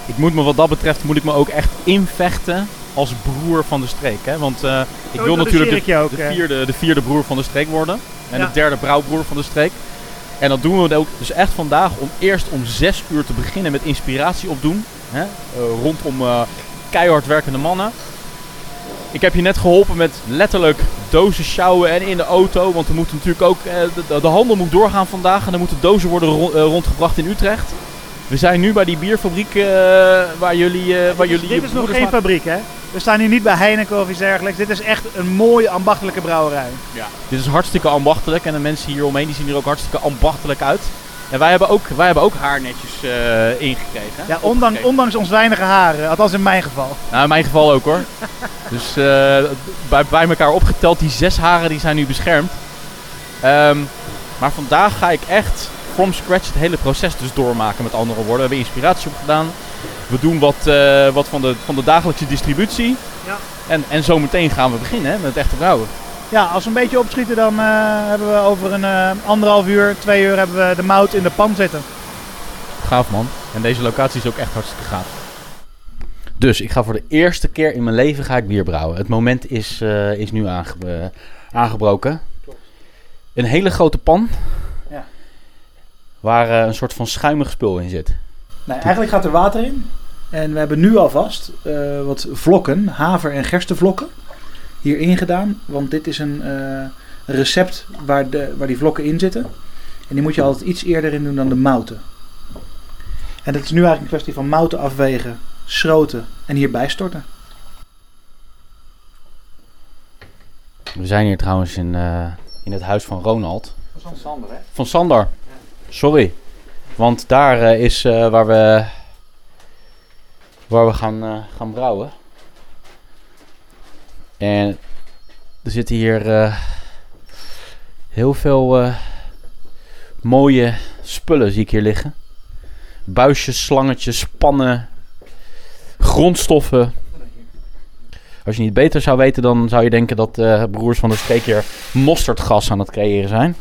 S1: Ik moet me wat dat betreft moet ik me ook echt invechten als broer van de streek. Hè? Want eh, ik
S11: Zo
S1: wil
S11: introduceer
S1: natuurlijk de,
S11: ik je ook,
S1: de
S11: hè.
S1: vierde, de vierde broer van de streek worden. En
S11: Ja.
S1: de derde brouwbroer van de streek. En dat doen we ook dus echt vandaag om eerst om zes uur te beginnen met inspiratie opdoen. Hè? Eh, rondom eh, keihard werkende mannen. Ik heb je net geholpen met letterlijk dozen sjouwen en in de auto. Want er moet natuurlijk ook, eh, de, de handel moet doorgaan vandaag. En er moeten dozen worden ro- eh, rondgebracht in Utrecht. We zijn nu bij die bierfabriek eh, waar jullie, eh waar jullie
S11: dit
S1: je
S11: is nog
S1: broeders
S11: geen
S1: maken.
S11: fabriek, hè? We staan hier niet bij Heineken of iets dergelijks. Dit is echt een mooie ambachtelijke brouwerij.
S1: Ja. Dit is hartstikke ambachtelijk en de mensen hier omheen die zien er ook hartstikke ambachtelijk uit. En wij hebben ook, wij hebben ook haar netjes eh, ingekregen.
S11: Ja, ondanks, ondanks ons weinige haren, althans in mijn geval.
S1: Nou, in mijn geval ook hoor. dus eh, bij, bij elkaar opgeteld, die zes haren die zijn nu beschermd. Ehm, maar vandaag ga ik echt from scratch het hele proces dus doormaken met andere woorden. We hebben inspiratie opgedaan. We doen wat, eh, wat van, de, van de dagelijkse distributie.
S11: Ja.
S1: En, en zometeen gaan we beginnen hè, met het echte brouwen.
S11: Ja, als we een beetje opschieten, dan eh, hebben we over een eh, anderhalf uur, twee uur, hebben we de mout in de pan zitten.
S1: Gaaf man. En deze locatie is ook echt hartstikke gaaf. Dus ik ga voor de eerste keer in mijn leven ga ik bier brouwen. Het moment is, eh, is nu aange- eh, aangebroken. Een hele grote pan.
S11: Ja.
S1: Waar eh, een soort van schuimig spul in zit.
S11: Nee, eigenlijk gaat er water in. En we hebben nu alvast eh, wat vlokken, haver- en gerstenvlokken, hierin gedaan. Want dit is een eh, recept waar, de, waar die vlokken in zitten. En die moet je altijd iets eerder in doen dan de mouten. En dat is nu eigenlijk een kwestie van mouten afwegen, schroten en hierbij storten.
S1: We zijn hier trouwens in, eh, in het huis van Ronald.
S11: Van Sander, hè?
S1: Van Sander. Sorry. Want daar eh, is eh, waar we, waar we gaan, eh, gaan brouwen. En er zitten hier eh, heel veel eh, mooie spullen zie ik hier liggen. Buisjes, slangetjes, pannen, grondstoffen. Als je niet beter zou weten, dan zou je denken dat eh, broers van de streek hier mosterdgas aan het creëren zijn.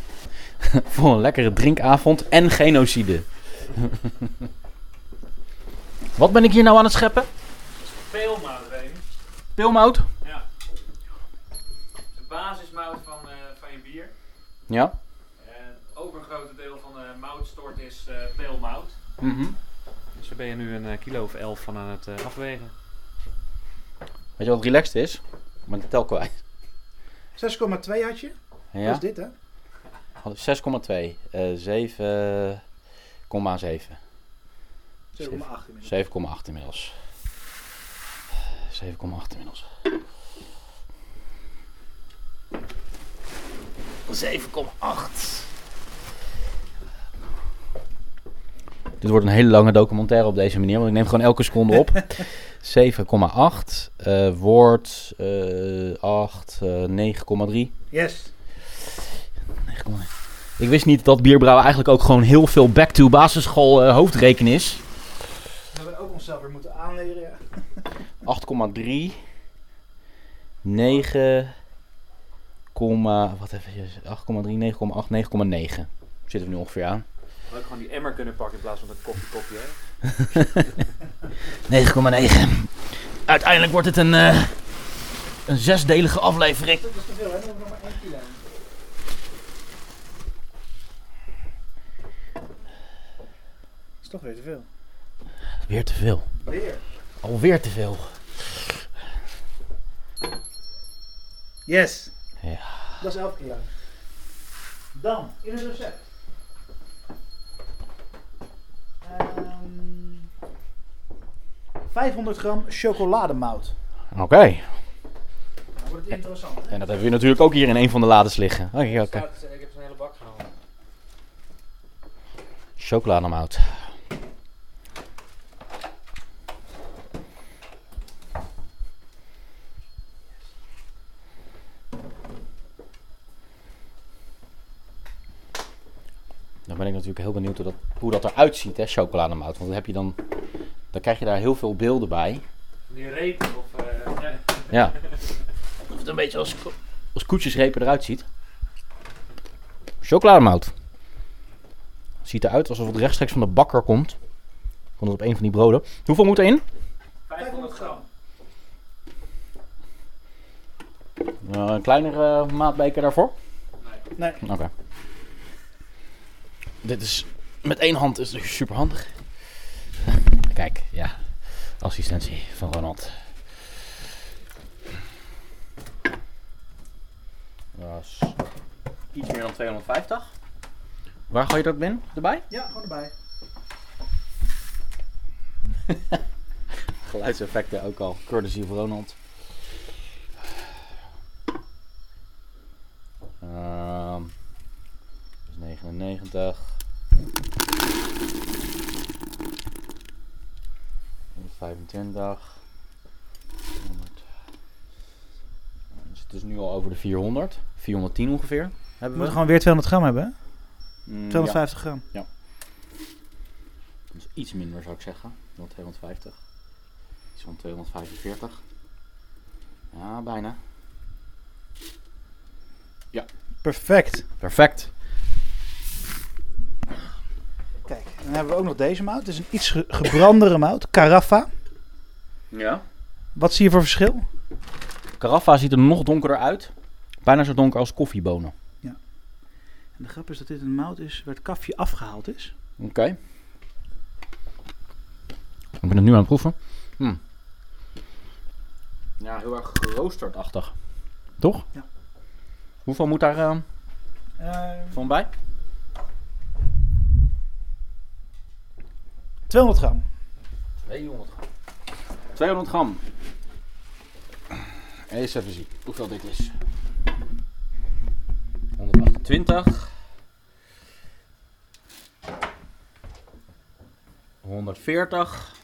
S1: <laughs> Voor een lekkere drinkavond en genocide. <laughs> Wat ben ik hier nou aan het scheppen?
S12: Speelmout, Remy.
S1: Pilmout?
S12: Ja. De basismout van, eh, van je bier.
S1: Ja.
S12: En ook een groot deel van de moutstort is eh peelmout.
S1: Mhm.
S12: Dus daar ben je nu een eh, kilo of elf van aan het eh, afwegen.
S1: Weet je wat relaxed is? Maar de tel kwijt.
S11: 6,2 had je?
S1: Ja.
S11: Dat is dit, hè?
S1: 6,2. eh
S11: 7,8
S1: 7,7.
S11: inmiddels.
S1: 7,8 inmiddels. 7,8 inmiddels. 7,8. Dit wordt een hele lange documentaire op deze manier, want ik neem gewoon elke seconde op. 7,8 eh wordt eh 8, eh 9,3.
S11: Yes.
S1: Ik wist niet dat bierbrouwen eigenlijk ook gewoon heel veel back to basisschool eh, hoofdreken is.
S11: We hebben ook onszelf weer moeten aanleren.
S1: 8,3. 9, komma- wat even, 8,3, 9,8, 9,9. Zitten we nu ongeveer aan. <laughs>
S12: We ook gewoon die emmer kunnen pakken in plaats van dat koffie koffie, hè?
S1: 9,9. Uiteindelijk wordt het een, eh, een zesdelige aflevering.
S11: Dat is te veel, hè? Dan nog maar één kilo. Dat is toch weer te veel.
S1: Weer te veel.
S11: Weer?
S1: Alweer te veel.
S11: Yes.
S5: Ja.
S11: Dat is 11 kilo. Dan, in het recept. Ehm, 500 gram chocolademout.
S1: Oké.
S11: Dan Nou, wordt het interessant.
S1: En dat hebben we natuurlijk ook hier in een van de lades liggen. Oké, oké.
S11: Ik heb zijn hele bak gehaald.
S1: Chocolademout. Dan ben ik natuurlijk heel benieuwd hoe dat, hoe dat eruit ziet, hè, chocolademout. Want dan, heb je dan, dan krijg je daar heel veel beelden bij.
S5: Die reep of... eh,
S1: Ja. Of het een beetje als, ko- als koetjesrepen eruit ziet. Chocolademout. Ziet eruit alsof het rechtstreeks van de bakker komt. Komt het op een van die broden. Hoeveel moet erin?
S11: 500 gram.
S1: Eh, een kleinere maatbeker daarvoor?
S11: Nee.
S1: Oké. Dit is... Met één hand is het super handig. <laughs> Kijk, ja. Assistentie van Ronald. Dat is iets meer dan 250. Waar gooi je dat binnen? Erbij?
S11: Ja, gewoon erbij.
S1: <laughs> Geluidseffecten ook al. Courtesy van Ronald. Ehm, dus 99. 125. 100. Dus het is nu al over de 400. 410 ongeveer.
S11: We
S1: Hebben we.
S11: moeten gewoon weer 200 gram hebben, hè?
S1: Mm,
S11: 250
S1: ja.
S11: gram.
S1: Ja. Dat is iets minder zou ik zeggen dan 250. Iets van 245. Ja, bijna. Ja.
S11: Perfect.
S1: Perfect.
S11: Kijk, dan hebben we ook nog deze mout. Het is een iets ge- gebrandere mout, Carafa.
S1: Ja.
S11: Wat zie je voor verschil?
S1: Caraffa ziet er nog donkerder uit. Bijna zo donker als koffiebonen.
S11: En de grap is dat dit een mout is waar het kafje afgehaald is.
S1: Oké. Ik ben het nu aan het proeven. Hm. Ja, heel erg geroosterachtig. Toch?
S11: Ja.
S1: Hoeveel moet daar eh, van bij?
S11: 200 gram.
S1: 200 gram. 200 gram. Eens even zien hoeveel dit is. 128. 140.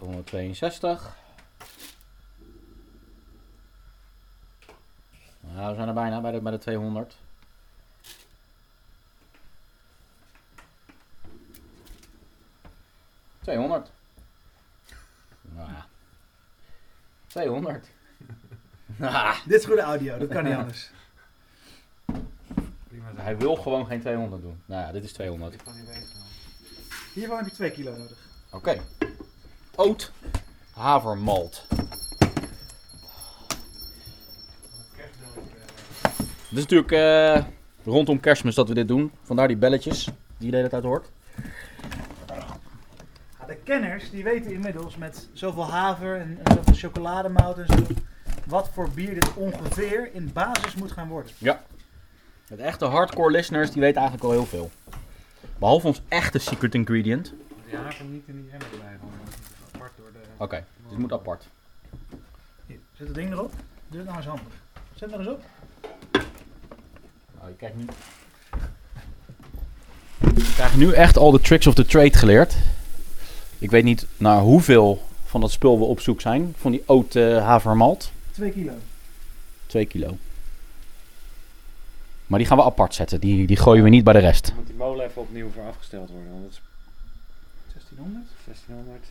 S1: 162. Nou, we zijn er bijna bij de, bij de 200. 200. Nou.
S11: <laughs>
S1: 200. Nou.
S11: Dit is goede audio, dat kan niet anders.
S1: Hij wil gewoon geen 200 doen. Nou ja, dit is 200. Oké.
S11: Hiervan heb je 2 kilo nodig.
S1: Oot. Havermalt. Dit is natuurlijk eh, rondom kerstmis dat we dit doen. Vandaar die belletjes die je de hele tijd hoort.
S11: Ja, de kenners die weten inmiddels met zoveel haver en, en zoveel chocolademout en zo... wat voor bier dit ongeveer in basis moet gaan worden.
S1: Ja. De echte hardcore listeners die weten eigenlijk al heel veel. Behalve ons echte secret ingredient.
S12: Ja, ik hem niet in die emmer erbij. Apart door de...
S1: Oké, dit moet apart.
S11: Hier, zet het ding erop. Doe het nou eens handig. Zet het nog eens op.
S1: Nou, je kijkt nu. Ik krijg nu echt al de tricks of the trade geleerd. Ik weet niet naar hoeveel van dat spul we op zoek zijn. Van die oud eh, havermalt.
S11: 2 kilo.
S1: 2 kilo. Maar die gaan we apart zetten. Die, die gooien we niet bij de rest.
S12: Moet die molen even opnieuw voor afgesteld worden, want dat is
S11: 1600.
S12: 1600.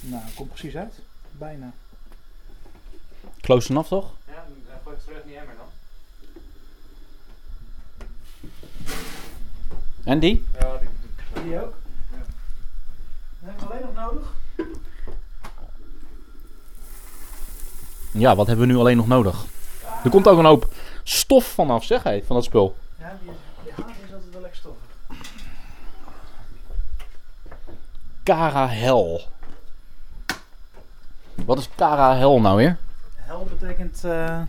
S11: Nou, dat komt precies uit. Bijna.
S1: Close enough toch?
S12: Ja, dan eh, gooi ik terug in die emmer dan.
S1: En die?
S12: Ja, die...
S11: Die ook? Ja. Dan hebben we alleen nog nodig.
S1: Ja, wat hebben we nu alleen nog nodig? Er komt ook een hoop stof vanaf, zeg hij, van dat spul.
S11: Ja, die is
S1: Cara Hel. Wat is Cara Hel nou weer?
S11: Hel betekent eh,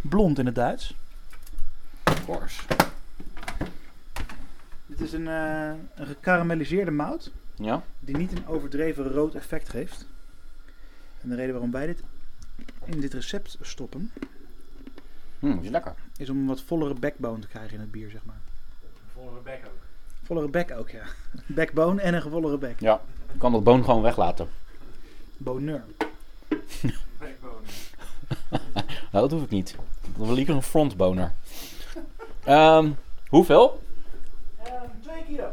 S11: blond in het Duits. Of course. Dit is een, eh, een gekarameliseerde mout.
S1: Ja.
S11: Die niet een overdreven rood effect geeft. En de reden waarom wij dit in dit recept stoppen.
S1: Hm, is lekker.
S11: Is om een wat vollere backbone te krijgen in het bier, zeg maar.
S1: Vollere bek ook.
S11: Vollere bek ook, ja. <laughs> Backbone en een gevollere bek.
S1: Ja, ik kan dat boon gewoon weglaten.
S11: Bonheur.
S1: Nou, dat hoef ik niet. Dan wil ik een frontboner. Ehm, hoeveel?
S11: Ehm, Twee kilo.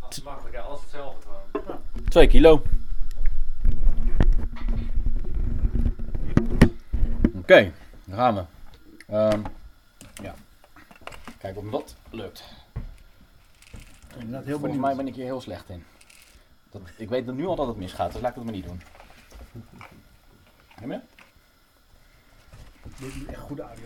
S1: Als makkelijk, alles hetzelfde gewoon. Twee kilo. Oké, daar gaan we. Ehm, ja. Kijk of me dat lukt.
S11: Inderdaad, heel
S1: Volgens
S11: benieuwd.
S1: mij ben ik hier heel slecht in. Dat, ik weet nu al dat het misgaat, dus laat ik het maar niet doen. Heb je?
S11: Dit is echt goede audio.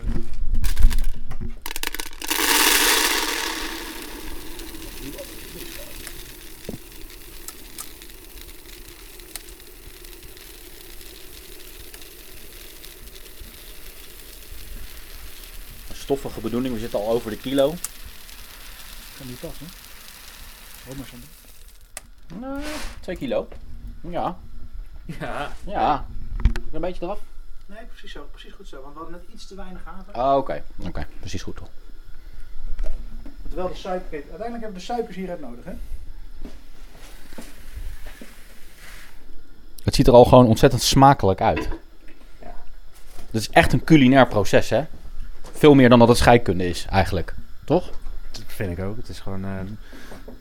S1: Stoffige bedoeling, we zitten al over de kilo.
S11: Oh, Kan die passen? Hoor maar, Sander.
S1: Nou, twee kilo. Ja.
S11: Ja.
S1: Ja. Een beetje eraf.
S11: Nee, precies zo. Precies goed zo. Want we hadden net iets te weinig haver.
S1: Ah, oké. Oké, precies goed toch.
S11: Terwijl de suiker... kijk, Uiteindelijk hebben we de suikers hieruit nodig, hè?
S1: Het ziet er al gewoon ontzettend smakelijk uit. Dat is echt een culinair proces, hè? Veel meer dan dat het scheikunde is, eigenlijk. Toch?
S12: Dat vind ik ook. Het is gewoon eh,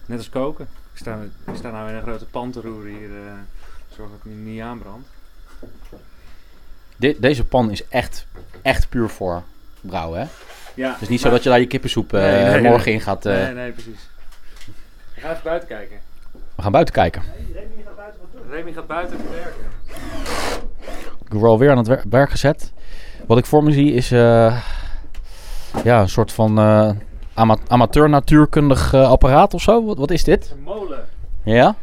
S12: net als koken. Ik sta, ik sta nou in een grote pan te roeren hier. eh, zorg dat het niet- niet aanbrandt.
S1: De- deze pan is echt, echt puur voor brouwen, hè?
S12: Ja,
S1: Het is niet zo
S12: maar-
S1: dat je daar je kippensoep eh,
S12: Nee, nee,
S1: morgen
S12: nee.
S1: in gaat... eh,
S12: Nee, nee, precies. Ik ga even buiten kijken.
S1: We gaan buiten kijken.
S11: Remy gaat buiten wat doen.
S12: Remy gaat buiten werken.
S1: Ik word alweer aan het wer- werk gezet. Wat ik voor me zie is eh, ja, een soort van eh, ama- amateur natuurkundig eh, apparaat of zo. Wat, wat is dit?
S11: Een molen.
S1: Ja?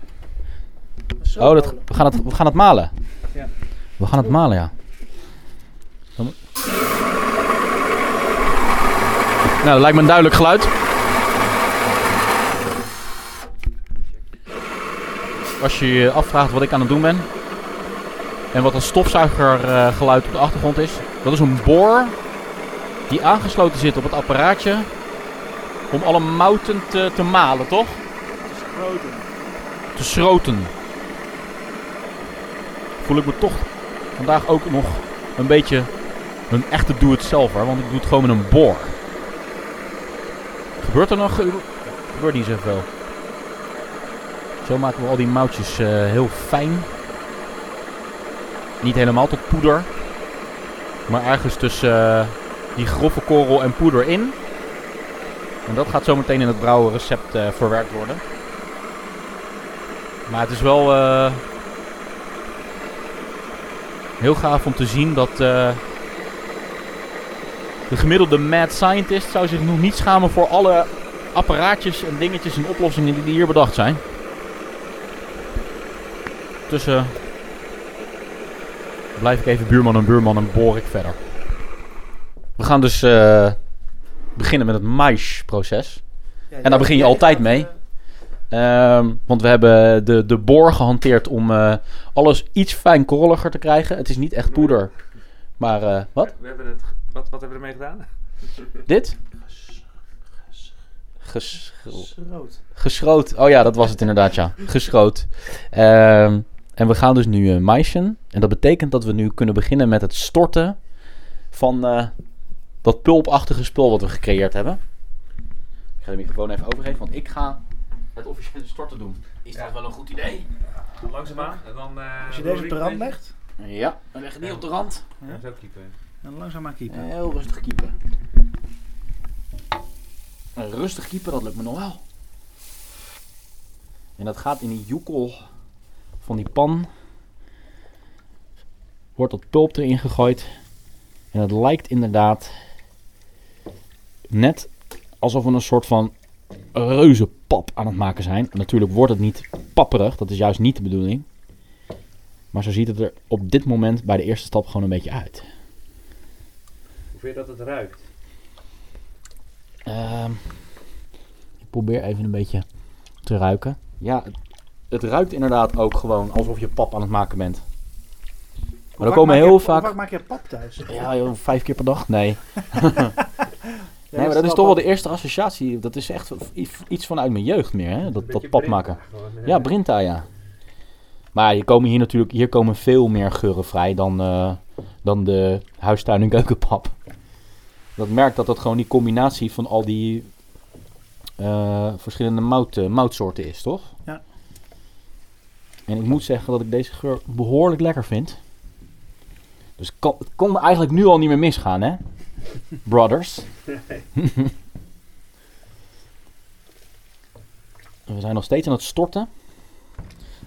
S1: Oh, dat, we, gaan het, we gaan het malen.
S11: Ja.
S1: We gaan het malen, ja. Dan moet- Nou, dat lijkt me een duidelijk geluid. Als je je afvraagt wat ik aan het doen ben. En wat een stofzuigergeluid op de achtergrond is. Dat is een boor die aangesloten zit op het apparaatje. Om alle mouten te, te malen, toch?
S11: Groten.
S1: te schroten. Voel ik me toch vandaag ook nog een beetje een echte doe-het-zelfer, want ik doe het gewoon met een boor. Gebeurt er nog? Gebeurt niet zoveel. Zo maken we al die moutjes eh, heel fijn. Niet helemaal tot poeder, maar ergens tussen eh, die grove korrel en poeder in. En dat gaat zometeen in het brouwenrecept eh, verwerkt worden. Maar het is wel eh, heel gaaf om te zien dat eh, de gemiddelde mad scientist zou zich nog niet schamen voor alle apparaatjes en dingetjes en oplossingen die hier bedacht zijn. Tussen blijf ik even buurman en buurman en boor ik verder. We gaan dus eh, beginnen met het maïsproces.
S11: Ja,
S1: en daar
S11: jij-
S1: begin je
S11: jij
S1: altijd
S11: gaat,
S1: mee. Ehm, want we hebben de, de boor gehanteerd om eh, alles iets fijn korreliger te krijgen. Het is niet echt poeder. Maar eh, wat?
S12: We hebben het, ge- wat, wat hebben we ermee gedaan?
S1: Dit?
S11: Geschroot.
S1: Geschroot. Oh ja, dat was het inderdaad, ja. Geschroot. Ehm, en we gaan dus nu eh maïsen. En dat betekent dat we nu kunnen beginnen met het storten van eh, dat pulpachtige spul wat we gecreëerd hebben. Ik ga de microfoon even overgeven, want ik ga het officiële storten doen. Is dat wel een goed idee?
S12: Langzaamaan. En dan, eh,
S11: Als je deze op de
S12: roer ik
S11: rand
S12: een beetje.
S11: legt.
S1: Ja, we leggen die op de rand.
S12: Ja, zo kiepen.
S11: En langzaam maar kiepen.
S1: Heel rustig kiepen. Een rustig keeper, dat lukt me nog wel. En dat gaat in die joekel van die pan. Wordt dat pulp erin gegooid. En het lijkt inderdaad net alsof we een soort van reuzenpap aan het maken zijn. Natuurlijk wordt het niet papperig. Dat is juist niet de bedoeling. Maar zo ziet het er op dit moment bij de eerste stap gewoon een beetje uit.
S12: Hoe vind je dat het ruikt?
S1: Ehm, ik probeer even een beetje te ruiken. Ja, het, het ruikt inderdaad ook gewoon alsof je pap aan het maken bent. Maar er
S11: Hoe
S1: komen
S11: maak je-
S1: heel
S11: hoe
S1: vaak...
S11: maak je pap thuis?
S1: Ja, joh, vijf keer per
S11: <laughs>
S1: dag? Nee. <laughs>
S11: Ja,
S1: nee, maar dat is
S11: snap
S1: toch wel
S11: ik.
S1: de eerste associatie. Dat is echt i- iets vanuit mijn jeugd meer, hè? Dat, dat
S12: beetje
S1: pap maken.
S12: Brinta
S11: eh.
S12: gewoon, hè?
S1: Ja, Brinta, ja. Maar je komen hier natuurlijk hier komen veel meer geuren vrij dan, eh, dan de huistuin- en keukenpap. Dat merkt dat dat gewoon die combinatie van al die eh, verschillende mout, eh, moutsoorten is, toch?
S11: Ja.
S1: En ik moet zeggen dat ik deze geur behoorlijk lekker vind. Dus het kon, het kon eigenlijk nu al niet meer misgaan, hè? Brothers. <laughs> We zijn nog steeds aan het storten.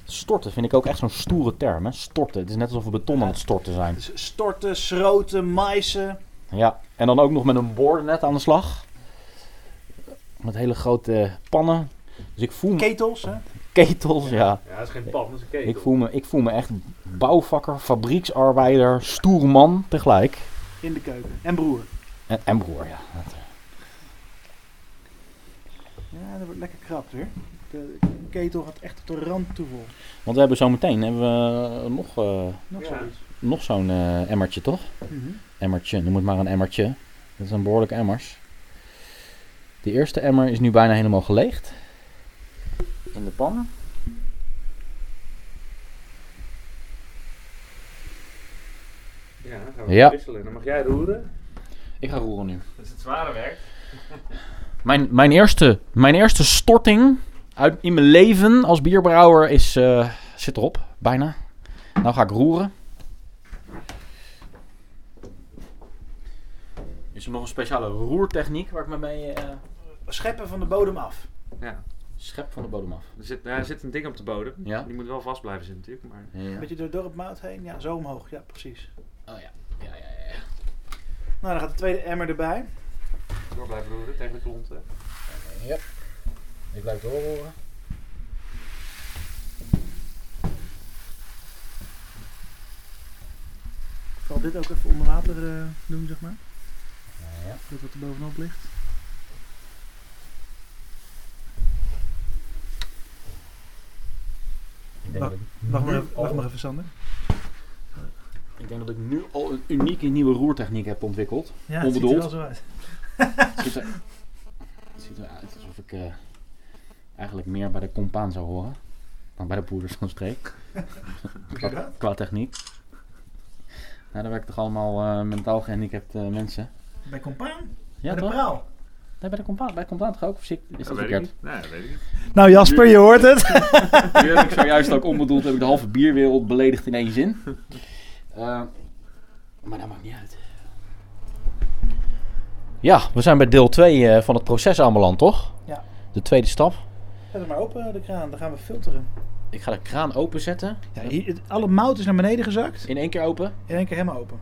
S1: Storten vind ik ook echt zo'n stoere term, hè? Storten. Het is net alsof we beton aan het storten zijn.
S11: Storten, schroten, maïsen.
S1: Ja, en dan ook nog met een boornet aan de slag. Met hele grote pannen. Dus ik voel me...
S11: Ketels, hè?
S1: Ketels, ja.
S12: Ja, dat is geen pan, dat is een ketel.
S1: Ik voel me, ik voel me echt bouwvakker, fabrieksarbeider, stoer man tegelijk.
S11: In de keuken. En broer.
S1: En, en broer, Oh ja. Dat-
S11: Ja, dat wordt lekker krap weer. De ketel gaat echt tot de rand toe vol.
S1: Want we hebben zo meteen hebben we nog, eh,
S11: Nog zoiets.
S1: nog zo'n eh, emmertje, toch?
S11: Mhm.
S1: Emmertje, noem het maar een emmertje. Dat zijn behoorlijke emmers. De eerste emmer is nu bijna helemaal geleegd. In de pan.
S12: Ja, dan gaan we
S1: Ja.
S12: wisselen. Dan mag jij roeren.
S1: Ik ga roeren nu.
S12: Dat is het zware werk.
S1: Mijn, mijn, eerste, mijn eerste storting uit, in mijn leven als bierbrouwer is, eh, zit erop, bijna. Nou ga ik roeren. Is er nog een speciale roertechniek waar ik me mee...
S11: Scheppen van de bodem af.
S12: Ja.
S1: Schep van de bodem af.
S12: Er zit, daar zit een ding op de bodem.
S1: Ja.
S12: Die moet wel vast blijven zitten natuurlijk. Maar...
S1: Ja.
S11: Beetje door dorp Mout heen. Ja, zo omhoog. Ja, precies.
S1: Oh ja. Ja, ja, ja.
S11: Nou, dan gaat de tweede emmer erbij.
S12: Door blijven roeren tegen de klont. hè.
S1: Yep. Ik blijf doorroeren.
S11: Zal dit ook even onder water eh, doen, zeg maar?
S1: Ja.
S11: Dat wat er bovenop ligt.
S1: Ik
S11: Wacht, wacht maar, even- wacht maar even, Sander.
S1: Ik denk dat ik nu al een unieke nieuwe roertechniek heb ontwikkeld.
S11: Ja, het ziet er
S1: Onbedoeld.
S11: wel zo uit.
S1: Het <laughs> ziet er- het ziet eruit alsof ik eh, eigenlijk meer bij de compaan zou horen dan bij de broeders van de
S11: <laughs>
S1: streek.
S11: je
S1: qua,
S11: dat?
S1: qua techniek. Nou, daar werken toch allemaal eh, mentaal gehandicapt eh, mensen.
S11: Bij Compaan?
S1: Ja,
S11: bij
S1: toch?
S11: de praal.
S1: Nee, bij de compaan, bij de compaan toch ook? Of zie ik- is dat
S12: weet ik
S1: verkeerd?
S12: niet.
S1: <laughs>
S12: Nee, dat weet ik niet.
S11: Nou, Jasper, je hoort het.
S1: Nu heb ik zojuist ook onbedoeld heb ik de halve bierwereld beledigd in één
S12: <laughs>
S1: zin. Eh, maar dat maakt niet uit. Ja, we zijn bij deel 2 van het proces aanbeland, toch?
S11: Ja.
S1: De tweede stap.
S11: Zet hem maar open, de kraan. Dan gaan we filteren.
S1: Ik ga de kraan openzetten.
S11: Ja, hier- het- alle mout is naar beneden gezakt.
S1: In één keer open.
S11: In één keer helemaal open.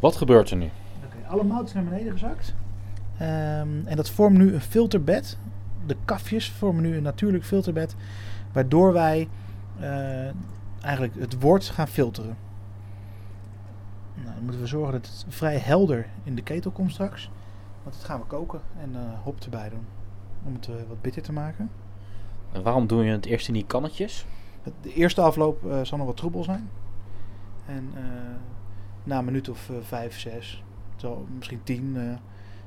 S1: Wat gebeurt er nu?
S11: Oké, alle mout is naar beneden gezakt. Ehm, en dat vormt nu een filterbed. De kafjes vormen nu een natuurlijk filterbed. Waardoor wij eh, eigenlijk het wort gaan filteren. Nou, dan moeten we zorgen dat het vrij helder in de ketel komt straks. Want dat gaan we koken en eh, hop erbij doen. Om het eh, wat bitter te maken.
S1: En waarom doen je het eerst in die kannetjes?
S11: Het- De eerste afloop eh, zal nog wat troebel zijn. En eh, na een minuut of eh, vijf, zes, zal, misschien tien, eh,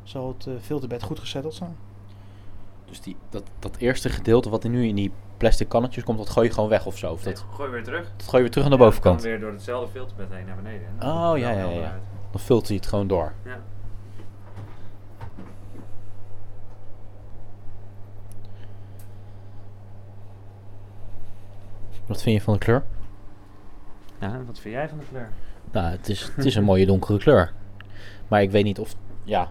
S11: zal het eh, filterbed goed gezetteld zijn.
S1: Dus die, dat, dat eerste gedeelte wat er nu in die plastic kannetjes komt, dat gooi je gewoon weg of zo? Of dat,
S12: Gooi weer terug.
S1: dat gooi je weer terug aan de
S12: Ja, dat
S1: bovenkant?
S12: kan weer door hetzelfde filterbed heen naar beneden. hè. Dan komt
S1: Oh,
S12: het
S1: ja,
S12: wel
S1: ja,
S12: helder
S1: ja.
S12: uit.
S1: Dan filter je het gewoon door.
S12: Ja.
S1: Wat vind je van de kleur?
S12: Ja, wat vind jij van de kleur?
S1: Nou, het is, het is een mooie donkere kleur. Maar ik weet niet of, ja,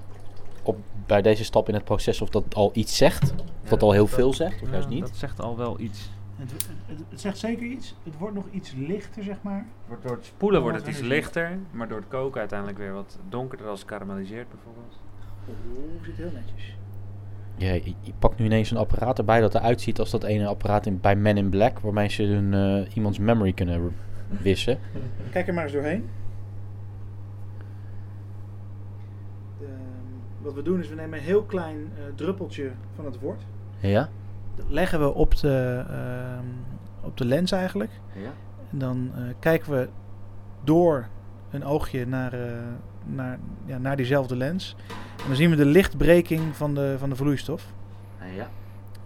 S1: op, bij deze stap in het proces of dat al iets zegt. Of dat al heel veel zegt, of juist niet.
S12: Dat zegt al wel iets.
S11: Het, het, het zegt zeker iets. Het wordt nog iets lichter, zeg maar.
S12: Wordt door het spoelen wordt het
S11: Dan
S12: iets
S11: wordt het
S12: lichter, maar door het koken uiteindelijk weer wat donkerder als het karamelliseert bijvoorbeeld.
S11: Oeh, zit heel netjes.
S1: Ja, je, je pakt nu ineens een apparaat erbij dat eruit ziet als dat ene apparaat in, bij Men in Black, waarmee ze hun, eh, iemands memory kunnen w- wissen.
S11: Kijk er maar eens doorheen. Ehm, wat we doen is, we nemen een heel klein eh, druppeltje van het woord.
S1: Ja?
S11: Dat leggen we op de, ehm, op de lens eigenlijk.
S1: Ja.
S11: En dan eh, kijken we door een oogje naar, eh, naar, ja, naar diezelfde lens. En dan zien we de lichtbreking van de, van de vloeistof.
S1: Ja.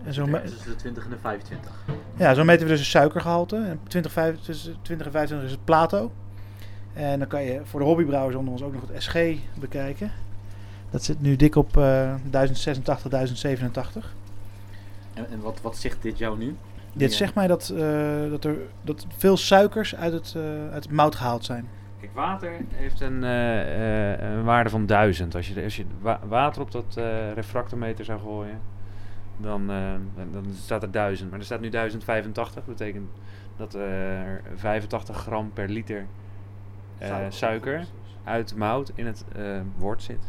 S11: En zo me-
S1: tussen de 20 en de 25.
S11: Ja, zo meten we dus het suikergehalte. En 20, 25 tussen 20 en 25 is het plato. En dan kan je voor de hobbybrouwers onder ons ook nog het SG bekijken. Dat zit nu dik op eh 1086, 1087.
S1: En, en wat, wat zegt dit jou nu?
S11: Dit zegt mij dat, eh, dat er dat veel suikers uit het, eh, uit het mout gehaald zijn.
S12: Kijk, water heeft een, eh, eh, een waarde van 1000. Als je, de- als je wa- water op dat eh, refractometer zou gooien, dan, eh, dan- dan staat er 1000. Maar er staat nu 1085. Dat betekent dat er 85 gram per liter eh,
S1: Suiker.
S12: suiker uit mout in het eh wort zit.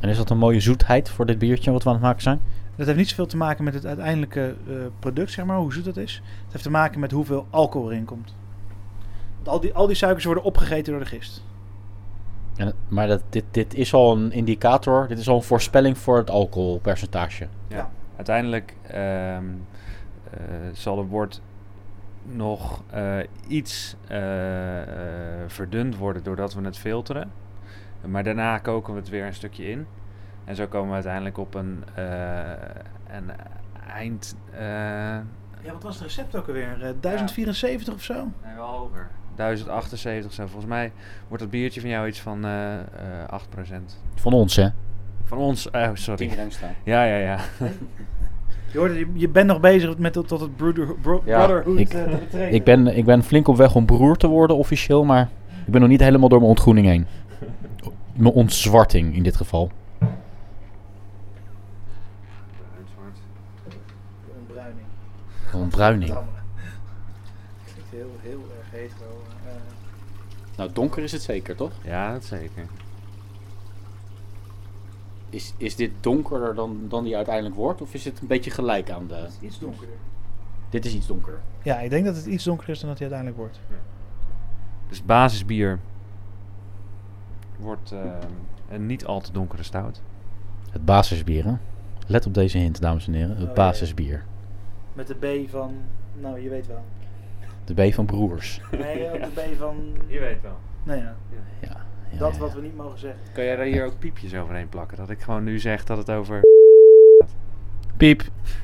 S1: En is dat een mooie zoetheid voor dit biertje wat we aan het maken zijn?
S11: Dat heeft niet zoveel te maken met het uiteindelijke eh, product, zeg maar, hoe zoet dat is. Het heeft te maken met hoeveel alcohol erin komt. Want Al die, al die suikers worden opgegeten door de gist.
S1: En, maar dat, dit, dit is al een indicator, dit is al een voorspelling voor het alcoholpercentage.
S12: Ja. Uiteindelijk ehm, eh, zal het woord nog eh, iets eh, eh, verdund worden doordat we het filteren. Maar daarna koken we het weer een stukje in. En zo komen we uiteindelijk op een, eh, een eind. eh,
S11: Ja, wat was het recept ook alweer? Eh, 1074 of zo?
S12: Nee, wel hoger. 1078 zijn. Volgens mij wordt dat biertje van jou iets van eh, eh, 8%.
S1: Van ons, hè?
S12: Van ons, eh, sorry.
S1: Tien ruim staan.
S12: Ja, ja, ja.
S11: Je, hoorde, je, je bent nog bezig met tot, tot het broeder, bro- brotherhood
S1: ik,
S11: eh, te betreden.
S1: ik, ben, ik ben flink op weg om broer te worden officieel, maar ik ben nog niet helemaal door mijn ontgroening
S11: <laughs>
S1: heen. Mijn ontzwarting in dit geval.
S11: De ontbruining.
S1: Een ontbruining.
S11: Klinkt heel, heel erg hetero. eh.
S1: Nou, donker is het zeker, toch?
S12: Ja, dat zeker.
S1: Is, is dit donkerder dan, dan die uiteindelijk wordt? Of is het een beetje gelijk aan de...
S11: iets donkerder.
S1: Dit is iets donkerder.
S11: Ja, ik denk dat het iets donkerder is dan dat hij uiteindelijk wordt.
S12: Dus het basisbier wordt eh, een niet al te donkere stout.
S1: Het basisbier, hè? Let op deze hint, dames en heren. Het
S11: Oh, ja, ja.
S1: basisbier.
S11: Met de B van, nou je weet
S1: <laughs>
S11: wel.
S1: De B van broers.
S11: Nee, ook de B van...
S12: Je weet wel.
S11: Nou ja.
S1: ja,
S11: dat wat we niet mogen zeggen.
S12: Kan jij daar hier ook piepjes overheen plakken? Dat ik gewoon nu zeg dat het over...
S1: Piep.
S12: <laughs>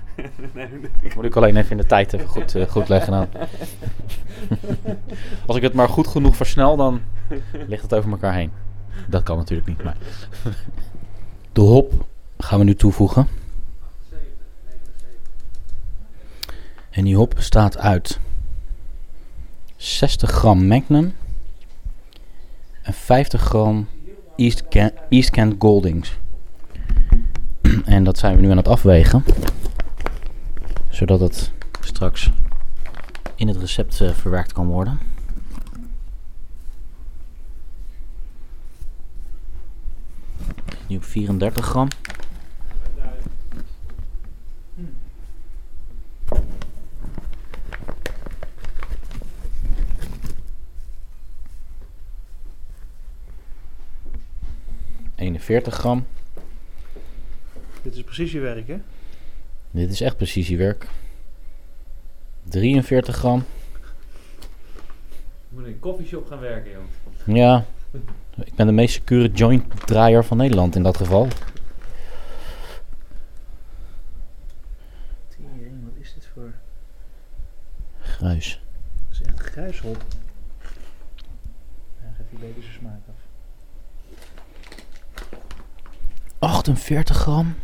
S12: nee,
S1: Moet ik alleen even in de tijd even goed, eh, goed leggen aan. Als ik het maar goed genoeg versnel, dan ligt het over elkaar heen. Dat kan natuurlijk niet, maar... <laughs> De hop gaan we nu toevoegen. En die hop bestaat uit 60 gram Magnum en 50 gram East, Can- East Kent Goldings. <clears throat> En dat zijn we nu aan het afwegen. Zodat het straks in het recept eh, verwerkt kan worden. Nu op 34 gram. ...41 gram.
S11: Dit is precies je werk, hè?
S1: Dit is echt precisiewerk. 43 gram.
S12: moet in een koffieshop gaan werken, joh.
S1: Ja, ik ben de meest secure joint draaier van Nederland in dat geval.
S11: Tering, wat is dit voor...
S1: Gruis.
S11: Dat is echt gruishop. Ja, geeft die beter zijn smaak af.
S1: 48 gram.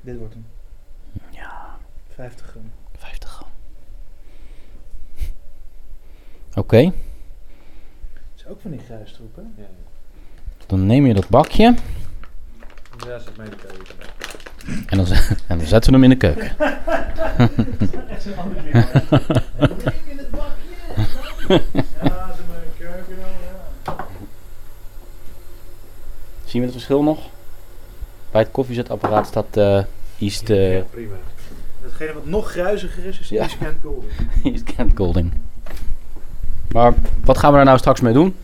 S11: Dit wordt hem.
S1: Ja.
S11: 50 gram.
S1: 50 gram. Oké,
S11: Dat is ook van die gruistroep, hè? Ja,
S1: dan neem je dat bakje
S12: Ja, zet mij de keuken.
S1: en dan, z- <laughs> en dan zetten we hem in de keuken.
S11: Dat is echt zo'n ander ding, hoor. Neem in het bakje. Ja, ze maar een keuken dan, ja.
S1: Zien we het verschil nog? Bij het koffiezetapparaat staat eh East, eh, <laughs>
S11: Prima. Datgene wat nog gruiziger is, is
S1: Ja.
S11: East Kent Golden.
S1: East Kent Golding. Maar wat gaan we daar nou straks mee doen?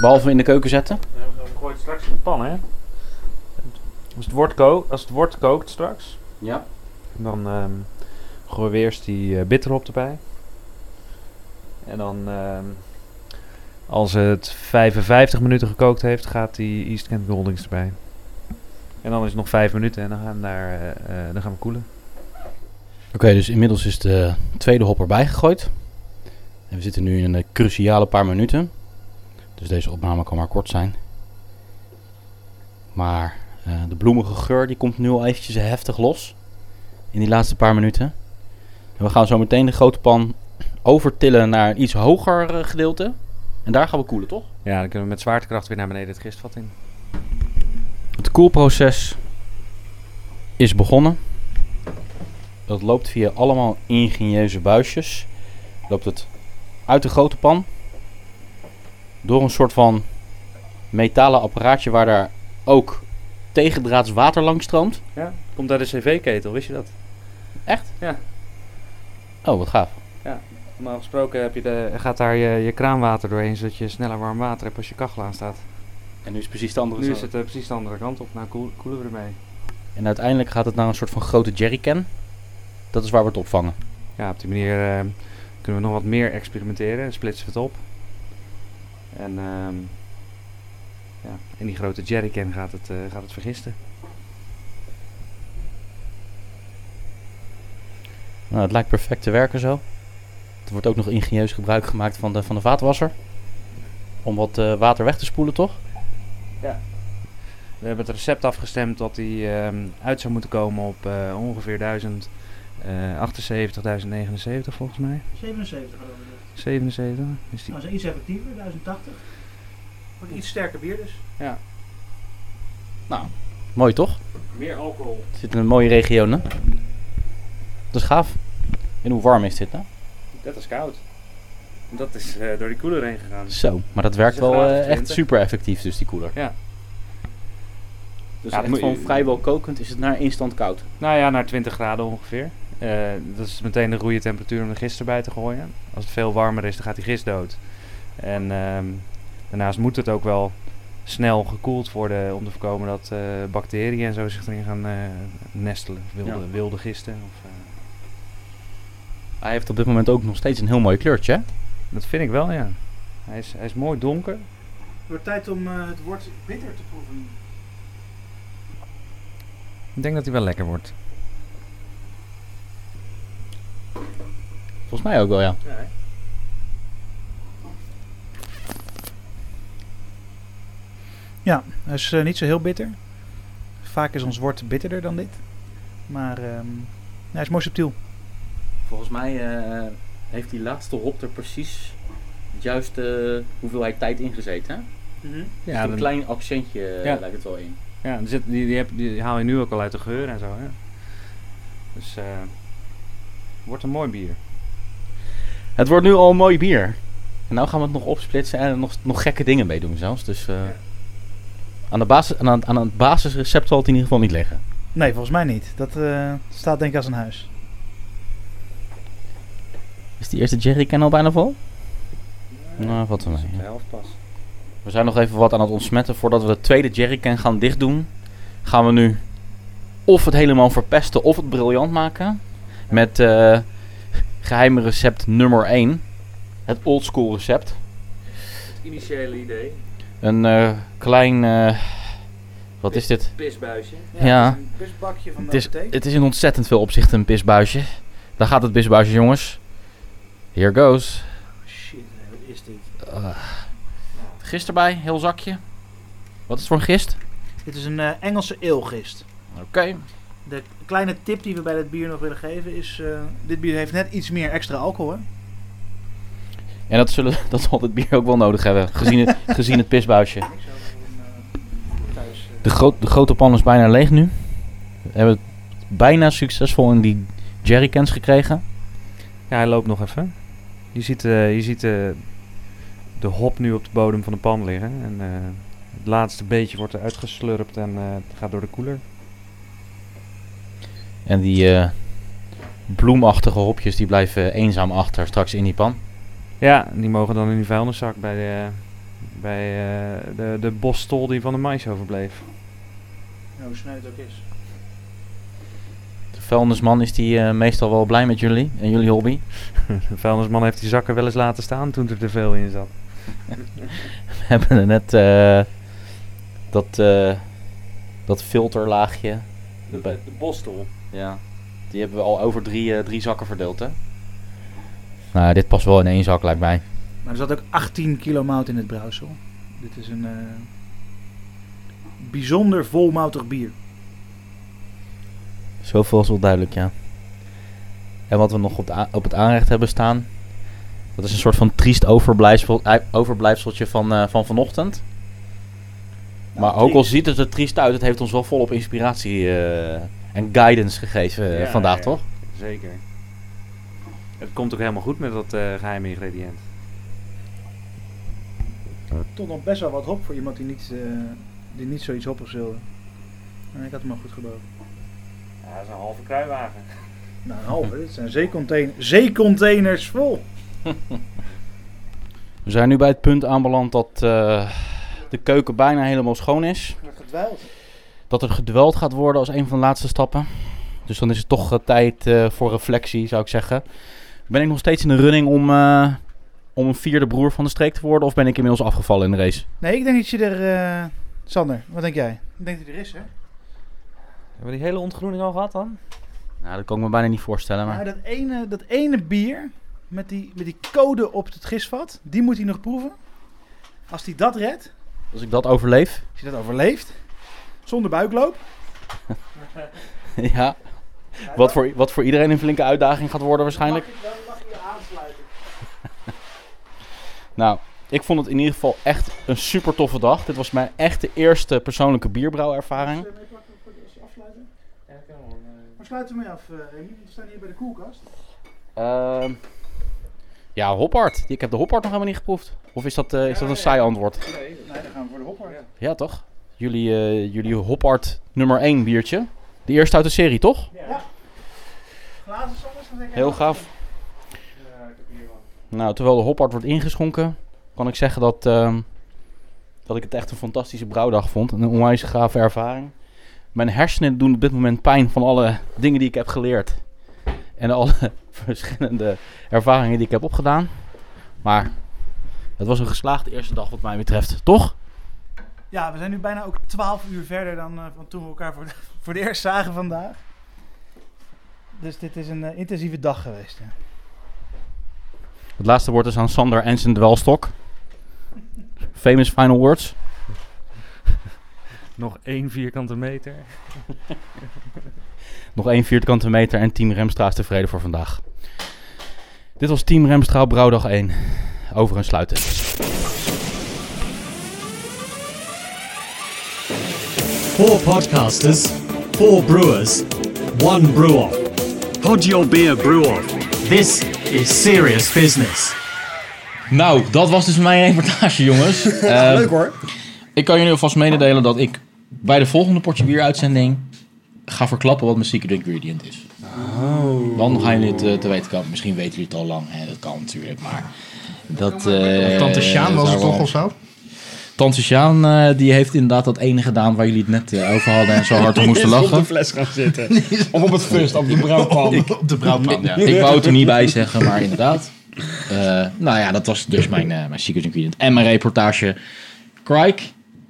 S1: Behalve in de keuken zetten?
S12: We gooien het straks in de pan, hè? Als het wort, ko- als het wort kookt straks,
S1: ja.
S12: dan ehm gooien we eerst die eh bitterhop erbij. En dan, ehm, als het 55 minuten gekookt heeft, gaat die East Kent Goldings erbij. En dan is het nog 5 minuten en dan gaan, we daar, eh, eh, dan gaan we koelen.
S1: Oké, dus inmiddels is de tweede hop erbij gegooid. En we zitten nu in een eh, cruciale paar minuten. Dus deze opname kan maar kort zijn. Maar eh, de bloemige geur die komt nu al eventjes heftig los. In die laatste paar minuten. En we gaan zo meteen de grote pan overtillen naar een iets hoger eh, gedeelte. En daar gaan we koelen, toch?
S12: Ja, dan kunnen we met zwaartekracht weer naar beneden het gistvat in.
S1: Het koelproces is begonnen. Dat loopt via allemaal ingenieuze buisjes. Loopt het uit de grote pan. Door een soort van metalen apparaatje waar daar ook tegendraads water langs stroomt.
S12: Ja, komt uit de cv-ketel, wist je dat?
S1: Echt?
S12: Ja.
S1: Oh, wat gaaf.
S12: Ja, normaal gesproken heb je de, gaat daar je, je kraanwater doorheen, zodat je sneller warm water hebt als je kachel aan staat.
S1: En nu is precies de andere
S12: Nu
S1: zo.
S12: is het eh, precies de andere kant op, nou koel- koelen we ermee.
S1: En uiteindelijk gaat het naar een soort van grote jerrycan. Dat is waar we het opvangen.
S12: Ja, op die manier eh, kunnen we nog wat meer experimenteren en splitsen we het op. En ehm, ja, in die grote jerrycan gaat het, eh, gaat het vergisten.
S1: Nou, het lijkt perfect te werken zo. Er wordt ook nog ingenieus gebruik gemaakt van de, van de vaatwasser. Om wat eh, water weg te spoelen, toch?
S12: We hebben het recept afgestemd dat die ehm, uit zou moeten komen op eh, ongeveer 1000, eh, 78, 1079 volgens mij.
S11: 77 geloof ik.
S12: 77 is die.
S11: Nou, ze Nou, is iets effectiever, 1080. Wordt iets sterker bier dus.
S12: Ja.
S1: Nou. Mooi toch?
S11: Meer alcohol.
S1: Het zit in een mooie regio, hè? Dat is gaaf. En hoe warm is dit, nou?
S12: Dat is koud. Dat is eh, door die koeler heen gegaan.
S1: Zo, maar dat werkt
S12: is een
S1: wel
S12: graad of
S1: eh, echt
S12: 20.
S1: super effectief, dus die koeler.
S12: Ja.
S1: Dus
S12: Ja,
S1: echt
S12: moet je-
S1: gewoon vrijwel kokend is het naar instant koud.
S12: Nou ja, naar 20 graden ongeveer. Eh, dat is meteen de goede temperatuur om de gist erbij te gooien. Als het veel warmer is, dan gaat die gist dood. En ehm, daarnaast moet het ook wel snel gekoeld worden om te voorkomen dat eh, bacteriën en zo zich erin gaan eh, nestelen. Wilde,
S1: Ja.
S12: wilde gisten. Of,
S1: Hij heeft op dit moment ook nog steeds een heel mooi kleurtje, hè?
S12: Dat vind ik wel, ja. Hij is, hij is mooi donker.
S11: Het wordt tijd om eh, het woord bitter te proeven.
S12: Ik denk dat hij wel lekker wordt.
S1: Volgens mij ook wel, ja.
S11: Ja, hij is eh, niet zo heel bitter. Vaak is ons wort bitterder dan dit. Maar ehm, hij is mooi subtiel.
S1: Volgens mij eh, heeft die laatste hop er precies de juiste hoeveelheid tijd in gezeten, hè?
S12: Ja,
S1: Ja, een
S12: dan-
S1: klein accentje eh,
S12: Ja.
S1: lijkt het wel in.
S12: Ja, die, zit, die, die, heb, die haal je nu ook al uit de geur en zo. Hè? Dus eh wordt een mooi bier.
S1: Het wordt nu al een mooi bier. En nou gaan we het nog opsplitsen en er nog, nog gekke dingen mee doen zelfs. Dus eh, aan, de basis, aan, aan- aan het basisrecept zal het in ieder geval niet liggen.
S11: Nee, volgens mij niet. Dat eh, staat denk ik als een huis.
S1: Is die eerste jerrycan al bijna vol? nou, wat dan
S12: De helft pas.
S1: We zijn nog even wat aan het ontsmetten. Voordat we de tweede jerrycan gaan dichtdoen, gaan we nu of het helemaal verpesten of het briljant maken. Met eh geheime recept nummer 1. Het oldschool recept.
S12: Het initiële idee.
S1: Een eh, klein... eh, wat is dit?
S12: Pisbuisje.
S1: Ja.
S11: pisbakje van
S1: het, is, het is in ontzettend veel opzichten een pisbuisje. Daar gaat het pisbuisje, jongens. Here goes. Eh,
S11: Shit, wat is dit?
S1: Gist erbij, heel zakje. Wat is het voor een gist?
S11: Dit is een eh, Engelse eelgist.
S1: Oké.
S11: De kleine tip die we bij dit bier nog willen geven is... eh, dit bier heeft net iets meer extra alcohol, hè?
S1: En dat, zullen, <laughs> dat zal dit bier ook wel nodig hebben, gezien het, gezien het pisbuisje. De, groot, de grote pan is bijna leeg nu. We hebben het bijna succesvol in die jerrycans gekregen.
S12: Ja, hij loopt nog even. Je ziet, eh, je ziet eh, de hop nu op de bodem van de pan liggen. En eh, het laatste beetje wordt eruit geslurpt en eh, het gaat door de koeler.
S1: En die eh, bloemachtige hopjes die blijven eenzaam achter straks in die pan.
S12: Ja, die mogen dan in die vuilniszak bij de, bij, eh, de, de bosstol die van de mais overbleef.
S11: hoe sneu het ook is.
S1: De vuilnisman is die eh, meestal wel blij met jullie <laughs> en jullie hobby.
S12: <laughs> de vuilnisman heeft die zakken wel eens laten staan toen er te veel in
S1: <laughs>
S12: zat.
S1: We hebben er net eh, dat, eh, dat filterlaagje. bij-
S13: De bostel.
S1: Eh, Ja. Die hebben we al over drie, eh, drie zakken verdeeld, hè? Nou, dit past wel in één zak, lijkt mij.
S11: Maar er zat ook 18 kilo mout in het brouwsel. Dit is een eh, bijzonder volmoutig bier.
S1: Zoveel is wel duidelijk, ja. En wat we nog op, de a- op het aanrecht hebben staan. Dat is een soort van triest overblijfsel, ei- overblijfseltje van, eh, van vanochtend.
S12: Nou,
S1: Maar ook al ziet het er triest uit, het heeft ons wel volop inspiratie eh, en guidance gegeven eh,
S12: Ja,
S1: vandaag,
S12: ja,
S1: toch?
S12: Zeker. Het komt ook helemaal goed met dat eh, geheime ingrediënt.
S11: Toch nog best wel wat hop voor iemand die niet, eh, die niet zoiets hoppigs wilde. eh. Maar ik had hem al goed geboden.
S12: Ja, dat is een halve kruiwagen.
S11: Nou, een halve. Dit zijn zeecontain- <laughs> zeecontainers vol.
S1: We zijn nu bij het punt aanbeland dat eh, de keuken bijna helemaal schoon is.
S11: Gedweld.
S1: Dat er gedweld gaat worden als een van de laatste stappen. Dus dan is het toch eh, tijd eh, voor reflectie, zou ik zeggen. Ben ik nog steeds in de running om, eh, om een vierde broer van de streek te worden? Of ben ik inmiddels afgevallen in de race?
S11: Nee, ik denk dat je er... eh, Sander, wat denk jij? Ik denk dat hij er is, hè?
S12: Hebben we die hele ontgroening al gehad dan?
S1: Nou, dat kan ik me bijna niet voorstellen. Maar...
S11: Nou, dat ene, dat ene bier met die, met die code op het gisvat, die moet hij nog proeven. Als hij dat redt,
S1: Als ik dat overleef.
S11: als hij dat overleeft, zonder <laughs> buikloop.
S1: <laughs> ja. Wat voor, wat voor iedereen een flinke uitdaging gaat worden waarschijnlijk.
S11: Dan mag je aansluiten.
S1: Nou, ik vond het in ieder geval echt een super toffe dag. Dit was mijn echte eerste persoonlijke bierbrouwervaring.
S11: Afsluiten? Waar sluiten we mee af, eh, Remy? We staan hier bij de koelkast.
S1: Ehm, ja, hophard. Die- Ik heb de hophard nog helemaal niet geproefd. Of is dat, eh, is dat een saai antwoord?
S11: Nee, dan gaan we voor de hopper.
S1: Ja, toch? Jullie, eh, jullie hophard nummer 1 biertje. De eerste uit de serie, toch?
S11: Glazen soms, dan denk ik...
S1: Heel gaaf. Nou, terwijl de hophard wordt ingeschonken, kan ik zeggen dat, ehm, dat ik het echt een fantastische brouwdag vond. Een onwijs gave ervaring. Mijn hersenen doen op dit moment pijn van alle dingen die ik heb geleerd. En alle <laughs> verschillende ervaringen die ik heb opgedaan. Maar het was een geslaagde eerste dag wat mij betreft, toch?
S11: Ja, we zijn nu bijna ook 12 uur verder dan eh, van toen we elkaar voor de, <laughs> voor de eerst zagen vandaag. Dus dit is een eh, intensieve dag geweest. Ja.
S1: Het laatste woord is aan Sander en zijn dwelstok. Famous final words.
S12: Nog één vierkante meter.
S1: Nog één vierkante meter en Team Remstra is tevreden voor vandaag. Dit was Team Remstra Brouwdag 1. Over en sluiten.
S4: Four podcasters, four brewers, one brewer. Pod your beer brewer. This is serious business.
S3: Nou, dat was dus mijn reportage,
S4: <laughs>
S3: jongens. Ehm,
S4: leuk, hoor.
S3: Ik kan jullie alvast mededelen dat ik bij de volgende Portje Bier uitzending ga verklappen wat mijn secret ingredient is.
S4: Oh.
S3: Dan gaan jullie het eh, te weten komen. Misschien weten jullie het al lang, hè? dat kan natuurlijk, maar... Dat, eh,
S5: Tante Sjaan was het
S3: daarom-
S5: toch of zo?
S3: Tante Sjaan, eh, die heeft inderdaad dat ene gedaan waar jullie het net eh, over hadden en zo hard om
S4: <laughs>
S3: moesten
S5: Die is op
S3: lachen.
S5: de fles
S14: gaan
S3: <laughs>
S14: zitten.
S5: Of op het
S3: fust, <laughs>
S5: op de brouwpan. op de brouwpan, <laughs> ja.
S3: Ik, ik wou het er niet bij zeggen, maar inderdaad. Eh, nou ja, dat was dus mijn, eh mijn secret ingredient. En mijn reportage. Crike,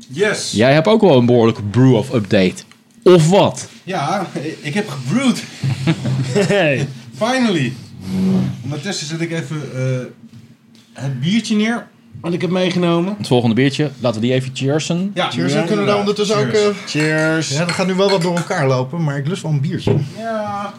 S2: Yes!
S3: jij hebt ook wel een behoorlijke brew-off update. Of wat?
S2: Ja, ik heb gebrewd. <laughs> Finally. Ondertussen zet ik even eh, het biertje neer. Wat ik heb meegenomen.
S3: Het volgende biertje, laten we die even cheersen.
S2: Ja,
S5: Cheers, we kunnen daar ondertussen ook... eh, Ja, dat gaat nu wel wat door elkaar lopen, maar ik lust wel een biertje.
S2: Ja.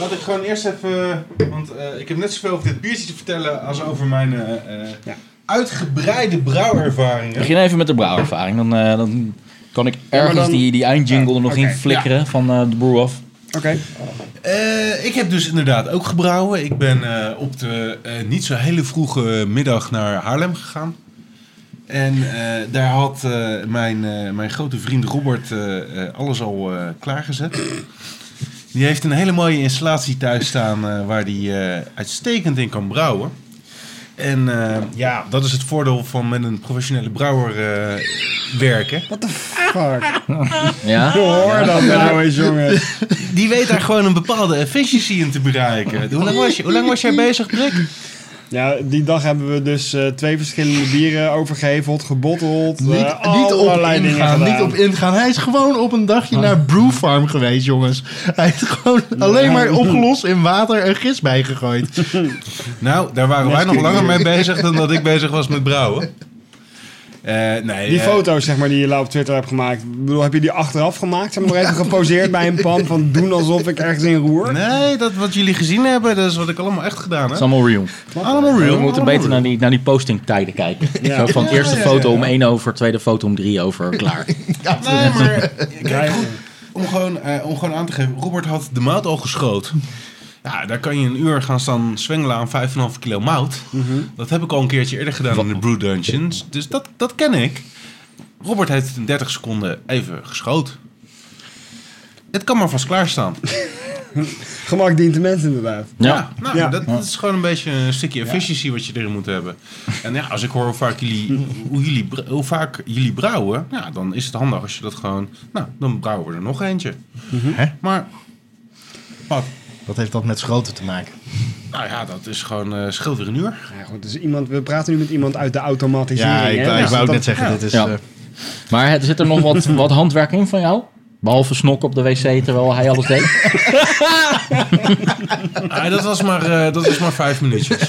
S2: Laat ik gewoon eerst even. Want eh, ik heb net zoveel over dit biertje te vertellen als over mijn eh, eh, uitgebreide brouwervaringen.
S3: Begin even met de brouwervaring. Dan, eh, dan kan ik
S2: maar
S3: ergens
S2: dan-
S3: die, die eindjingle er nog
S2: oké,
S3: in flikkeren van eh, de brew-off.
S2: Oké. ik heb dus inderdaad ook gebrouwen. Ik ben eh, op de eh, niet zo hele vroege middag naar Haarlem gegaan. En eh, daar had eh, mijn, eh, mijn grote vriend Robert eh, eh, alles al eh, klaargezet. Die heeft een hele mooie installatie thuis staan eh, waar die eh, uitstekend in kan brouwen. En eh, ja, dat is het voordeel van met een professionele brouwer eh, werken. Wat de
S5: <laughs>
S2: fuck?
S3: <laughs>
S1: Ja? Ja.
S5: nou
S2: Die weet daar gewoon een bepaalde efficiëntie in te bereiken. Hoe lang was, je, hoe lang was jij bezig, Rick?
S3: Ja, die dag hebben we dus eh, twee verschillende bieren overgeheveld, gebotteld. eh,
S5: Niet, niet op
S3: allerlei dingen
S5: ingaan,
S3: gedaan.
S5: niet op ingaan. Hij is gewoon op een dagje naar Brew Farm geweest, jongens. Hij heeft gewoon alleen maar opgelost in water en gist bijgegooid.
S2: Nou, daar waren wij nog langer mee bezig dan dat ik bezig was met brouwen. Eh, nee,
S3: Die
S2: eh,
S3: foto's zeg maar, die je laat op Twitter hebt gemaakt, ik bedoel, heb je die achteraf gemaakt? Zeg maar even geposeerd bij een pan
S5: <laughs>
S3: van doen alsof ik ergens in roer?
S2: Nee, dat wat jullie gezien hebben, dat is wat ik allemaal echt gedaan
S1: Het
S2: heb.
S1: is allemaal real.
S2: Allemaal real.
S1: We moeten beter naar die, naar die postingtijden kijken.
S2: Ja.
S1: Zo van
S2: Ja,
S1: eerste
S2: ja,
S1: foto
S2: ja.
S1: om één over, tweede foto om drie over,
S2: <laughs>
S1: klaar. <laughs>
S2: Nee, maar eh, <laughs> kijk, goed, om, gewoon, eh, om gewoon aan te geven, Robert had de mout al geschoten. Ja, daar kan je een uur gaan staan zwengelen aan 5,5 kilo mout. Dat heb ik al een keertje eerder gedaan in de Brew Dungeons. Dus dat, dat ken ik. Robert heeft het in 30 seconden even geschoten. Het kan maar vast klaarstaan.
S3: Gemak dient de mensen inderdaad.
S2: Ja, nou, Dat, dat is gewoon een beetje een stukje efficiëntie wat je erin moet hebben. En ja, als ik hoor hoe vaak jullie, hoe jullie, br- hoe vaak jullie brouwen, ja, dan is het handig als je dat gewoon. Nou, dan brouwen we er nog eentje. Maar. Wat?
S5: Mhm. Wat heeft dat met schoten te maken?
S2: Nou ja, dat is gewoon eh scheelt weer een uur.
S3: Ja, goed, dus iemand, we praten nu met iemand uit de automatisering.
S1: Ja, ik
S3: hè?
S1: wou- ik
S3: Dus
S1: wou ook
S3: dat-
S1: net zeggen,
S3: ja.
S1: dit is, Ja. eh, Maar het- zit er nog wat, wat handwerk in van jou? Behalve snokken op de wc terwijl hij alles deed.
S2: <laughs> Ah, dat, was maar, eh, dat was maar vijf minuutjes.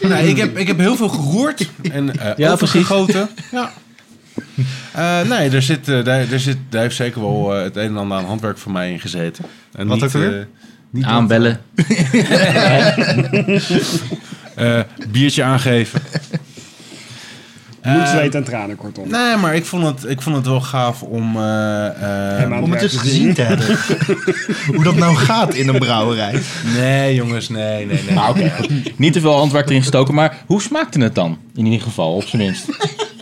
S2: nee, ik heb, ik heb heel veel
S11: <laughs>
S2: geroerd en eh
S1: Ja,
S2: overgegoten. Ja. Eh, nee, er zit, eh, daar, er zit, daar heeft zeker wel eh, het een en ander aan handwerk van mij in gezeten. En
S1: Wat
S2: niet,
S1: ook weer?
S2: eh, niet
S1: Aanbellen.
S2: <laughs> Eh, biertje aangeven.
S3: Bloed,
S2: Eh,
S3: zweet en tranen, kortom.
S2: Nee, maar ik vond het, ik vond het wel gaaf om... eh, eh,
S5: Om het eens gezien te
S2: <laughs>
S5: hebben. Hoe dat nou gaat in een brouwerij.
S2: Nee, jongens, nee, nee, nee.
S1: Maar Nou, oké, niet te veel handwerk erin gestoken, maar hoe smaakte het dan? In ieder geval, op zijn minst.
S2: <laughs>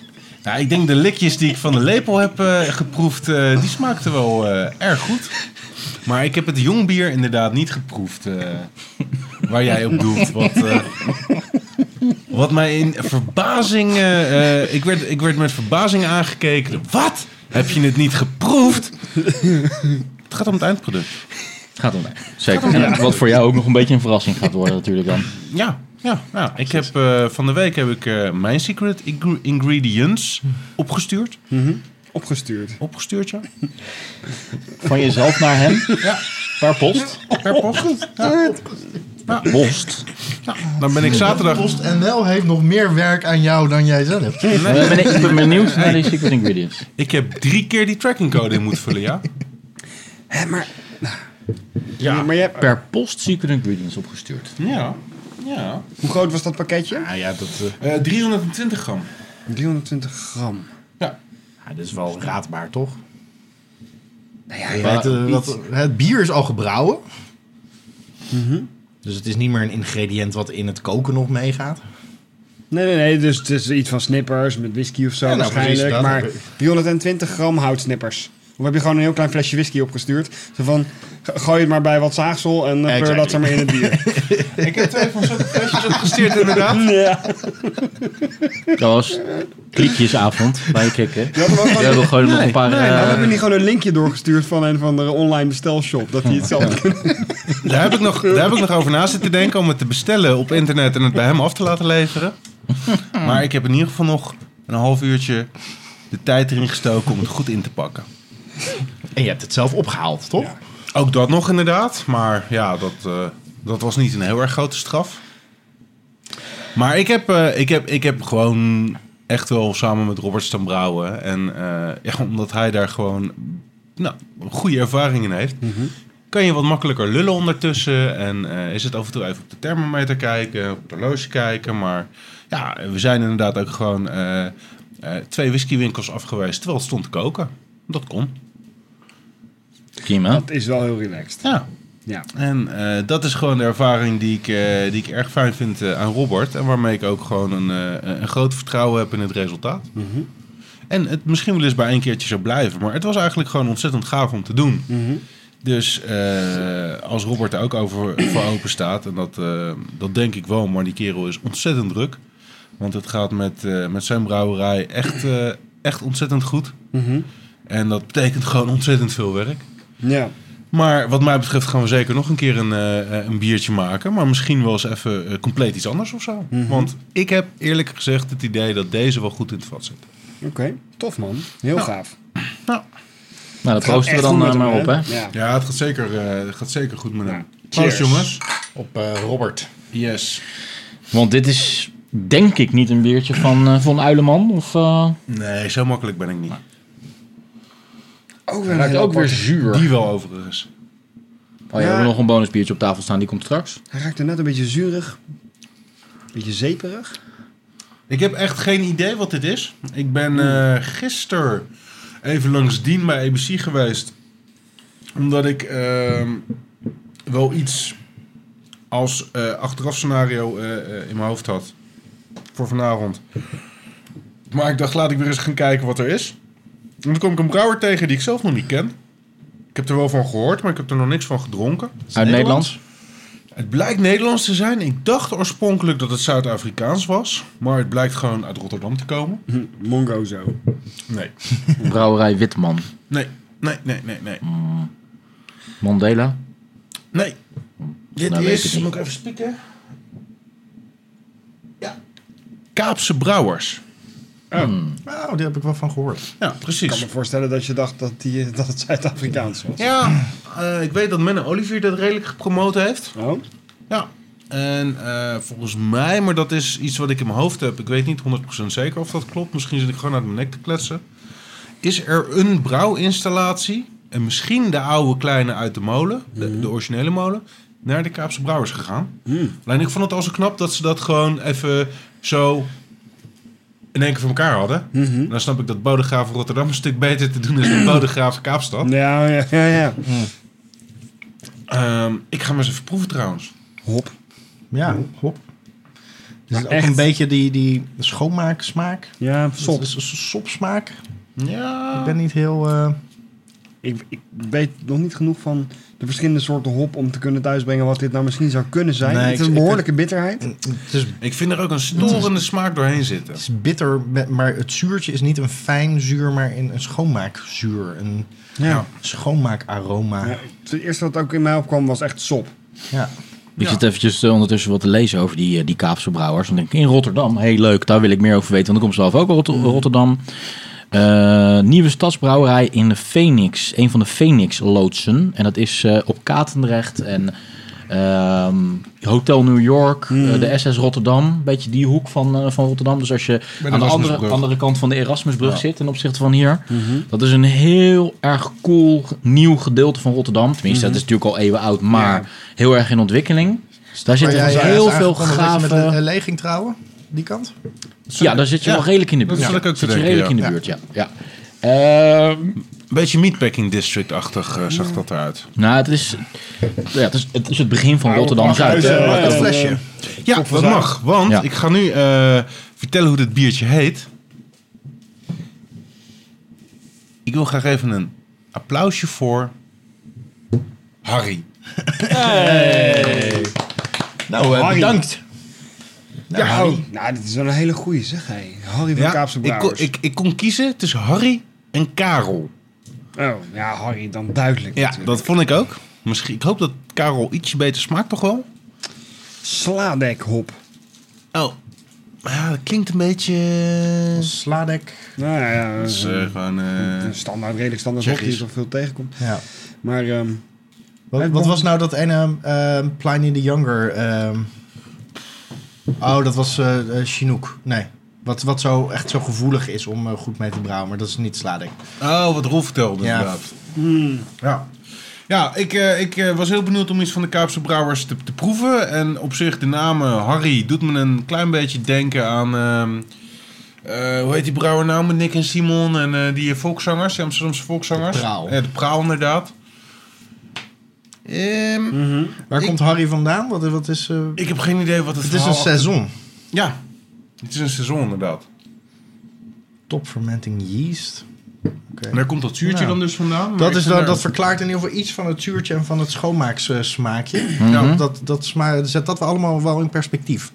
S2: Nou, ik denk de likjes die ik van de lepel heb eh, geproefd, eh, die smaakten wel eh, erg goed. Maar ik heb het jongbier inderdaad niet geproefd. eh, waar jij op doelt. Wat, eh, wat mij in verbazing. eh, eh, ik, werd, ik werd met verbazing aangekeken. Wat? Heb je het niet geproefd? het gaat om het eindproduct.
S1: Het gaat om mij. Zeker. En wat voor jou ook nog een beetje een verrassing gaat worden natuurlijk dan.
S2: Ja, ja, ja. Ik heb, eh, van de week heb ik eh, mijn secret ingre- ingredients opgestuurd.
S3: Opgestuurd.
S2: Opgestuurd, ja.
S1: Van jezelf naar hem?
S2: Ja.
S1: Per post?
S2: Per post. Ja. Ja.
S1: Post.
S2: Dan ben ik zaterdag.
S5: Post NL heeft nog meer werk aan jou dan jij zelf.
S1: Nee, ben ik- ik ben benieuwd naar die secret ingredients.
S2: Ik heb drie keer die trackingcode in moeten vullen, ja. Ja,
S3: maar je hebt...
S1: Per post secret ingredients opgestuurd.
S2: Ja. Ja.
S3: Hoe groot was dat pakketje?
S5: Ah, ja, dat,
S1: eh,
S2: 320 gram.
S3: 320 gram.
S2: Ja.
S5: dat is wel raadbaar, toch? Nou ja,
S3: ja,
S5: het, eh,
S3: iets.
S5: wat- het bier is al gebrouwen. Dus het is niet meer een ingrediënt wat in het koken nog meegaat.
S3: Nee, nee, nee. Dus het is iets van snippers met whisky of zo
S5: Ja, nou,
S3: waarschijnlijk.
S5: precies dat.
S3: maar
S5: <laughs>
S3: 320 gram houtsnippers. Of heb je gewoon een heel klein flesje whisky opgestuurd? Zo van, g- gooi het maar bij wat zaagsel en eh, pleur
S5: Exactly.
S3: dat ze maar in het
S5: <laughs>
S3: bier.
S2: <laughs> Ik heb twee van zulke flesjes opgestuurd, inderdaad.
S3: Ja.
S1: Dat was kliekjesavond bij Kikken.
S3: Je had hem ook
S1: We hebben gewoon nog een paar...
S3: Nee,
S1: eh,
S3: nou, we hebben niet gewoon een linkje doorgestuurd van een van de online bestelshop. Dat die het zelf
S2: Daar heb, ik nog, daar heb ik nog over na zitten denken om het te bestellen op internet en het bij hem af te laten leveren.
S5: <laughs>
S2: Maar ik heb in ieder geval nog een half uurtje de tijd erin gestoken om het goed in te pakken.
S5: <laughs> En je hebt het zelf opgehaald, toch?
S2: Ook dat nog inderdaad, maar ja, dat, eh, dat was niet een heel erg grote straf. Maar ik heb, eh, ik heb, ik heb gewoon echt wel samen met Robert staan brouwen. En eh, ja, omdat hij daar gewoon nou, goede ervaring in heeft, kan je wat makkelijker lullen ondertussen. En eh, is het af en toe even op de thermometer kijken, op het horloge kijken. Maar ja, we zijn inderdaad ook gewoon eh, eh, twee whiskywinkels afgewezen terwijl het stond te koken. Dat kon.
S1: Prima.
S3: Dat is wel heel relaxed.
S2: Ja.
S3: Ja.
S2: En eh, dat is gewoon de ervaring die ik, eh, die ik erg fijn vind eh, aan Robert. En waarmee ik ook gewoon een, eh, een groot vertrouwen heb in het resultaat.
S3: Mhm. Mhm.
S2: En het misschien wel eens bij één keertje zou blijven. Maar het was eigenlijk gewoon ontzettend gaaf om te doen. Dus eh, als Robert er ook over, <clears throat> voor open staat, en dat, eh, dat denk ik wel, maar die kerel is ontzettend druk. Want het gaat met, eh, met zijn brouwerij echt, eh, echt ontzettend goed.
S3: Mhm.
S2: En dat betekent gewoon ontzettend veel werk.
S3: Ja.
S2: Maar wat mij betreft gaan we zeker nog een keer een, eh, eh, een biertje maken. Maar misschien wel eens even eh, compleet iets anders of zo.
S3: Mhm.
S2: Want ik heb eerlijk gezegd het idee dat deze wel goed in het vat zit.
S3: Oké, tof man. Heel gaaf.
S1: Nou,
S2: Het
S1: dat
S2: gaat
S1: proosten we
S2: echt
S1: dan
S2: goed
S1: eh,
S2: met
S1: maar op,
S2: hem,
S1: hè?
S2: Ja, het gaat zeker, eh, het gaat zeker goed met hem.
S1: cheers.
S2: Proost, jongens.
S5: Op
S2: eh,
S5: Robert.
S2: Yes.
S1: Want dit is denk ik niet een biertje van, eh, van Uileman. Of, eh,
S2: Nee, zo makkelijk ben ik niet.
S3: Ook
S1: weer een Raakt hele ook weer aparte. zuur.
S2: Die wel overigens.
S1: Oh ja, we hebben nog een bonus biertje op tafel staan, die komt straks.
S3: Hij raakt er net een beetje zuurig. Beetje zeeperig.
S2: Ik heb echt geen idee wat dit is. Ik ben eh gisteren even langs Dien bij ABC geweest. Omdat ik ehm, wel iets als eh, achteraf scenario eh, eh, in mijn hoofd had. Voor vanavond. Maar ik dacht, laat ik weer eens gaan kijken wat er is. En toen kom ik een brouwer tegen die ik zelf nog niet ken. Ik heb er wel van gehoord, maar ik heb er nog niks van gedronken.
S1: Uit Nederlands?
S2: Het blijkt Nederlands te zijn. Ik dacht oorspronkelijk dat het Zuid-Afrikaans was. Maar het blijkt gewoon uit Rotterdam te komen.
S3: Mongozo.
S2: Nee.
S1: Brouwerij Witman.
S2: Nee. Nee, nee, nee, nee.
S1: Hmm. Mandela.
S2: Nee. Dit
S1: Nou, weet ik
S2: is...
S1: het niet.
S2: Moet ik even spieken? Ja. Kaapse Brouwers.
S1: Hmm.
S5: Oh, daar heb ik wel van gehoord.
S2: Ja, precies.
S3: Ik kan me voorstellen dat je dacht dat, die, dat het Zuid-Afrikaans was.
S2: Ja, eh, ik weet dat Menne Olivier dat redelijk gepromoot heeft.
S3: Oh?
S2: Ja. En eh, volgens mij, maar dat is iets wat ik in mijn hoofd heb. Ik weet niet 100% zeker of dat klopt. Misschien zit ik gewoon uit mijn nek te kletsen. Is er een brouwinstallatie, en misschien de oude kleine uit de molen, de, de originele molen, naar de Kaapse Brouwers gegaan? Alleen ik vond het al zo knap dat ze dat gewoon even zo in één keer voor elkaar hadden. Dan snap ik dat Bodegraaf Rotterdam een stuk beter te doen is dan Bodegraaf Kaapstad.
S3: Ja, ja, ja. Hm. ja.
S2: Ehm, ik ga maar eens even proeven trouwens.
S3: Hop.
S5: Ja, hop. Dus
S2: Maar
S5: ook
S2: echt.
S5: een beetje die, die schoonmaaksmaak.
S3: Ja,
S5: sop. Is, is sopsmaak.
S2: Ja.
S5: Ik ben niet heel... eh,
S3: Ik, ik weet nog niet genoeg van de verschillende soorten hop om te kunnen thuisbrengen wat dit nou misschien zou kunnen zijn.
S5: Nee,
S3: het is
S5: ik-
S3: een
S5: ik-
S3: behoorlijke bitterheid.
S2: mm. Ik vind er ook een storende smaak doorheen zitten.
S5: Het is bitter, met- maar het zuurtje is niet een fijn zuur, maar een, een schoonmaakzuur. Een
S3: Ja.
S5: schoonmaakaroma.
S3: Ja, het eerste wat ook in mij opkwam was echt sop.
S5: Ja.
S1: Ik zit eventjes eh, ondertussen wat te lezen over die, eh, die Kaapse brouwers. Dan denk ik, in Rotterdam, heel leuk, daar wil ik meer over weten. Want ik kom zelf ook uit Rot- Rotterdam. Eh, nieuwe stadsbrouwerij in de Phoenix. Een van de Phoenix-loodsen. En dat is eh, op Katendrecht en ehm, Hotel New York,
S2: Mm.
S1: eh, de SS Rotterdam. Een beetje die hoek van, eh, van Rotterdam. Dus als je
S2: de
S1: aan de andere,
S2: Erasmusbrug.
S1: andere kant van de Erasmusbrug
S2: Ja.
S1: zit ten opzichte van hier. Dat is een heel erg cool nieuw gedeelte van Rotterdam. Tenminste, dat
S5: Mhm.
S1: is natuurlijk al eeuwen oud, maar heel erg in ontwikkeling. Daar
S5: Maar
S1: zitten dus
S5: jij- jij
S1: heel
S5: is
S1: veel
S5: aangekondigd dat je
S1: gave...
S5: Met een eh, leging trouwen, die kant?
S1: ja, daar zit je
S5: Ja,
S1: wel redelijk in de
S5: dat
S1: buurt.
S5: zat ik
S1: Ja,
S5: ook te
S1: zit je
S5: denken,
S1: redelijk in
S5: ja.
S1: de buurt, ja. ja. Ehm,
S2: Beetje meatpacking district-achtig eh, zag dat eruit.
S1: nou, het is, ja, het is het, is het begin van Rotterdam-Zuid. hè.
S2: Ja,
S1: Dat-
S2: Ja, dat mag. Want
S1: Ja.
S2: ik ga nu eh, vertellen hoe dit biertje heet. Ik wil graag even een applausje voor Harry.
S5: Hey. Nou, eh,
S3: Harry.
S5: bedankt.
S3: Nou, ja,
S2: Harry.
S3: oh, nou, dit is wel een hele goeie, zeg hij. Harry van Kaapse
S2: ik, kon,
S3: Brouwers.
S2: ik, ik kon kiezen tussen Harry en Karel.
S3: Oh, ja, Harry, dan duidelijk.
S2: Ja, dat vond ik ook. Misschien, ik hoop dat Karel ietsje beter smaakt toch wel?
S3: Sladekhop.
S2: Oh. Ja, dat klinkt een beetje... eh,
S5: Sladek.
S3: Nou ja, ja,
S2: Dat is,
S3: eh,
S2: eh, gewoon, eh,
S3: een standaard, redelijk standaard hop die
S2: Tsjechisch.
S3: je toch veel tegenkomt.
S5: Ja.
S3: Maar ehm,
S5: Wat, wat was nou dat ene ehm Pliny the Younger? ehm, oh, dat was eh, eh, Chinook. Nee. Wat, wat zo echt zo gevoelig is om eh, goed mee te brouwen, maar dat is niet sladek.
S2: Oh, wat Rolf vertelde
S5: Ja.
S2: inderdaad. Ja, ja ik, eh, ik eh, was heel benieuwd om iets van de Kaapse Brouwers te, te proeven. En op zich, de naam eh, Harry doet me een klein beetje denken aan... ehm, eh, hoe heet die brouwer nou met Nick en Simon en eh, die volkszangers, die Amsterdamse volkszangers?
S5: De Praal.
S2: Ja, de Praal inderdaad. Ehm,
S3: Mhm.
S5: Waar
S2: ik-
S5: komt Harry vandaan? Wat, wat is, eh,
S2: Ik heb geen idee wat
S5: het
S2: het
S5: is een
S2: verhaal achter-
S5: seizoen.
S2: Ja, het is een seizoen inderdaad.
S5: Top fermenting yeast.
S2: En daar komt dat zuurtje
S5: Nou,
S2: dan dus vandaan? Maar
S5: Dat,
S2: ik
S5: is,
S2: vind
S5: dat,
S2: daar-
S5: dat verklaart in ieder geval iets van het zuurtje en van het schoonmaaksmaakje.
S2: Mhm.
S5: Ja, dat, dat sma- zet dat wel allemaal wel in perspectief.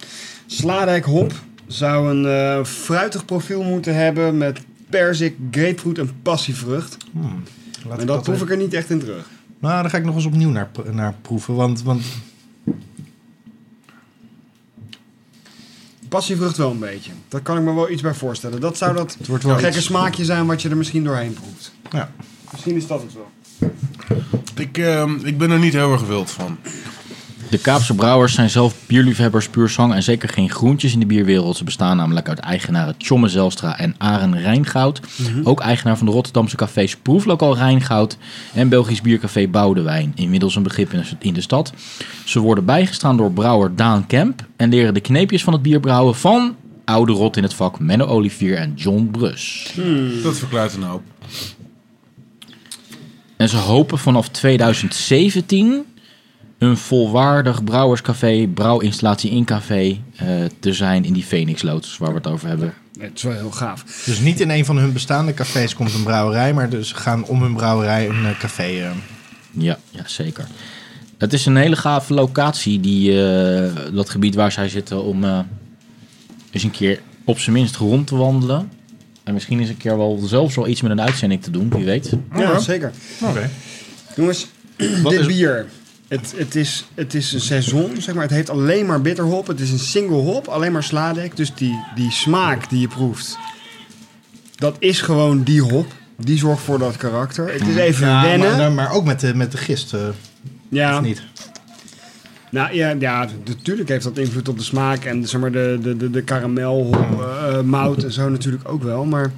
S3: Sladek hop zou een eh, fruitig profiel moeten hebben met perzik, grapefruit en passievrucht.
S5: Hmm. Laat
S3: en dat,
S5: dat
S3: proef
S5: even-
S3: ik er niet echt in terug.
S5: Nou, daar ga ik nog eens opnieuw naar, pro- naar proeven. Want, want
S3: Passievrucht wel een beetje. Daar kan ik me wel iets bij voorstellen. Dat zou dat
S5: Het wordt wel
S3: gekke
S5: iets-
S3: smaakje zijn wat je er misschien doorheen proeft.
S5: Ja.
S3: Misschien is dat het wel.
S2: Ik, ehm, ik ben er niet heel erg wild van.
S1: De Kaapse brouwers zijn zelf bierliefhebbers puur zang en zeker geen groentjes in de bierwereld. Ze bestaan namelijk uit eigenaren Tjomme Zelstra en Aren Rijngoud.
S15: Mhm.
S1: Ook eigenaar van de Rotterdamse cafés Proeflokaal Rijngoud en Belgisch biercafé Boudewijn. Inmiddels een begrip in de- in de stad. Ze worden bijgestaan door brouwer Daan Kemp en leren de kneepjes van het bierbrouwen van oude rot in het vak Menno Olivier en John Brus.
S2: Dat verklaart een hoop.
S1: En ze hopen vanaf 2017 een volwaardig brouwerscafé, brouwinstallatie in café eh, te zijn in die Phoenix Loods waar we het over hebben.
S3: Het is wel heel gaaf.
S5: Dus niet in een van hun bestaande cafés komt een brouwerij, maar dus ze gaan om hun brouwerij een eh, café. eh.
S1: Ja, ja zeker. Het is een hele gave locatie, die, eh, dat gebied waar zij zitten, om eh, eens een keer op zijn minst rond te wandelen. En misschien eens een keer wel zelfs wel iets met een uitzending te doen, wie weet.
S3: Ja, zeker.
S5: Oké.
S3: Jongens, dit bier. Het, het, is, het is een seizoen, zeg maar. Het heeft alleen maar bitterhop. Het is een single hop, alleen maar sladek. Dus die, die smaak die je proeft, dat is gewoon die hop. Die zorgt voor dat karakter. Het is Dus even
S5: Ja, maar- eh,
S3: wennen.
S5: Maar, maar ook met de, met de gist. eh.
S3: ja.
S5: of niet?
S3: Nou ja, ja, natuurlijk heeft dat invloed op de smaak en zeg maar, de, de, de, de karamel, hop, eh, mout en zo natuurlijk ook wel. Maar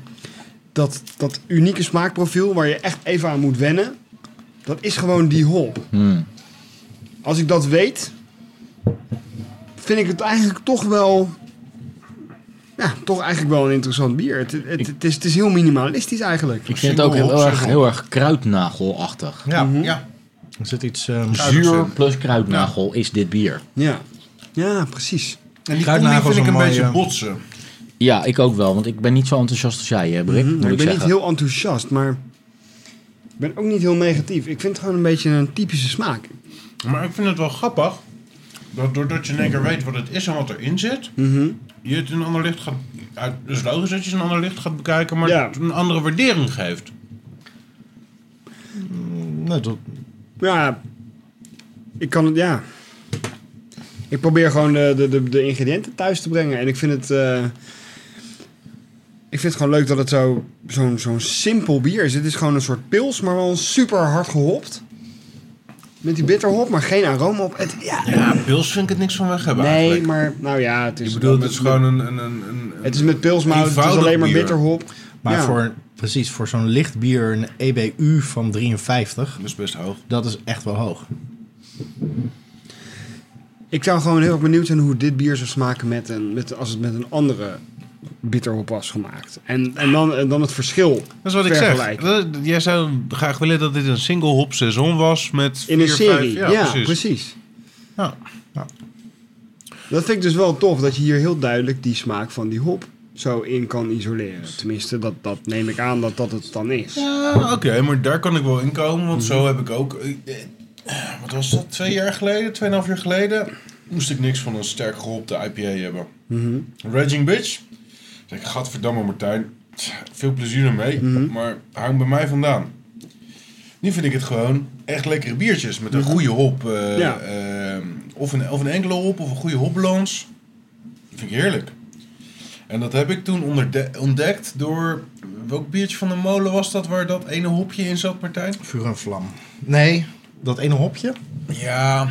S3: dat, dat unieke smaakprofiel waar je echt even aan moet wennen, dat is gewoon die hop.
S1: Hmm.
S3: Als ik dat weet, vind ik het eigenlijk toch wel. Ja, toch eigenlijk wel een interessant bier. Het, het, het, is, het is heel minimalistisch eigenlijk.
S1: Ik vind het ook heel erg, heel erg kruidnagelachtig.
S5: Ja,
S3: Mhm.
S5: ja. Er zit iets ehm,
S1: Zuur plus kruidnagel is dit bier.
S3: Ja. ja, precies.
S2: En die
S1: Kruidnagels
S2: koeling vind ik een
S1: een
S2: beetje
S1: mooie-
S2: botsen.
S1: Ja, ik ook wel, want ik ben niet zo enthousiast als jij, hè, Brik.
S3: Mhm,
S1: moet
S3: maar
S1: ik
S3: ik ben
S1: zeggen.
S3: niet heel enthousiast, maar ik ben ook niet heel negatief. Ik vind het gewoon een beetje een typische smaak.
S2: Maar ik vind het wel grappig. Dat doordat je in één keer weet wat het is en wat erin zit.
S3: Mhm.
S2: Je het in een ander licht gaat... uit- dus Het is logisch dat je het in een ander licht gaat bekijken. Maar het een andere waardering geeft.
S5: nou, dat-
S3: Ja, ik kan het, ja. Ik probeer gewoon de, de, de, de ingrediënten thuis te brengen. En ik vind het, eh, ik vind het gewoon leuk dat het zo, zo'n, zo'n simpel bier is. Het is gewoon een soort pils, maar wel super hard gehopt. Met die bitterhop, maar geen aroma op. Het, ja,
S2: Ja, pils vind ik het niks van weg hebben
S3: nee,
S2: eigenlijk.
S3: maar nou ja, het is...
S2: Ik bedoel,
S3: wel
S2: het is
S3: met-
S2: gewoon een... een, een, een
S3: Het is met pilsmout, het is
S2: eenvoudig
S3: alleen maar
S2: bier.
S3: bitterhop.
S5: Maar
S3: Ja.
S5: voor, precies, voor zo'n licht bier een EBU van 53. Dat
S2: is best hoog.
S5: Dat is echt wel hoog.
S3: Ik zou gewoon heel erg benieuwd zijn hoe dit bier zou smaken met een, met, als het met een andere bitterhop was gemaakt. En, en, dan, en dan het verschil
S2: Dat is wat ik zeg. Dat- Jij zou graag willen dat dit een single hop seizoen was met
S3: In een
S2: vier,
S3: serie,
S2: vijf-
S3: ja, precies.
S5: Ja.
S3: Dat vind ik dus wel tof, dat je hier heel duidelijk die smaak van die hop zo in kan isoleren. Tenminste, dat, dat neem ik aan dat dat het dan is. Mhm.
S2: Ja, oké, maar daar kan ik wel in komen. Want zo heb ik ook... eh, eh, Wat was dat? Twee jaar geleden? Tweeënhalf jaar geleden? Moest ik niks van een sterk gehopte IPA hebben. Raging Bitch. Ik Zeg, gadverdamme Martijn. Veel plezier ermee, maar hou hem bij mij vandaan. Nu vind ik het gewoon echt lekkere biertjes met een goede hop. eh,
S3: Mhm. Ja.
S2: eh, of, een, of een enkele hop of een goede hopbalans. Dat vind ik heerlijk. En dat heb ik toen onderde- ontdekt door... Welk biertje van de molen was dat waar dat ene hopje in zat, Martijn?
S5: Vuur en vlam. Nee, dat ene hopje.
S2: Ja.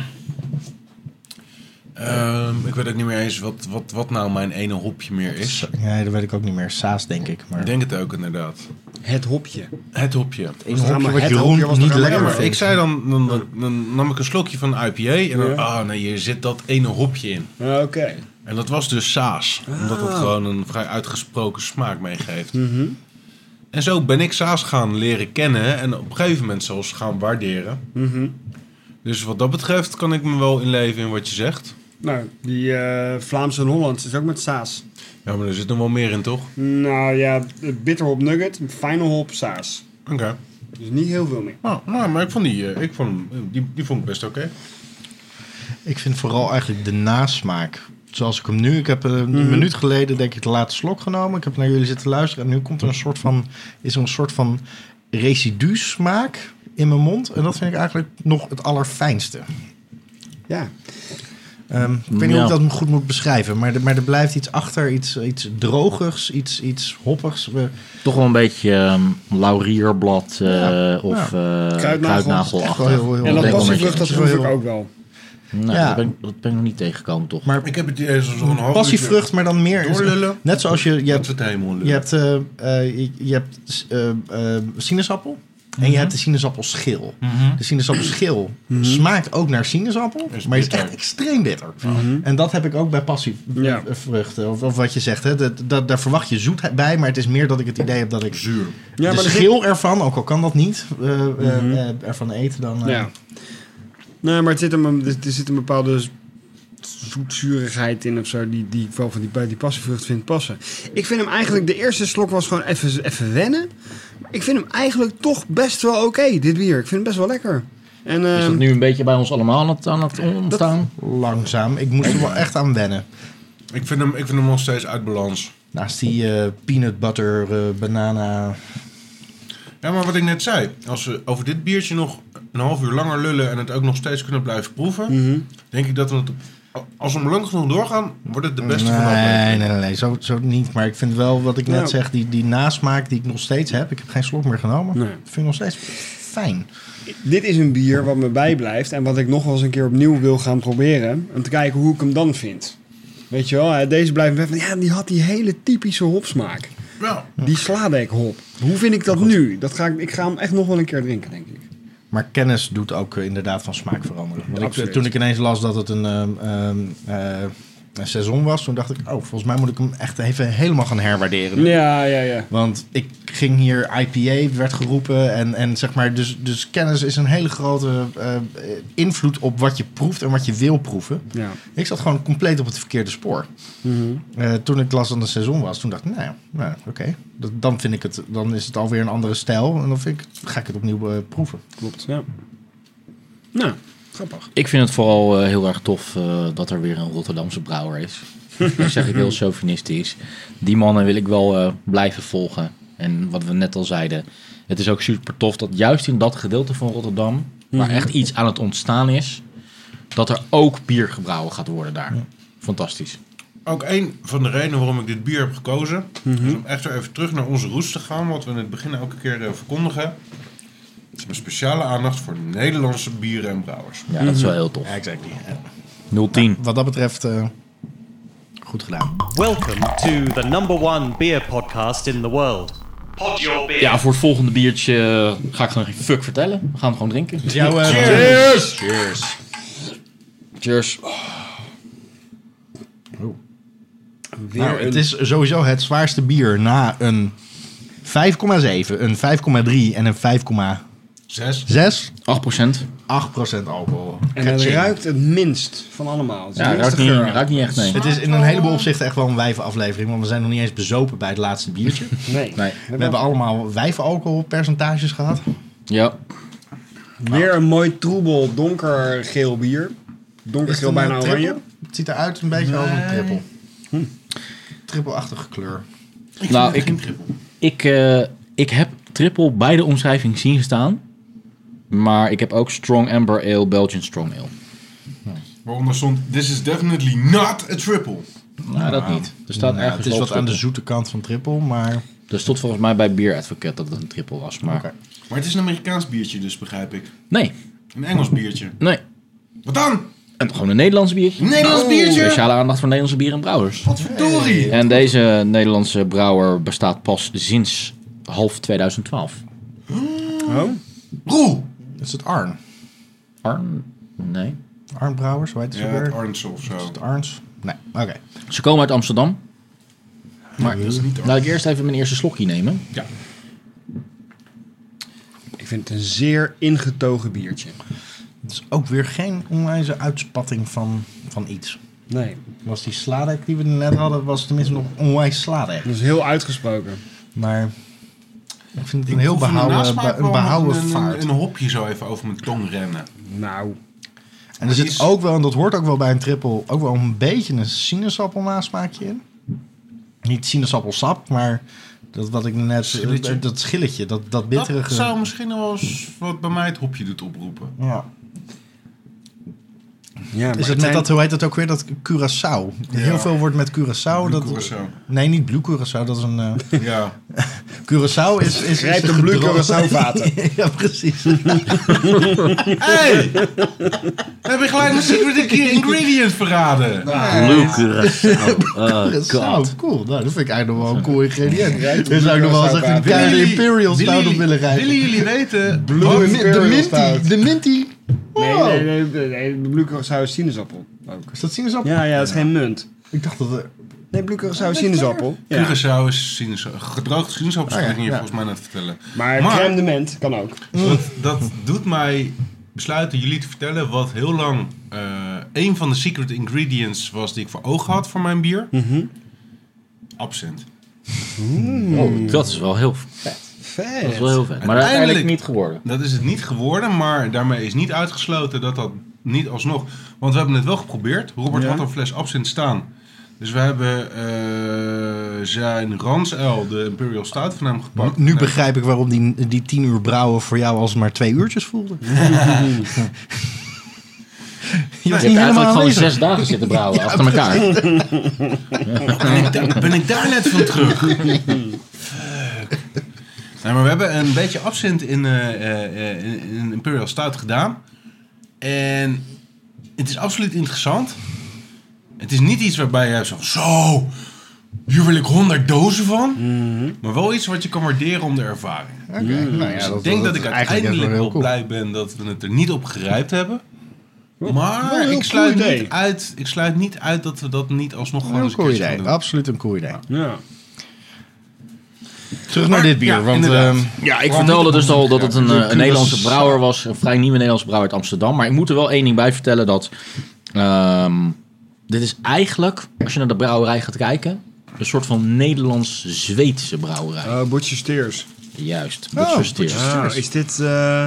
S2: Ehm, ik weet ook niet meer eens wat, wat, wat nou mijn ene hopje meer is.
S5: Nee, dat weet ik ook niet meer. Saas, denk ik. Maar...
S2: Ik denk het ook inderdaad.
S3: Het hopje.
S2: Het hopje. Het
S5: ene hopje wat Jeroen niet lekker vindt.
S2: Ik zei dan, dan, dan, dan nam ik een slokje van een IPA en dan, ah nee, hier zit dat ene hopje in.
S3: Eh, Oké.
S2: En dat was dus saas. Omdat het
S3: Ah.
S2: gewoon een vrij uitgesproken smaak meegeeft.
S5: Mhm.
S2: En zo ben ik saas gaan leren kennen en op een gegeven moment
S5: Mhm.
S3: Mhm.
S2: zelfs gaan waarderen. Dus wat dat betreft kan ik me wel inleven in wat je zegt.
S3: Nou, die eh, Vlaamse en Hollandse is ook met saas.
S2: Ja, maar er zit nog wel meer in, toch?
S3: Nou ja, bitterhop nugget, fijne hop saas.
S2: Oké.
S3: Dus niet heel veel meer.
S2: Nou, nou, maar ik vond die, eh, ik vond, hem- die, die vond ik best oké.
S5: Ik vind vooral eigenlijk de nasmaak. Zoals ik hem nu... Ik heb eh, een
S3: Mhm.
S5: minuut geleden denk ik de laatste slok genomen. Ik heb naar jullie zitten luisteren. En nu komt er een soort van... Is er een soort van residu smaak in mijn mond. En dat vind ik eigenlijk nog het allerfijnste.
S3: Ja.
S5: Ehm, ik weet niet
S3: Ja.
S5: of ik dat goed moet beschrijven. Maar, er- maar er blijft iets achter. Iets, iets drogers. Iets, iets hoppigs. We-
S1: Toch wel een beetje ehm, laurierblad eh, of eh kruidnagel
S5: En dat
S1: passievrucht,
S5: dat
S3: proef ik ook wel.
S1: Nou,
S5: Ja.
S1: dat, ben, ik- dat ben ik nog niet tegengekomen, toch?
S5: Maar
S2: ik heb het idee zo'n half
S5: Passievrucht, maar dan meer.
S1: Doorlullen.
S5: Net zoals je... je hebt,
S2: helemaal
S5: je hebt, eh, eh, je, je hebt s- eh, eh, sinaasappel. En je
S1: Mhm.
S5: hebt de sinaasappelschil.
S1: Mhm.
S5: De sinaasappelschil
S1: Mhm.
S5: smaakt ook naar sinaasappel,
S1: Is
S5: maar is
S1: bitter.
S5: echt extreem bitter. En dat heb ik ook bij passievruchten. Of, of wat je zegt, hè, dat, dat, daar verwacht je zoetheid bij, maar het is meer dat ik het idee heb dat ik
S2: zuur.
S5: Ja,
S3: maar
S5: de
S3: er zit-
S5: schil ervan, ook al kan dat niet, eh, eh,
S3: Mhm.
S5: eh, ervan eten dan. eh,
S3: Ja. Nee, maar het zit een, er er zit een bepaalde z- zoetzurigheid in of zo, die, die ik wel van die, bij die passievrucht vind passen. Ik vind hem eigenlijk, de eerste slok was gewoon even, even wennen. Maar ik vind hem eigenlijk toch best wel oké, dit bier. Ik vind hem best wel lekker. En,
S1: Is dat
S3: ehm,
S1: nu een beetje bij ons allemaal aan het, aan het ontstaan?
S5: Langzaam. Ik moest er wel echt aan wennen.
S2: Ik vind hem, ik vind hem nog steeds uit balans.
S5: Naast die eh, peanut butter, eh, banana.
S2: Ja, maar wat ik net zei. Als we over dit biertje nog een half uur langer lullen en het ook nog steeds kunnen blijven proeven.
S5: Mhm.
S2: Denk ik dat we het, als we hem lang genoeg doorgaan, wordt het de beste
S5: nee,
S2: van de
S5: nee,
S2: aflevering.
S5: nee, nee, zo, zo niet. Maar ik vind wel wat ik net
S2: Ja.
S5: zeg, die, die nasmaak die ik nog steeds heb. Ik heb geen slok meer genomen.
S3: Nee.
S5: Vind ik nog steeds fijn.
S3: Dit is een bier wat me bijblijft en wat ik nog wel eens een keer opnieuw wil gaan proberen. Om te kijken hoe ik hem dan vind. Weet je wel, hè, deze blijft me van, ja, die had die hele typische hopsmaak.
S2: Ja.
S3: Die sladekhop. Hoe vind ik dat
S5: Oh,
S3: nu? Dat ga ik, ik ga hem echt nog wel een keer drinken, denk ik.
S5: Maar kennis doet ook eh, inderdaad van smaak veranderen. Want ik,
S3: Absoluut.
S5: toen ik ineens las dat het een, ehm, ehm, eh, een seizoen was, toen dacht ik, oh, volgens mij moet ik hem echt even helemaal gaan herwaarderen.
S3: Ja, ja, ja.
S5: Want ik ging hier IPA, werd geroepen. En, en zeg maar, dus, dus kennis is een hele grote eh, eh, invloed op wat je proeft en wat je wil proeven.
S3: Ja.
S5: Ik zat gewoon compleet op het verkeerde spoor.
S3: Mhm.
S5: Eh, toen ik las dat het seizoen was, toen dacht ik, nou, ja, nou oké. Dat- Dan vind ik het, dan is het alweer een andere stijl. En dan vind ik, ga ik het opnieuw eh, proeven.
S3: Klopt, ja. Nou, grappig.
S1: Ik vind het vooral eh, heel erg tof eh, dat er weer een Rotterdamse brouwer is. dat zeg ik heel chauvinistisch. Die mannen wil ik wel eh, blijven volgen. En wat we net al zeiden, het is ook super tof dat juist in dat gedeelte van Rotterdam, waar
S15: Mhm.
S1: echt iets aan het ontstaan is, dat er ook bier gebrouwen gaat worden daar. Fantastisch.
S2: Ook een van de redenen waarom ik dit bier heb gekozen.
S5: Mhm.
S2: Is om echt weer even terug naar onze roots te gaan. Wat we in het begin elke keer eh, verkondigen. Is een speciale aandacht voor Nederlandse bieren en brouwers.
S1: Ja, dat is wel heel tof.
S5: Exactly.
S1: 010.
S5: wat dat betreft, eh, goed gedaan.
S4: Welcome to the number one beer podcast in the world. Pod your beer.
S1: Ja, voor het volgende biertje eh, ga ik gewoon geen fuck vertellen. We gaan hem gewoon drinken.
S5: Jouw, eh,
S1: Cheers!
S5: Cheers!
S1: Cheers. Cheers.
S5: Oh. Nou, het is sowieso het zwaarste bier na een 5,7, een 5,3 en een
S2: 5,6.
S5: 6?
S1: 8 procent.
S5: 8 procent alcohol.
S3: En het
S5: Ketching.
S3: ruikt het minst van allemaal. Het is
S5: Ja,
S3: de
S5: ruikt
S3: minste
S5: niet-
S3: geur.
S1: ruikt niet echt, nee.
S5: Het is in een heleboel opzichten echt wel een wijvenaflevering, want we zijn nog niet eens bezopen bij het laatste biertje.
S3: <laughs> Nee.
S5: We hebben allemaal wijvenalcoholpercentages gehad. Nou,
S1: Ja.
S3: Weer een mooi troebel donkergeel bier.
S5: Is het nou
S3: Donkergeel
S5: een
S3: bijna
S5: triple?
S3: oranje.
S5: Het ziet eruit een beetje als een
S3: Nee. Hm.
S5: trippel. Trippelachtige kleur.
S1: nou, ik, ik, eh, ik heb triple bij de omschrijving zien staan. Maar ik heb ook Strong Amber Ale, Belgian Strong Ale.
S2: Waaronder stond, this is definitely not a triple.
S1: Nou, dat niet. Er staat
S5: Nou,
S1: ergens
S5: het is
S1: wel
S5: wat aan de
S1: triple.
S5: zoete kant van trippel, maar...
S1: Er stond volgens mij bij Beer Advocate dat het een triple was. Maar
S2: Maar het is een Amerikaans biertje dus, begrijp ik.
S1: nee,
S2: Een Engels biertje.
S1: nee.
S2: Wat dan?
S1: En gewoon een Nederlands biertje. Oh.
S2: Een Nederlands biertje?
S1: Speciale aandacht voor Nederlandse bieren en brouwers. Wat
S2: verdorie.
S1: En deze Nederlandse brouwer bestaat pas sinds half 2012.
S3: Oh.
S2: Roe!
S5: Is het Arn?
S1: Arn? Nee.
S5: Arn Brouwers, hoe heet het
S2: Ja,
S5: ook weer?
S2: het Arns of zo.
S5: Is het Arns? Nee, oké.
S1: Ze komen uit Amsterdam. Maar
S5: Nee, dat is niet Arn.
S1: laat ik eerst even mijn eerste slokje nemen.
S2: Ja.
S3: Ik vind het een zeer ingetogen biertje.
S5: Het is ook weer geen onwijze uitspatting van, van iets.
S3: Nee.
S5: Was die sladek die we net hadden, was tenminste nog onwijs sladek.
S3: Dat is heel uitgesproken.
S5: Maar ik vind het <laughs> een
S2: Ik
S5: heel
S2: voel van de
S5: behouden,
S2: nasmaak
S5: be- een
S2: wel
S5: behouden
S2: een- een-
S5: vaart.
S2: Een hopje zo even over mijn tong rennen.
S3: Nou.
S5: En er zit ook wel, en dat hoort ook wel bij een triple, ook wel een beetje een sinaasappel nasmaakje in. Niet sinaasappelsap, maar dat wat ik net...
S2: Schilletje.
S5: Dat schilletje, dat, dat
S2: Dat
S5: bitterige...
S2: zou misschien nog wel eens wat bij mij het hopje doet oproepen.
S5: Ja.
S3: Ja,
S5: is het net dat, hoe heet dat ook weer, dat Curaçao? Heel veel wordt met Curaçao. dat,
S2: Curaçao.
S5: Nee, niet Blue Curaçao, dat is een... eh,
S2: <laughs> Ja.
S5: Curaçao is... is
S2: Grijp
S5: is
S2: de Blue
S5: gedroogde-
S2: Curaçao vaten.
S5: <laughs> ja,
S2: <laughs>
S5: precies.
S2: hey! Dan heb je gelijk mijn secret <laughs> ingredient verraden.
S5: Blue <laughs>
S2: Curaçao.
S1: Oh,
S5: Curaçao, cool. Nou, dat vind ik eigenlijk nog wel een cool ingrediënt.
S2: Rijkt
S5: Daar zou ik nog wel eens echt een
S2: Willen
S5: keiharde
S2: jullie-
S5: Imperial
S2: willen
S5: Stout op
S2: jullie-
S5: willen rijden.
S2: Willen
S3: <laughs>
S2: jullie weten...
S5: Blue
S2: wat-
S5: Imperial Stout. De minty. Wow.
S3: Nee, nee, nee, nee, de Blue Curaçao is sinaasappel. Ook.
S5: Is dat sinaasappel?
S3: Ja, ja, dat is geen munt.
S5: Ik dacht dat... Oh, Er...
S3: Nee, Blue Curaçao is sinaasappel. Ja.
S2: Curaçao is sinaasappel. Gedroogd sinaasappel,
S5: Ah,
S3: Oh ja,
S2: dat ging je
S3: ja.
S2: volgens mij net vertellen.
S3: Maar, crème de ment kan ook.
S2: dat, dat doet mij besluiten jullie te vertellen wat heel lang eh, een van de secret ingredients was die ik voor ogen had voor mijn bier. Absent. Hmm.
S1: Oh, dat is wel heel vet. Dat is wel heel vet. Maar uiteindelijk niet geworden.
S2: Dat is het niet geworden, maar daarmee is niet uitgesloten dat dat niet alsnog. Want we hebben het wel geprobeerd. Robert
S3: Ja.
S2: had een fles absint staan. Dus we hebben eh, zijn Ransel, de Imperial Stout, van hem gepakt.
S5: Nu begrijp ik waarom die, die tien uur brouwen voor jou als maar twee uurtjes
S1: <laughs>
S5: voelde.
S1: Je
S5: was
S1: hebt
S5: niet
S1: eigenlijk
S5: helemaal
S1: gewoon
S5: aanwezig.
S1: zes dagen zitten brouwen
S5: Ja,
S1: achter elkaar.
S2: ben, ik, ben ik daar net van terug? Nee, maar we hebben een beetje absint in, eh, eh, eh, in, in Imperial Stout gedaan. En het is absoluut interessant. Het is niet iets waarbij je zo... Zo, hier wil ik 100 dozen van.
S5: Mhm.
S2: Maar wel iets wat je kan waarderen om de ervaring.
S5: Oké,
S2: Dus
S5: nou ja,
S2: ik
S5: dat-
S2: denk
S5: dat
S2: dat,
S5: is eigenlijk
S2: ik
S5: echt wel
S2: uiteindelijk
S5: heel
S2: wel
S5: cool.
S2: blij ben dat we het er niet op gerijpt hebben.
S5: Wel een
S2: Maar
S5: heel
S2: ik sluit,
S5: cool idee.
S2: niet uit, ik sluit niet uit dat we dat niet alsnog gewoon
S5: Een
S2: eens
S5: cool
S2: keertje
S5: idee,
S2: gaan doen.
S5: absoluut een cool idee.
S3: Ja.
S5: Terug naar dit bier,
S1: Ah, Ja,
S5: want...
S1: inderdaad.
S5: ehm,
S1: ja, ik
S5: waarom
S1: vertelde
S5: niet?
S1: dus al dat het een,
S5: Ja,
S1: eh,
S5: Curaçao.
S1: een Nederlandse brouwer was. Een vrij nieuwe Nederlandse brouwer uit Amsterdam. Maar ik moet er wel één ding bij vertellen. Dat ehm, dit is eigenlijk, als je naar de brouwerij gaat kijken... een soort van Nederlands-Zweedse brouwerij.
S3: Uh, Butcher Steers.
S1: Juist,
S3: Oh,
S1: Butcher
S3: Butcher Steers.
S5: Ah,
S1: Steers.
S3: is dit... eh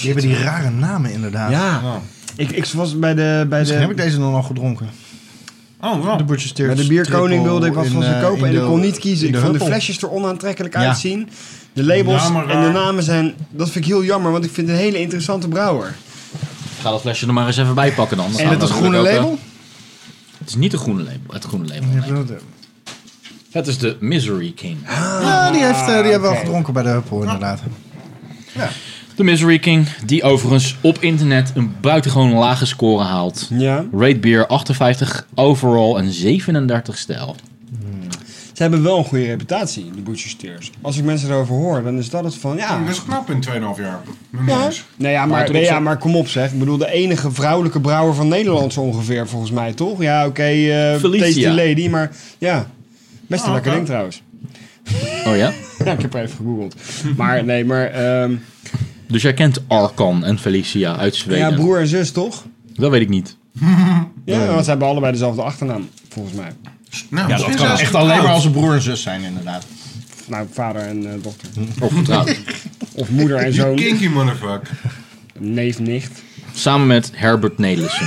S5: Die hebben die rare namen inderdaad.
S3: Ja. Ik, ik was bij de... Bij
S5: Misschien
S3: de
S5: heb ik deze dan al gedronken.
S2: Oh, ja.
S5: De Butcher Steers
S3: Bij de bierkoning
S5: triple
S3: wilde ik wat
S5: in,
S3: van ze
S5: eh,
S3: kopen
S5: in
S3: en ik
S5: de-
S3: kon niet kiezen.
S5: in
S3: Ik vond de
S5: Huppel.
S3: flesjes er onaantrekkelijk
S5: Ja.
S3: uitzien. De labels
S5: Ja, maar
S3: en de
S5: raar.
S3: namen zijn... Dat vind ik heel jammer, want ik vind het een hele interessante brouwer.
S1: Ga dat flesje er maar eens even bij pakken dan. Dan
S3: En
S1: gaan
S3: het
S1: we
S3: is
S1: natuurlijk
S3: groene
S1: ook, eh,
S3: label?
S1: Het is niet het groene label. Het groene label. Het is de Misery King.
S5: Ja, die, heeft, eh, die hebben we al gedronken bij de Huppel inderdaad.
S1: De Misery King, die overigens op internet een buitengewoon lage score haalt.
S3: Ja.
S1: Rate beer 58 overall en 37 stijl.
S3: Ze hebben wel een goede reputatie, de Butcher Steers. Als ik mensen erover hoor, dan is dat het van... Ja,
S2: Dat is knap in 2,5 jaar.
S3: Ja. Nee, Nou ja, maar,
S2: Maar ten
S3: nee, ja,
S2: opzichte-
S3: maar kom op zeg. Ik bedoel, de enige vrouwelijke brouwer van Nederland zo ongeveer, volgens mij, toch? Ja, oké, eh
S1: Felicia.
S3: Tasty Lady, maar ja. Best een
S1: Ah,
S3: lekker
S1: oké.
S3: ding trouwens. <laughs>
S1: Oh ja?
S3: ja, ik heb er even gegoogeld. Maar nee, maar... ehm,
S1: Dus jij kent Arkan en Felicia uit Zweden?
S3: ja, broer en zus, toch?
S1: Dat weet ik
S3: <laughs>
S1: niet.
S3: Ja, want ze hebben allebei dezelfde achternaam, volgens mij.
S5: Nou, ja, dat kan echt alleen maar als ze broer en zus zijn inderdaad. Hm,
S3: Nou, vader en eh, dochter.
S1: Of getrouwd.
S3: <laughs> Of moeder en
S2: You
S3: zoon.
S2: kinky motherfucker.
S3: Neef, nicht.
S1: Samen met Herbert Nelissen.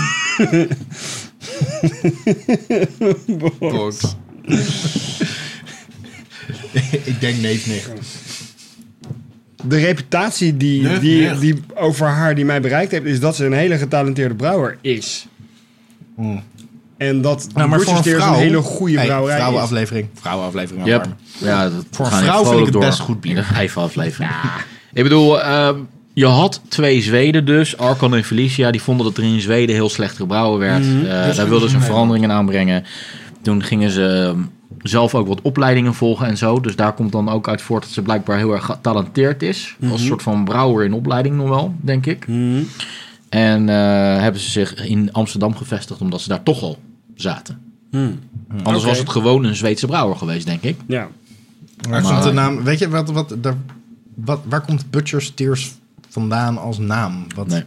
S5: Box. <laughs> ik denk neef nicht.
S3: De reputatie die,
S5: Neuf,
S3: die,
S5: neuf.
S3: die over haar die mij bereikt heeft, is dat ze een hele getalenteerde brouwer is.
S5: Hmm.
S3: En dat
S5: Nou, maar voor een
S3: Butcher Steers
S5: vrouw...
S3: een hele goede
S5: Hey,
S3: brouwerij is.
S5: Vrouwenaflevering. Vrouwenaflevering.
S1: Yep.
S5: alarm.
S1: Ja, dat
S5: Voor
S1: we
S5: een
S1: gaan hier
S5: vrouw vind ik
S1: vrolijk
S5: het
S1: door.
S5: best goed bier.
S1: <laughs> In een vijf aflevering. Ik bedoel, ehm, je had twee Zweden dus, Arkan en Felicia, die vonden dat er in Zweden heel slecht gebrouwen werd.
S15: Mhm.
S1: Eh,
S15: Dus
S1: daar
S15: gingen
S1: wilden
S15: ze
S1: ze een
S15: mee.
S1: verandering in aanbrengen. Toen gingen ze ehm, zelf ook wat opleidingen volgen en zo. Dus daar komt dan ook uit voort dat ze blijkbaar heel erg getalenteerd is. Als soort van brouwer in opleiding nog wel, denk ik. En eh, hebben ze zich in Amsterdam gevestigd omdat ze daar toch al zaten. Anders was het gewoon een Zweedse brouwer geweest, denk ik.
S3: Ja.
S5: Waar
S1: Maar-
S5: komt de naam... Weet je, wat, wat, daar, wat, waar komt Butcher Steers vandaan als naam? Wat,
S1: Nee,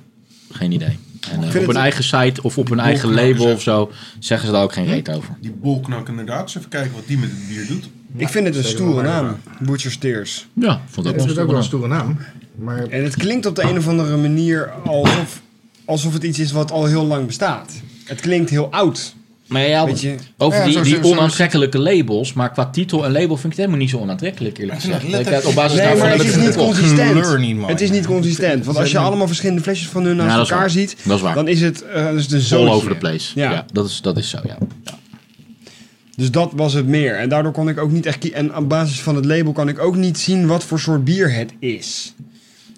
S1: geen idee. En, eh,
S2: Ik vind
S1: op
S2: het-
S1: hun eigen site of op hun
S2: Die
S1: eigen
S2: bolknakkers,
S1: label of zo zeggen ze daar ook geen reet over.
S2: Die bolknak inderdaad. Eens even kijken wat die met het bier doet.
S3: Ik vind het een
S2: Zeker
S3: stoere
S2: waar.
S3: naam. Butcher's Tears.
S1: Ja, vond
S5: ik ook wel een stoere naam. Maar...
S3: En het klinkt op de een of andere manier alsof, alsof het iets is wat al heel lang bestaat. Het klinkt heel oud.
S1: Maar ja,
S3: Weet je- nou
S1: over
S3: Ja,
S1: die,
S3: zo-
S1: die
S3: zo- zo-
S1: onaantrekkelijke labels, maar qua titel en label vind ik het helemaal niet zo onaantrekkelijk eerlijk gezegd. Ik heb op basis
S3: nee,
S1: daarvan
S3: maar
S1: heb
S3: het
S1: ik
S3: is niet
S1: gekocht.
S3: consistent. Het is niet consistent. Want als je
S1: Zijn-
S3: allemaal verschillende flesjes van hun
S1: Ja,
S3: naast
S1: dat is
S3: elkaar
S1: waar.
S3: ziet,
S1: Dat is waar.
S3: dan is het eh, dat is de
S1: All
S3: zootje.
S1: over the place. Ja,
S3: Ja.
S1: dat, is, dat is zo, ja.
S3: Dus dat was het meer. En daardoor kon ik ook niet echt... kie- En op basis van het label kan ik ook niet zien wat voor soort bier het is.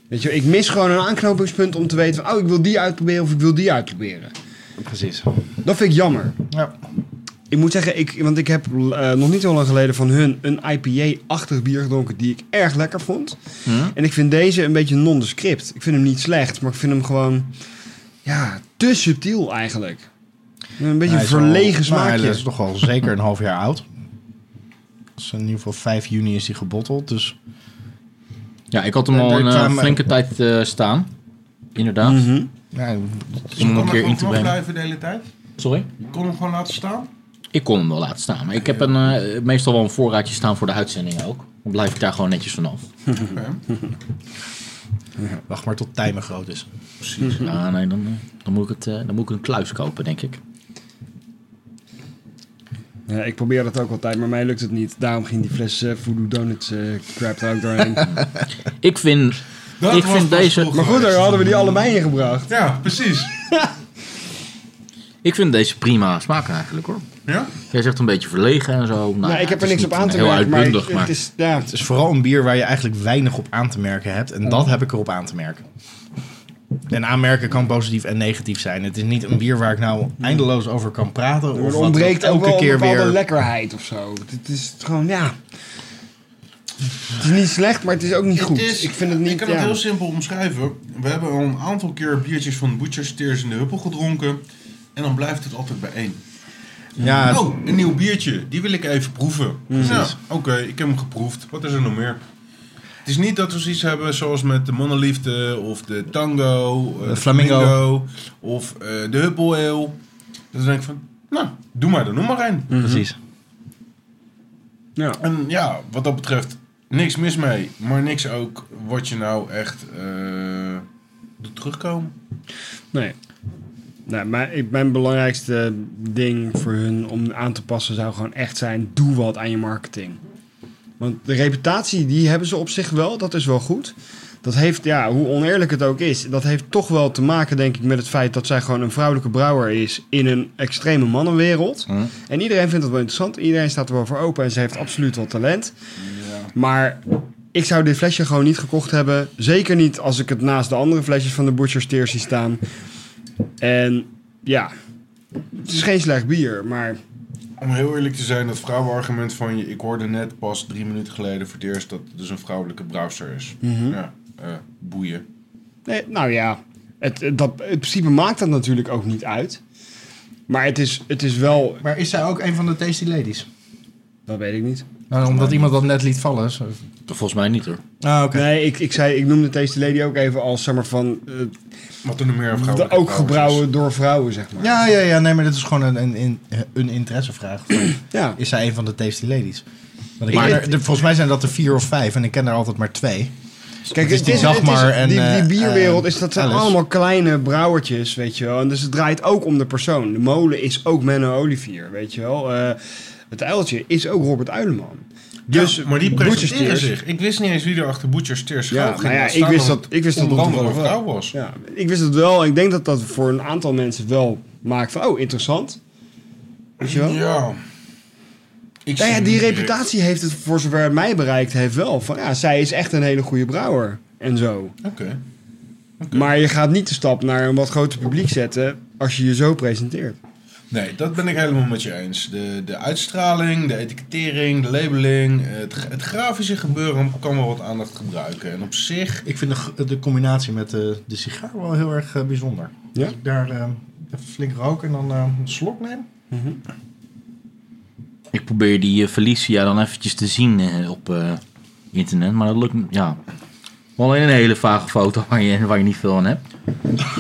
S3: Weet je, ik mis gewoon een aanknopingspunt om te weten van... Oh, ik wil die uitproberen of ik wil die uitproberen.
S12: Precies.
S3: Dat vind ik jammer.
S5: Ja.
S3: Ik moet zeggen, ik, want ik heb eh, nog niet heel lang geleden van hun een IPA-achtig bier gedronken die ik erg lekker vond.
S5: Hm?
S3: En ik vind deze een beetje nondescript. Ik vind hem niet slecht, maar ik vind hem gewoon ja, te subtiel eigenlijk. Een beetje een verlegen smaakje.
S5: Dat is toch wel zeker een half jaar oud. Dus in ieder geval 5 juni is die gebotteld. Dus
S1: Ja, ik had hem
S5: Nee,
S1: al
S5: nee,
S1: een
S5: ik
S1: eh,
S5: kwam-
S1: flinke tijd eh, staan. Inderdaad.
S3: Mhm.
S5: ja,
S2: Dus
S1: Om hem een keer in te
S2: Gewoon
S1: brengen.
S2: blijven de hele tijd.
S1: Sorry?
S2: Je kon hem gewoon laten
S1: <laughs>
S2: staan.
S1: Ik kon hem wel laten staan. Maar ik heb een, eh, meestal wel een voorraadje staan voor de uitzendingen ook. Dan blijf ik daar gewoon netjes vanaf.
S3: <laughs>
S5: <laughs> Wacht maar tot tijmen groot is.
S1: Precies. Ja, nee, dan, eh, dan, moet ik het, eh, dan moet ik een kluis kopen, denk ik.
S3: Ja, ik probeer dat ook altijd, maar mij lukt het niet. Daarom ging die fles eh, Voodoo Donuts eh, crap er ook doorheen.
S1: ik vind,
S2: Dat
S1: ik
S2: was
S1: vind
S2: pas
S1: deze...
S3: Maar goed, daar hadden we die allebei in gebracht.
S2: Ja, precies.
S1: Ik vind deze prima smaken eigenlijk hoor.
S2: Ja?
S1: Jij zegt een beetje verlegen en zo. Nou,
S3: Nou,
S1: ja,
S3: ik heb
S1: het
S3: er
S1: is
S3: niks op
S1: niet
S3: aan te
S1: heel
S3: merken, maar
S1: uitbundig,
S3: het is- ja.
S5: Het is vooral een bier waar je eigenlijk weinig op aan te merken hebt. En dat heb ik erop aan te merken. En aanmerken kan positief en negatief zijn. Het is niet een bier waar ik nou eindeloos over kan praten.
S3: Er
S5: Of wat
S3: ontbreekt
S5: elke
S3: ook wel
S5: keer
S3: een bepaalde
S5: weer.
S3: lekkerheid of zo. Het is gewoon, ja... Het is niet slecht, maar het is ook niet goed.
S2: Het is-
S3: ik vind het niet...
S2: Ik kan
S3: ja.
S2: het heel simpel omschrijven. We hebben al een aantal keer biertjes van Butcher's Tears in de Huppel gedronken. En dan blijft het altijd bij één.
S5: Ja.
S2: Oh, een nieuw biertje. Die wil ik even proeven. Nou, oké, ik heb hem geproefd. Wat is er nog meer? Het is niet dat we zoiets hebben zoals met de Mannenliefde of de Tango. eh,
S5: De Flamingo.
S2: Of eh, de Huppel Ale. Dan denk ik van, nou, doe maar er nog maar één.
S5: Precies.
S3: Ja.
S2: Mhm. En ja, wat dat betreft, niks mis mee. Maar niks ook wat je nou echt eh, doet terugkomen.
S3: Nee. Nee, maar ik, mijn belangrijkste ding voor hun om aan te passen zou gewoon echt zijn: doe wat aan je marketing. Want de reputatie die hebben ze op zich wel, dat is wel goed. Dat heeft, ja, hoe oneerlijk het ook is, dat heeft toch wel te maken, denk ik, met het feit dat zij gewoon een vrouwelijke brouwer is in een extreme mannenwereld. En iedereen vindt dat wel interessant, iedereen staat er wel voor open en ze heeft absoluut wel talent. Maar ik zou dit flesje gewoon niet gekocht hebben. Zeker niet als ik het naast de andere flesjes van de Butcher's Tears zie staan. En ja, het is geen slecht bier, maar...
S2: Om heel eerlijk te zijn, dat vrouwenargument van je... Ik hoorde net pas drie minuten geleden voor het eerst dat het dus een vrouwelijke brouwster is.
S3: Mhm.
S2: Ja, eh, boeien.
S3: Nee, nou ja, het, het- dat, in principe maakt dat natuurlijk ook niet uit. Maar het is, het is wel...
S5: Maar is zij ook een van de Tasty Ladies?
S3: Dat weet ik niet.
S5: Nou, omdat iemand dat net liet vallen.
S1: Volgens mij niet hoor.
S5: Ah, oké.
S3: Nee, ik, ik, zei, ik noemde Tasty Lady ook even als, zeg maar, van... eh,
S2: Wat er nog meer
S3: de-
S5: vrouwelijke
S3: Ook
S5: brouwers
S3: gebrouwen door vrouwen, zeg maar.
S5: Ja, ja, ja. Nee, maar dit is gewoon een, een, een, een interessevraag. Van,
S3: ja.
S5: Is zij een van de Tasty Ladies? Want ik
S3: Maar-
S5: ken er- de- volgens mij zijn dat er vier of vijf. En ik ken er altijd maar twee.
S3: Kijk,
S5: Dus
S3: het is, het is-
S5: en,
S3: die, die
S5: eh,
S3: bierwereld is
S5: eh,
S3: dat zijn
S5: Alice.
S3: allemaal kleine brouwertjes, weet je wel. En dus het draait ook om de persoon. De molen is ook Menno Olivier, weet je wel. Eh, het uiltje is ook Robert Uileman. Dus
S2: Ja, maar die
S3: Butcher's
S2: presenteren
S3: Tears-
S2: zich. Ik wist niet eens wie er achter Butcher's Tears
S3: Ja,
S2: schuil ging.
S3: nou ja,
S2: Daar
S3: ik
S2: staat
S3: wist
S2: dan
S3: dat- ik wist dat
S2: onder andere een
S3: toevallig
S2: vrouw
S3: wel.
S2: was.
S3: Ja, ik wist het wel. Ik denk dat dat voor een aantal mensen wel maakt van, oh, interessant. Weet je wel?
S2: Ja.
S3: nou ja,
S2: zie
S3: die
S2: niet direct.
S3: reputatie heeft het voor zover het mij bereikt heeft wel. Van ja, zij is echt een hele goede brouwer en zo.
S2: Oké.
S3: Maar je gaat niet de stap naar een wat groter publiek zetten als je je zo presenteert.
S2: Nee, dat ben ik helemaal met je eens. De, de uitstraling, de etikettering, de labeling, het, gra- het grafische gebeuren kan wel wat aandacht gebruiken. En op zich...
S5: Ik vind de, g- de combinatie met eh, de, de sigaar wel heel erg eh, bijzonder.
S3: Ja?
S5: Als ik daar eh, even flink rook en dan eh, een slok neem.
S1: Ik probeer die eh, Felicia dan eventjes te zien eh, op eh, internet, maar dat lukt me- ja. Maar Alleen een hele vage foto waar je, waar je niet veel aan hebt.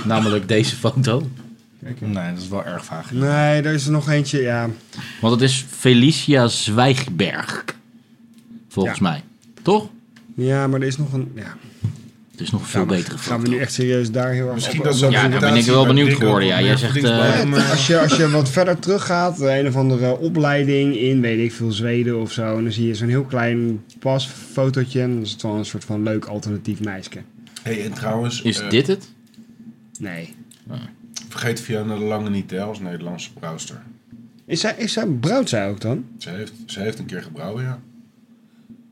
S1: Namelijk deze foto.
S5: Nee, dat is wel erg vaag.
S3: Nee, er is er nog eentje, ja.
S1: Want het is Felicia Zwijgberg. Volgens
S3: Ja.
S1: mij. Toch?
S3: Ja, maar er is nog een... Ja.
S1: Het is nog een veel betere
S3: Gaan we nu echt serieus daar heel erg
S1: Misschien
S3: op-
S1: dat ze Ja, daar ben ik wel benieuwd bij Dick geworden, ook ja. Jij op zegt, linksbuiten, eh, maar-
S3: als, je, als je wat verder teruggaat, eh, een of andere opleiding in, weet ik veel, Zweden of zo. En dan zie je zo'n heel klein pasfotootje. En dan is het wel een soort van leuk alternatief meisje.
S2: hey, en trouwens...
S3: Is
S2: eh,
S3: dit het? Nee.
S2: Vergeet Fiona de Lange niet, hè, als Nederlandse brouwster.
S3: Is zij, is zij, brouwt zij ook dan?
S2: Ze heeft, ze heeft een keer gebrouwen, ja.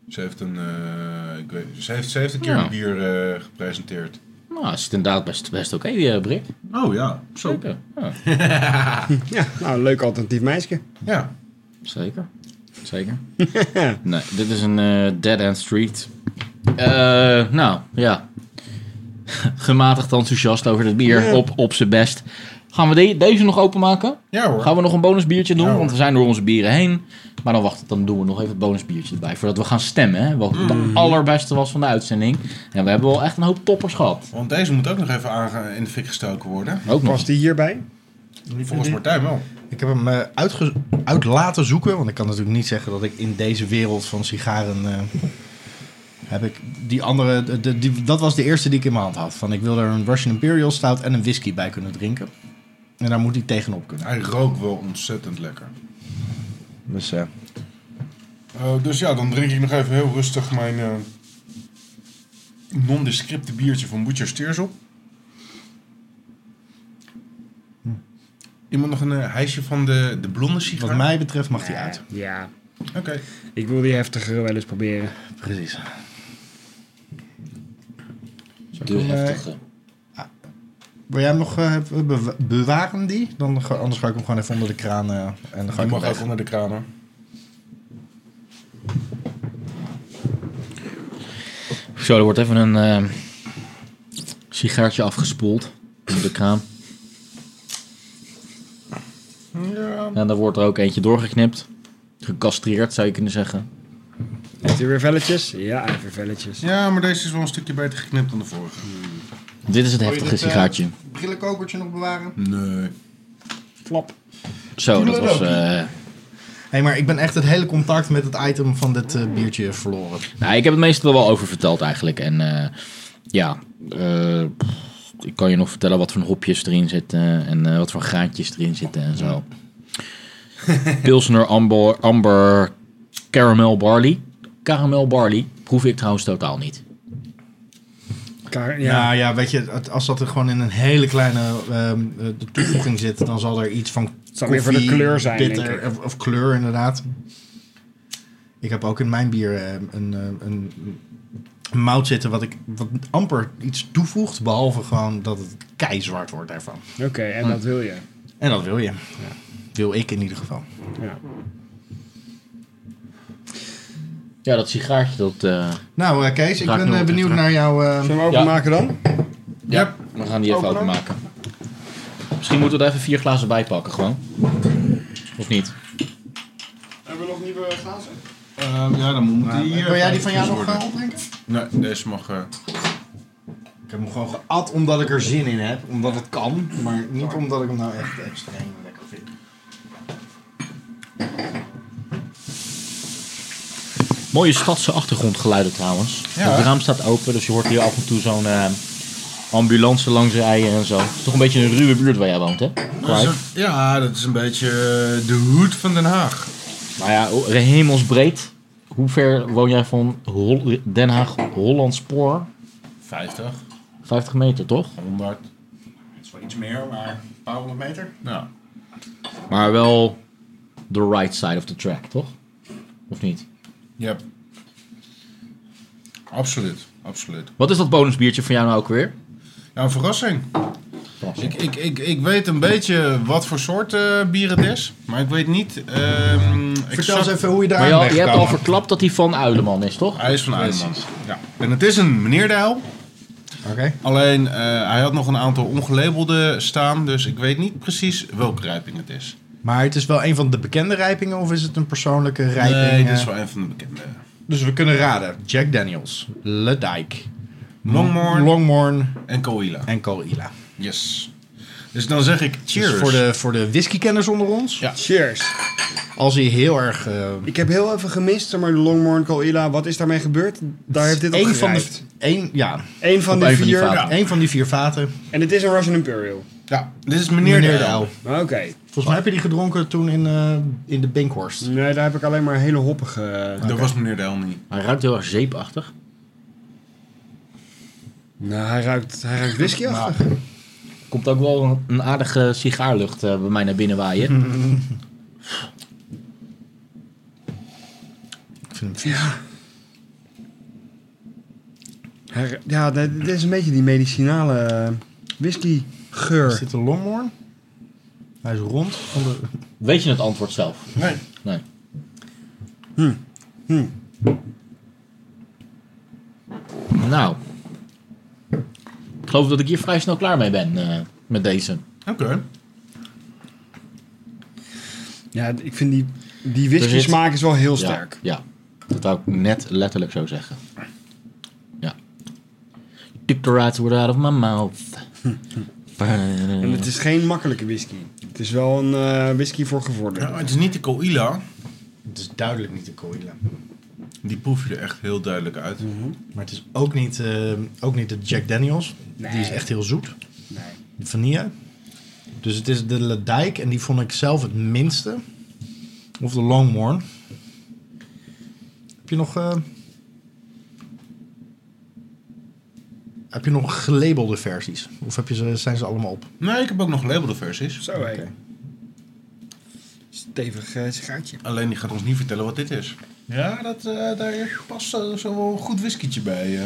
S2: Ze heeft een, eh, ik weet, ze heeft, ze heeft een keer
S1: Ja.
S2: een bier eh, gepresenteerd.
S1: Nou, is het inderdaad best, best oké, eh, Brik.
S2: Oh ja, zo.
S1: Zeker. Ja.
S3: <laughs> ja, nou, een leuk alternatief meisje. <laughs>
S2: Ja.
S1: Zeker. Zeker. nee, dit is een eh, dead end street. Eh, nou, ja. <laughs> Gematigd enthousiast over het bier.
S2: Ja.
S1: Op, op zijn best. Gaan we de- deze nog openmaken?
S2: Ja hoor.
S1: Gaan we nog een bonusbiertje doen? want we zijn door onze bieren heen. Maar dan wacht, dan doen we nog even het bonusbiertje erbij. Voordat we gaan stemmen. Hè? Wat het
S2: Mm.
S1: allerbeste was van de uitzending. En we hebben wel echt een hoop toppers gehad.
S2: Want deze moet ook nog even aange- in de fik gestoken worden.
S1: Ook nog.
S3: Past die hierbij?
S2: Volgens Martijn wel.
S5: Ik heb hem eh, uitge- uit laten zoeken, want ik kan natuurlijk niet zeggen dat ik in deze wereld van sigaren... eh, heb ik die andere, de- de- die, dat was de eerste die ik in mijn hand had. Van ik wil er een Russian Imperial stout en een whisky bij kunnen drinken. En daar moet hij tegenop kunnen.
S2: Hij rookt wel ontzettend lekker.
S5: Dus eh,
S2: Eh, dus ja, dan drink ik nog even heel rustig mijn eh, non-descripte biertje van Butcher Steers op. Iemand nog een eh, hijsje van de, de blonde sigaar?
S5: Wat mij betreft mag die uit.
S3: Ja.
S2: Oké.
S3: Ik wil die heftigere wel eens proberen.
S5: Precies.
S1: De
S5: ik hem, eh,
S1: heftige.
S5: Wil jij hem nog eh, bewa- bewaren die? Dan, ga- anders ga ik hem gewoon even onder de kraan. eh, en dan ga
S2: Die
S5: ik
S2: mag
S5: hem
S2: ook onder de kraan hoor.
S1: Zo, er wordt even een ehm, sigaartje afgespoeld. Onder de kraan.
S2: Ja.
S1: En dan wordt er ook eentje doorgeknipt. Gecastreerd zou je kunnen zeggen.
S3: Heeft hij weer velletjes? Ja, hij heeft weer velletjes.
S2: ja, maar deze is wel een stukje beter geknipt dan de vorige.
S1: Dit is het
S5: Wil je
S1: heftige
S5: dit, eh,
S1: sigaartje.
S5: Brillenkopertje nog bewaren?
S2: Nee.
S5: Flap.
S1: Zo, dat was.
S5: Toedeledokie.
S1: eh,
S5: Hé, maar ik ben echt het hele contact met het item van dit eh, biertje verloren.
S1: nou, ik heb het meestal wel over verteld eigenlijk. En eh, ja, eh, pff, ik kan je nog vertellen wat voor hopjes erin zitten. En eh, wat voor graadjes erin zitten en zo. <laughs> Pilsner Amber, Amber Caramel Barley. Caramel Barley proef ik trouwens totaal niet.
S5: ja. Nou ja, weet je, het- als dat er gewoon in een hele kleine ehm, eh, de toevoeging zit, dan zal er iets van
S3: zal meer voor de kleur zijn,
S5: bitter,
S3: denk ik.
S5: Of, of kleur inderdaad. Ik heb ook in mijn bier eh, een, eh, een mout zitten wat ik wat amper iets toevoegt, behalve gewoon dat het keizwart wordt daarvan.
S3: Oké, en dat wil je.
S5: En dat wil je. Wil ik in ieder geval.
S3: Ja.
S1: Ja, dat sigaartje dat. eh,
S5: Nou, eh, Kees, ik
S1: raakt
S5: ben
S1: nu
S5: eh,
S1: op de
S5: benieuwd
S1: trap.
S5: naar jouw. eh
S1: Zullen we openmaken dan? Ja, we gaan die even
S5: Open dan.
S1: openmaken. Misschien moeten we er even vier glazen bij pakken gewoon. Of niet?
S3: Hebben we nog nieuwe glazen?
S2: Eh, ja, dan moet
S5: Nou,
S2: die... eh,
S5: wil jij die van jou nog
S2: worden.
S5: gaan opdrinken?
S2: Nee, deze mag... eh,
S5: Ik heb hem gewoon geat omdat ik er zin in heb, omdat het kan, maar niet omdat ik hem nou echt extreem lekker vind.
S1: Mooie stadse achtergrondgeluiden trouwens.
S5: Ja.
S1: Het raam staat open, dus je hoort hier af en toe zo'n eh, ambulance langs rijden en zo. Het is toch een beetje een ruwe buurt waar jij woont, hè?
S5: Nou,
S2: dat is
S1: Clive?
S2: een- ja, dat is een beetje eh, de hoed van Den Haag.
S1: Nou ja, o- hemelsbreed. Hoe ver woon jij van Hol- Den Haag Hollandspoor?
S2: 50.
S1: 50 meter, toch?
S2: 100.
S5: Het is wel iets meer, maar een paar honderd meter.
S2: Ja.
S1: Maar wel the right side of the track, toch? Of niet?
S2: Ja. Absoluut, absoluut.
S1: Wat is dat bonusbiertje van jou nou ook weer?
S2: Ja, een verrassing. Dus Ik, ik, ik, ik weet een beetje wat voor soort eh, bier het is, maar ik weet niet... ehm, exact-
S1: Maar je, al- je hebt al verklapt dat hij van Uileman is, toch?
S2: Hij is van Uileman. Ja. En het is een meneer Dijl.
S5: Oké.
S2: Alleen, eh, hij had nog een aantal ongelabelde staan, dus ik weet niet precies welke rijping het is.
S5: Maar het is wel een van de bekende rijpingen of is het een persoonlijke rijping?
S2: Nee, dit is
S5: eh?
S2: wel een van de bekende.
S5: Dus we kunnen raden. Jack Daniels, Le Dijk,
S2: Longmorn.
S5: Longmorn.
S2: En Coahuila.
S5: En Coahuila.
S2: Yes. Dus dan zeg ik cheers.
S5: voor, de, voor de whiskykenners onder ons.
S3: Cheers.
S5: Als hij heel erg... eh,
S3: Ik heb heel even gemist, maar de Longmorn Coahuila, wat is daarmee gebeurd? Daar heeft dit op
S5: Eén van de,
S3: gerijpt.
S5: één, ja.
S3: Eén van
S5: Op
S3: de
S5: één
S3: vier-
S5: vaten.
S3: ja.
S5: Eén van die vier vaten.
S3: En het is een Russian Imperial.
S2: Ja,
S5: dit is meneer Meneer de de L. L.
S3: Oké.
S5: Volgens mij heb je die gedronken toen in, eh, in de Binkhorst.
S3: Nee, daar heb ik alleen maar hele hoppige...
S5: Oké.
S2: Dat was meneer Del niet.
S1: Hij ruikt heel erg zeepachtig.
S3: Nou, hij ruikt, hij ruikt whiskyachtig.
S1: Komt ook wel een- een aardige sigaarlucht eh, bij mij naar binnen
S3: <laughs>
S1: waaien.
S5: Ik vind hem vies.
S3: Hij- Ja, dit dit is een beetje die medicinale eh, whiskygeur.
S5: Is dit een Longmorn? Hij is rond. Van de...
S1: Weet je het antwoord zelf?
S5: Nee.
S1: Nee. Hm. Nou. Ik geloof dat ik hier vrij snel klaar mee ben eh, met deze.
S2: Oké.
S3: Ja, ik vind die, die
S1: Er
S3: whisky
S1: zit-
S3: smaak is wel heel
S1: Ja,
S3: sterk.
S1: Ja, dat wou ik net letterlijk zo zeggen. Ja. Took the right word out of my mouth.
S3: <laughs> En het is geen makkelijke whisky. Het is wel een eh, whisky voor gevorderden.
S2: Ja, Nou, het is niet de Coahuila.
S5: Het is duidelijk niet de Coahuila.
S2: Die proef je er echt heel duidelijk uit.
S5: Mhm. Maar het is ook niet, eh, ook niet de Jack Daniels. Die is echt heel zoet. De vanille. Dus het is de Ledijk en die vond ik zelf het minste. Of de Longmorn. Heb je nog... eh, heb je nog gelabelde versies? Of heb je ze, zijn ze allemaal op?
S2: Nee, ik heb ook nog gelabelde versies. Zo,
S3: hé. Stevig eh, sigaartje.
S2: Alleen die gaat ons niet vertellen wat dit is. Ja, dat, eh, daar past eh, zo wel een goed whiskietje bij. <clears throat> eh.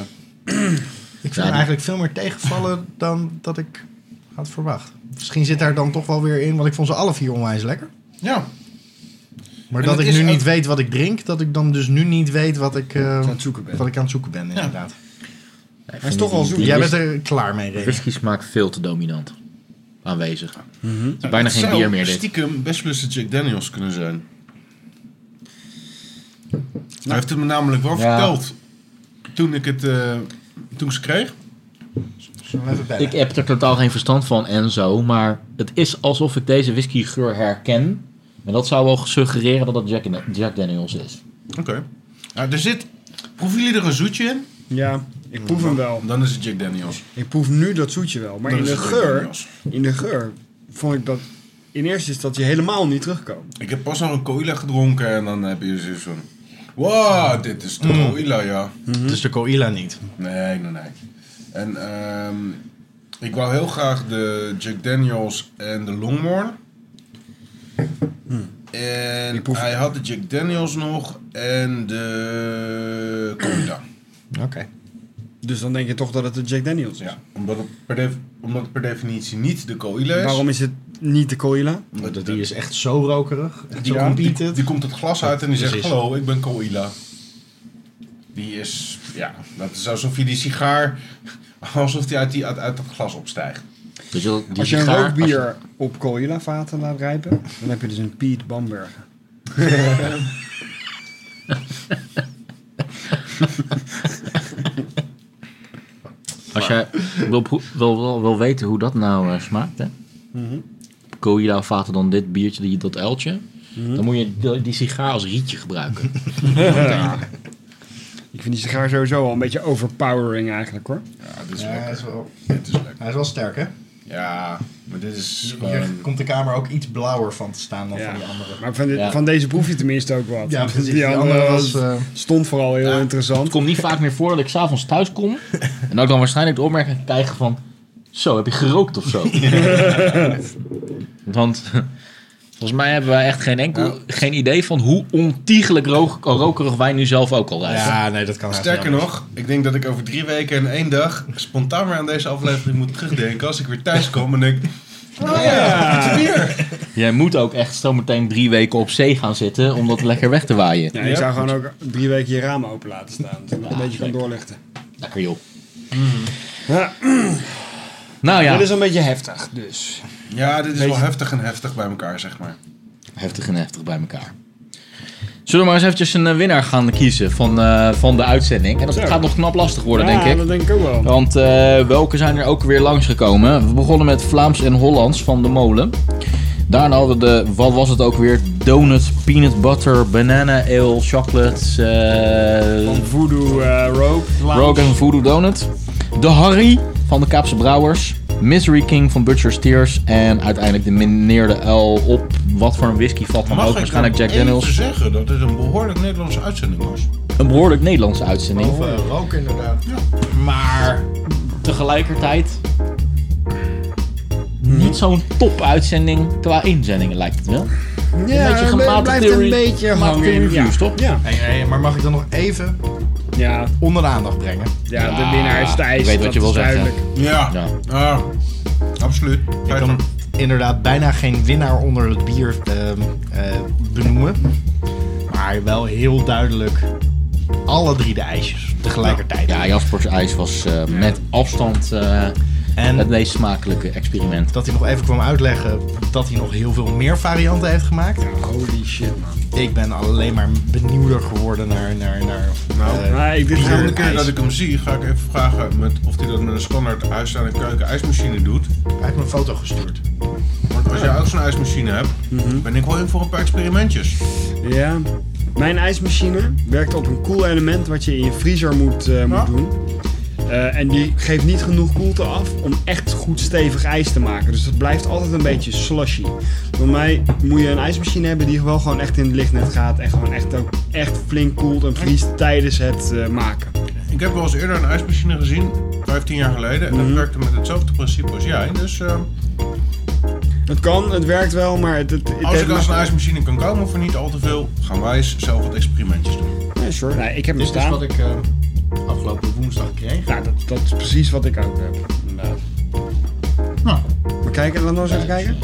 S5: Ik vind hem eigenlijk veel meer tegenvallen dan dat ik had verwacht. Misschien zit daar dan toch wel weer in, want ik vond ze alle vier onwijs lekker.
S2: Ja.
S5: Maar
S2: En
S5: dat
S2: het
S5: ik
S2: is
S5: nu
S2: ook-
S5: niet weet wat ik drink, dat ik dan dus nu niet weet wat ik, eh,
S3: het zoeken ben.
S5: Wat ik aan het zoeken ben, inderdaad.
S3: Hij is toch al zoet.
S5: Jij bent er klaar mee, René.
S1: Whisky smaakt veel te dominant aanwezig. Het is
S2: Nou,
S1: Mhm. bijna
S2: het
S1: geen
S2: zou
S1: bier meer dit.
S2: stiekem best wel eens de Jack Daniels kunnen zijn. Hij heeft het me namelijk wel
S1: Ja.
S2: verteld. Toen ik het... eh, toen ik ze kreeg.
S1: Ik heb er totaal geen verstand van en zo, maar het is alsof ik deze whiskygeur herken. En dat zou wel suggereren dat het Jack, Jack Daniels is.
S2: Oké. Nou, er zit... Proeven jullie er een zoetje in?
S3: Ja, ik proef hem wel.
S2: Dan is het Jack Daniels.
S3: Ik proef nu dat zoetje wel. Maar
S2: Dan
S3: in
S2: is
S3: de,
S2: het Jack
S3: geur,
S2: Daniels.
S3: in de geur vond ik dat in eerste instantie helemaal niet terugkomen.
S2: Ik heb pas nog een coila gedronken en dan heb je zoiets van... Wow, Ah, dit is de
S5: Mm.
S2: coila, ja.
S3: Mhm.
S5: Het is de Coahuila niet.
S2: Nee, nee, nee. En ehm, ik wou heel graag de Jack Daniels en de Longmorn. En hij had de Jack Daniels nog en de coila.
S5: Oké.
S3: Dus dan denk je toch dat het de Jack Daniels is.
S2: Ja, omdat het per, def- omdat het per definitie niet de coila is.
S3: Waarom is het niet de Coahuila?
S2: Omdat
S5: die is echt zo rokerig.
S2: Die, komt, die, die komt het glas uit en die zegt:
S5: Precies.
S2: Hallo, ik ben Coila. Die is, ja, dat is alsof je die sigaar, alsof die uit, die, uit, uit het glas opstijgt.
S1: Dus je,
S3: Als je een rookbier op Coahuila vaten laat rijpen, dan heb je dus een Piet <laughs> Bamberger.
S1: Als jij wil, proe- wil, wil, wil weten hoe dat nou eh, smaakt, hè?
S3: Mhm.
S1: Cola vaten dan dit biertje, die, dat uiltje.
S3: Mhm.
S1: Dan moet je die, die sigaar als rietje gebruiken.
S3: Ja. Ik vind die sigaar sowieso al een beetje overpowering eigenlijk hoor.
S2: Ja, dit
S5: Ja, hij is wel,
S2: Dit is lekker.
S5: hij is wel sterk, hè?
S2: Ja, maar dit is
S5: Hier
S2: gewoon...
S5: komt de kamer ook iets blauwer van te staan dan van die andere.
S3: Maar van, dit- van deze proef je tenminste ook wat.
S5: Ja, precies.
S3: <laughs> Die andere was, eh,
S2: eh,
S3: stond vooral heel interessant. Het
S1: komt niet vaak meer voor dat ik s'avonds
S3: <laughs>
S1: thuis kom en dat ik dan waarschijnlijk de opmerking krijg van... Zo, heb je gerookt of
S3: <laughs>
S1: zo? Want <laughs> volgens mij hebben wij echt geen enkel
S3: Nou.
S1: geen idee van hoe ontiegelijk rook- rokerig wij nu zelf ook al zijn.
S5: nee, dat kan
S2: Sterker nog, ik denk dat ik over drie weken en één dag spontaan weer aan deze aflevering moet terugdenken als ik weer thuis kom en ik... Oh ja, het is bier.
S1: Ah. Jij moet ook echt zometeen drie weken op zee gaan zitten om dat lekker weg te waaien.
S3: Ja, ik zou gewoon ook drie weken je ramen open laten staan. Zodat het een beetje kan doorlichten.
S1: Lekker joh.
S3: Ja.
S1: Nou ja.
S3: Dit is een beetje heftig dus.
S2: Ja, dit is
S3: Beetje-
S2: wel heftig en heftig bij elkaar, zeg maar.
S1: Heftig en heftig bij elkaar. Zullen we maar eens eventjes een eh, winnaar gaan kiezen van, eh, van de uitzending? En dat
S3: Zo.
S1: gaat nog knap lastig worden,
S3: Ja,
S1: denk ik.
S3: dat denk ik ook wel.
S1: Want eh, welke zijn er ook weer langsgekomen? We begonnen met Vlaams en Hollands van de molen. Daarna hadden we de, wat was het ook weer? Donut, peanut butter, banana ale, chocolates. eh,
S3: Voodoo eh Rogue. Vlaams.
S1: Rogue en Voodoo Donut. De Harry van de Kaapse Brouwers. Misery King van Butcher's Tears. En uiteindelijk de meneer de L op wat voor een whiskyvat dan ook.
S2: Mag ik nou
S1: Waarschijnlijk
S2: dan
S1: Jack Daniels.
S2: even zeggen dat dit een behoorlijk Nederlandse uitzending was?
S1: Een behoorlijk Nederlandse uitzending.
S2: Oh.
S5: roken inderdaad.
S1: Maar tegelijkertijd niet zo'n top-uitzending qua inzendingen lijkt het wel.
S5: Ja,
S1: beetje
S5: het
S1: gematigde
S5: blijft een
S1: re-
S5: beetje
S1: gematigde
S5: hangen in-
S1: reviews,
S5: ja.
S1: toch?
S5: Ja. Hey, hey, maar mag ik dan nog even
S3: ja.
S5: onder de aandacht brengen?
S3: Ja, de winnaar is Thijs,
S5: Ik weet wat
S3: dat
S5: je wil
S3: is
S5: zeggen.
S3: duidelijk.
S2: Ja. Ja, absoluut.
S5: Ik kan inderdaad bijna geen winnaar onder het bier ehm, eh, benoemen. Maar wel heel duidelijk alle drie de ijsjes tegelijkertijd.
S1: Ja, Jasper's ijs was eh, met afstand eh, het meest smakelijke experiment.
S5: Dat hij nog even kwam uitleggen dat hij nog heel veel meer varianten heeft gemaakt. holy shit, man. Ik ben alleen maar benieuwder geworden naar. naar, naar
S2: Nou,
S5: eh,
S2: de
S5: bier
S2: volgende
S5: en
S2: keer
S5: ijs.
S2: dat ik hem zie, ga ik even vragen met, of hij dat met een standaard huis aan de keuken ijsmachine doet. Hij
S5: heeft me een foto gestuurd.
S2: Want als jij ook zo'n ijsmachine hebt, ben ik wel in voor een paar experimentjes.
S3: Ja. Mijn ijsmachine werkt op een koel element wat je in je vriezer moet, eh, moet doen. Eh, en die geeft niet genoeg koelte af om echt goed stevig ijs te maken. Dus dat blijft altijd een beetje slushy. Voor mij moet je een ijsmachine hebben die wel gewoon echt in het lichtnet gaat. En gewoon echt, ook echt flink koelt en vriest tijdens het eh, maken.
S2: Ik heb wel eens eerder een ijsmachine gezien, 15 jaar geleden, en dat werkte met hetzelfde principe als jij. Dus eh,
S3: ehm, Het kan, het werkt wel, maar het, het, het
S2: als ik
S3: heeft-
S2: aan zo'n ijsmachine kan komen voor niet al te veel, gaan wij eens zelf wat experimentjes doen.
S3: Ja, sure. Nee, ik heb hem
S2: Dit is
S3: staan.
S2: wat
S5: ik eh, afgelopen woensdag kreeg.
S3: Nou, dat, dat is precies wat ik ook heb. Inderdaad.
S2: Nou.
S3: Maar kijken, laten we eens even kijken.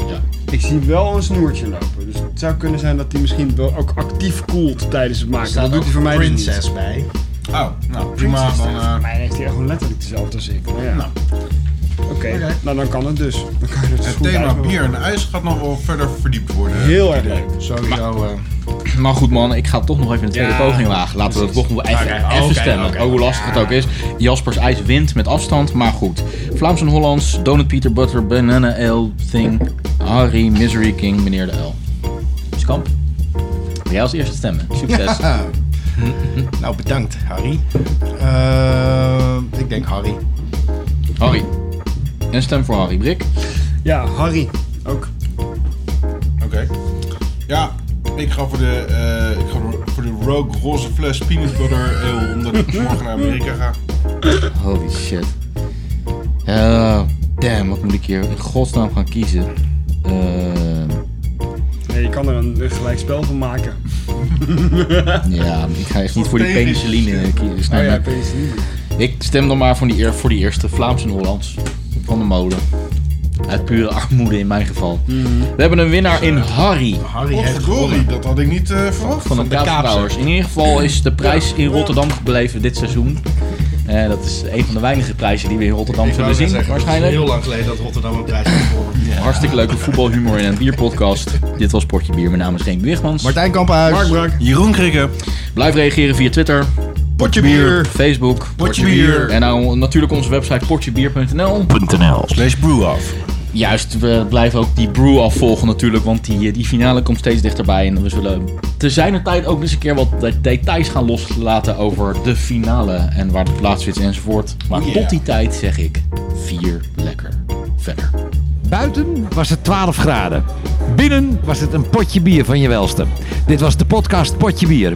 S3: Ik zie wel een snoertje lopen. Dus het zou kunnen zijn dat hij misschien wel ook actief koelt tijdens het maken.
S5: Staat
S3: dat doet
S5: ook
S3: hij voor mij dus niet.
S5: Princess bij.
S2: Oh, nou prima.
S3: Princess,
S2: Dan,
S3: ja.
S2: eh,
S3: Voor mij heeft hij gewoon letterlijk dezelfde als ik. Nou ja. Oké, nou dan kan het dus. Dan kan je het, dus
S2: het
S3: goed
S2: thema
S3: uitmaken.
S2: bier en ijs gaat nog wel verder verdiept worden. eh,
S3: Heel erg leuk.
S5: Sowieso. Maar,
S1: maar goed man, ik ga toch nog even een tweede
S2: Ja,
S1: poging wagen. Laten we dat
S2: precies.
S1: toch nog even,
S2: Oké,
S1: even
S2: oké,
S1: stemmen.
S2: oké.
S1: ook hoe lastig het ook is. Jaspers ijs wint met afstand, maar goed. Vlaams en Hollands, Donut Peter Butter, Banana Ale, Thing, Harry, Misery King, meneer de L. Skamp, wil jij als eerste
S2: <laughs>
S1: stemmen? Succes.
S5: Ja. <laughs> nou, bedankt, Harry. Eh, ik denk Harry.
S1: Harry. Een stem voor Harry Brik.
S3: Ja, Harry. Ook.
S2: eh, Oké. Ja, ik ga voor de, eh, ik ga voor de Rogue roze fles peanut butter ale, omdat ik morgen naar Amerika ga.
S1: Holy shit. Eh, damn, wat moet ik hier in godsnaam gaan kiezen?
S2: <laughs>
S1: Ehm,
S3: Nee, je kan er een, een gelijk spel van maken.
S1: ja, ik ga echt niet voor die
S3: Strategisch.
S1: penicilline kiezen.
S3: Oh
S1: Nee,
S3: ja,
S1: maar-
S3: penicilline.
S1: Ik stem dan maar voor die, eer- voor die eerste, Vlaams en Hollands. Van de molen. Uit pure armoede in mijn geval.
S3: Mm.
S1: We hebben een winnaar in Harry.
S5: Harry
S2: heeft gewonnen. Dat had ik niet eh, verwacht.
S1: Van de Kaapbrouwers. In ieder geval is de prijs in Rotterdam gebleven dit seizoen. Eh, dat is een van de weinige prijzen die we in Rotterdam
S5: Ik wou
S1: zullen
S5: net
S1: zien.
S5: zeggen, het is
S1: waarschijnlijk.
S5: Heel lang geleden dat Rotterdam een prijs heeft gewonnen.
S1: Hartstikke leuke voetbalhumor in een bierpodcast. Dit was Portje Bier. Mijn naam is Geen Wiegmans.
S5: Martijn Kamphuis. Mark Brak.
S2: Jeroen Krikke.
S1: Blijf reageren via Twitter.
S5: Potje Bier.
S1: Facebook.
S5: Potje Bier.
S1: En nou, natuurlijk onze website portjebier.nl.
S2: Slash brewaf.
S1: Juist, we blijven ook die brew afvolgen natuurlijk, want die, eh, die finale komt steeds dichterbij. En we zullen te zijner tijd ook eens een keer wat de- details gaan loslaten over de finale en waar het plaatsvindt enzovoort. Maar
S16: Oh yeah.
S1: tot die tijd zeg ik, vier lekker verder.
S16: Buiten was het 12 graden. Binnen was het een potje bier van je welste. Dit was de podcast Potje Bier.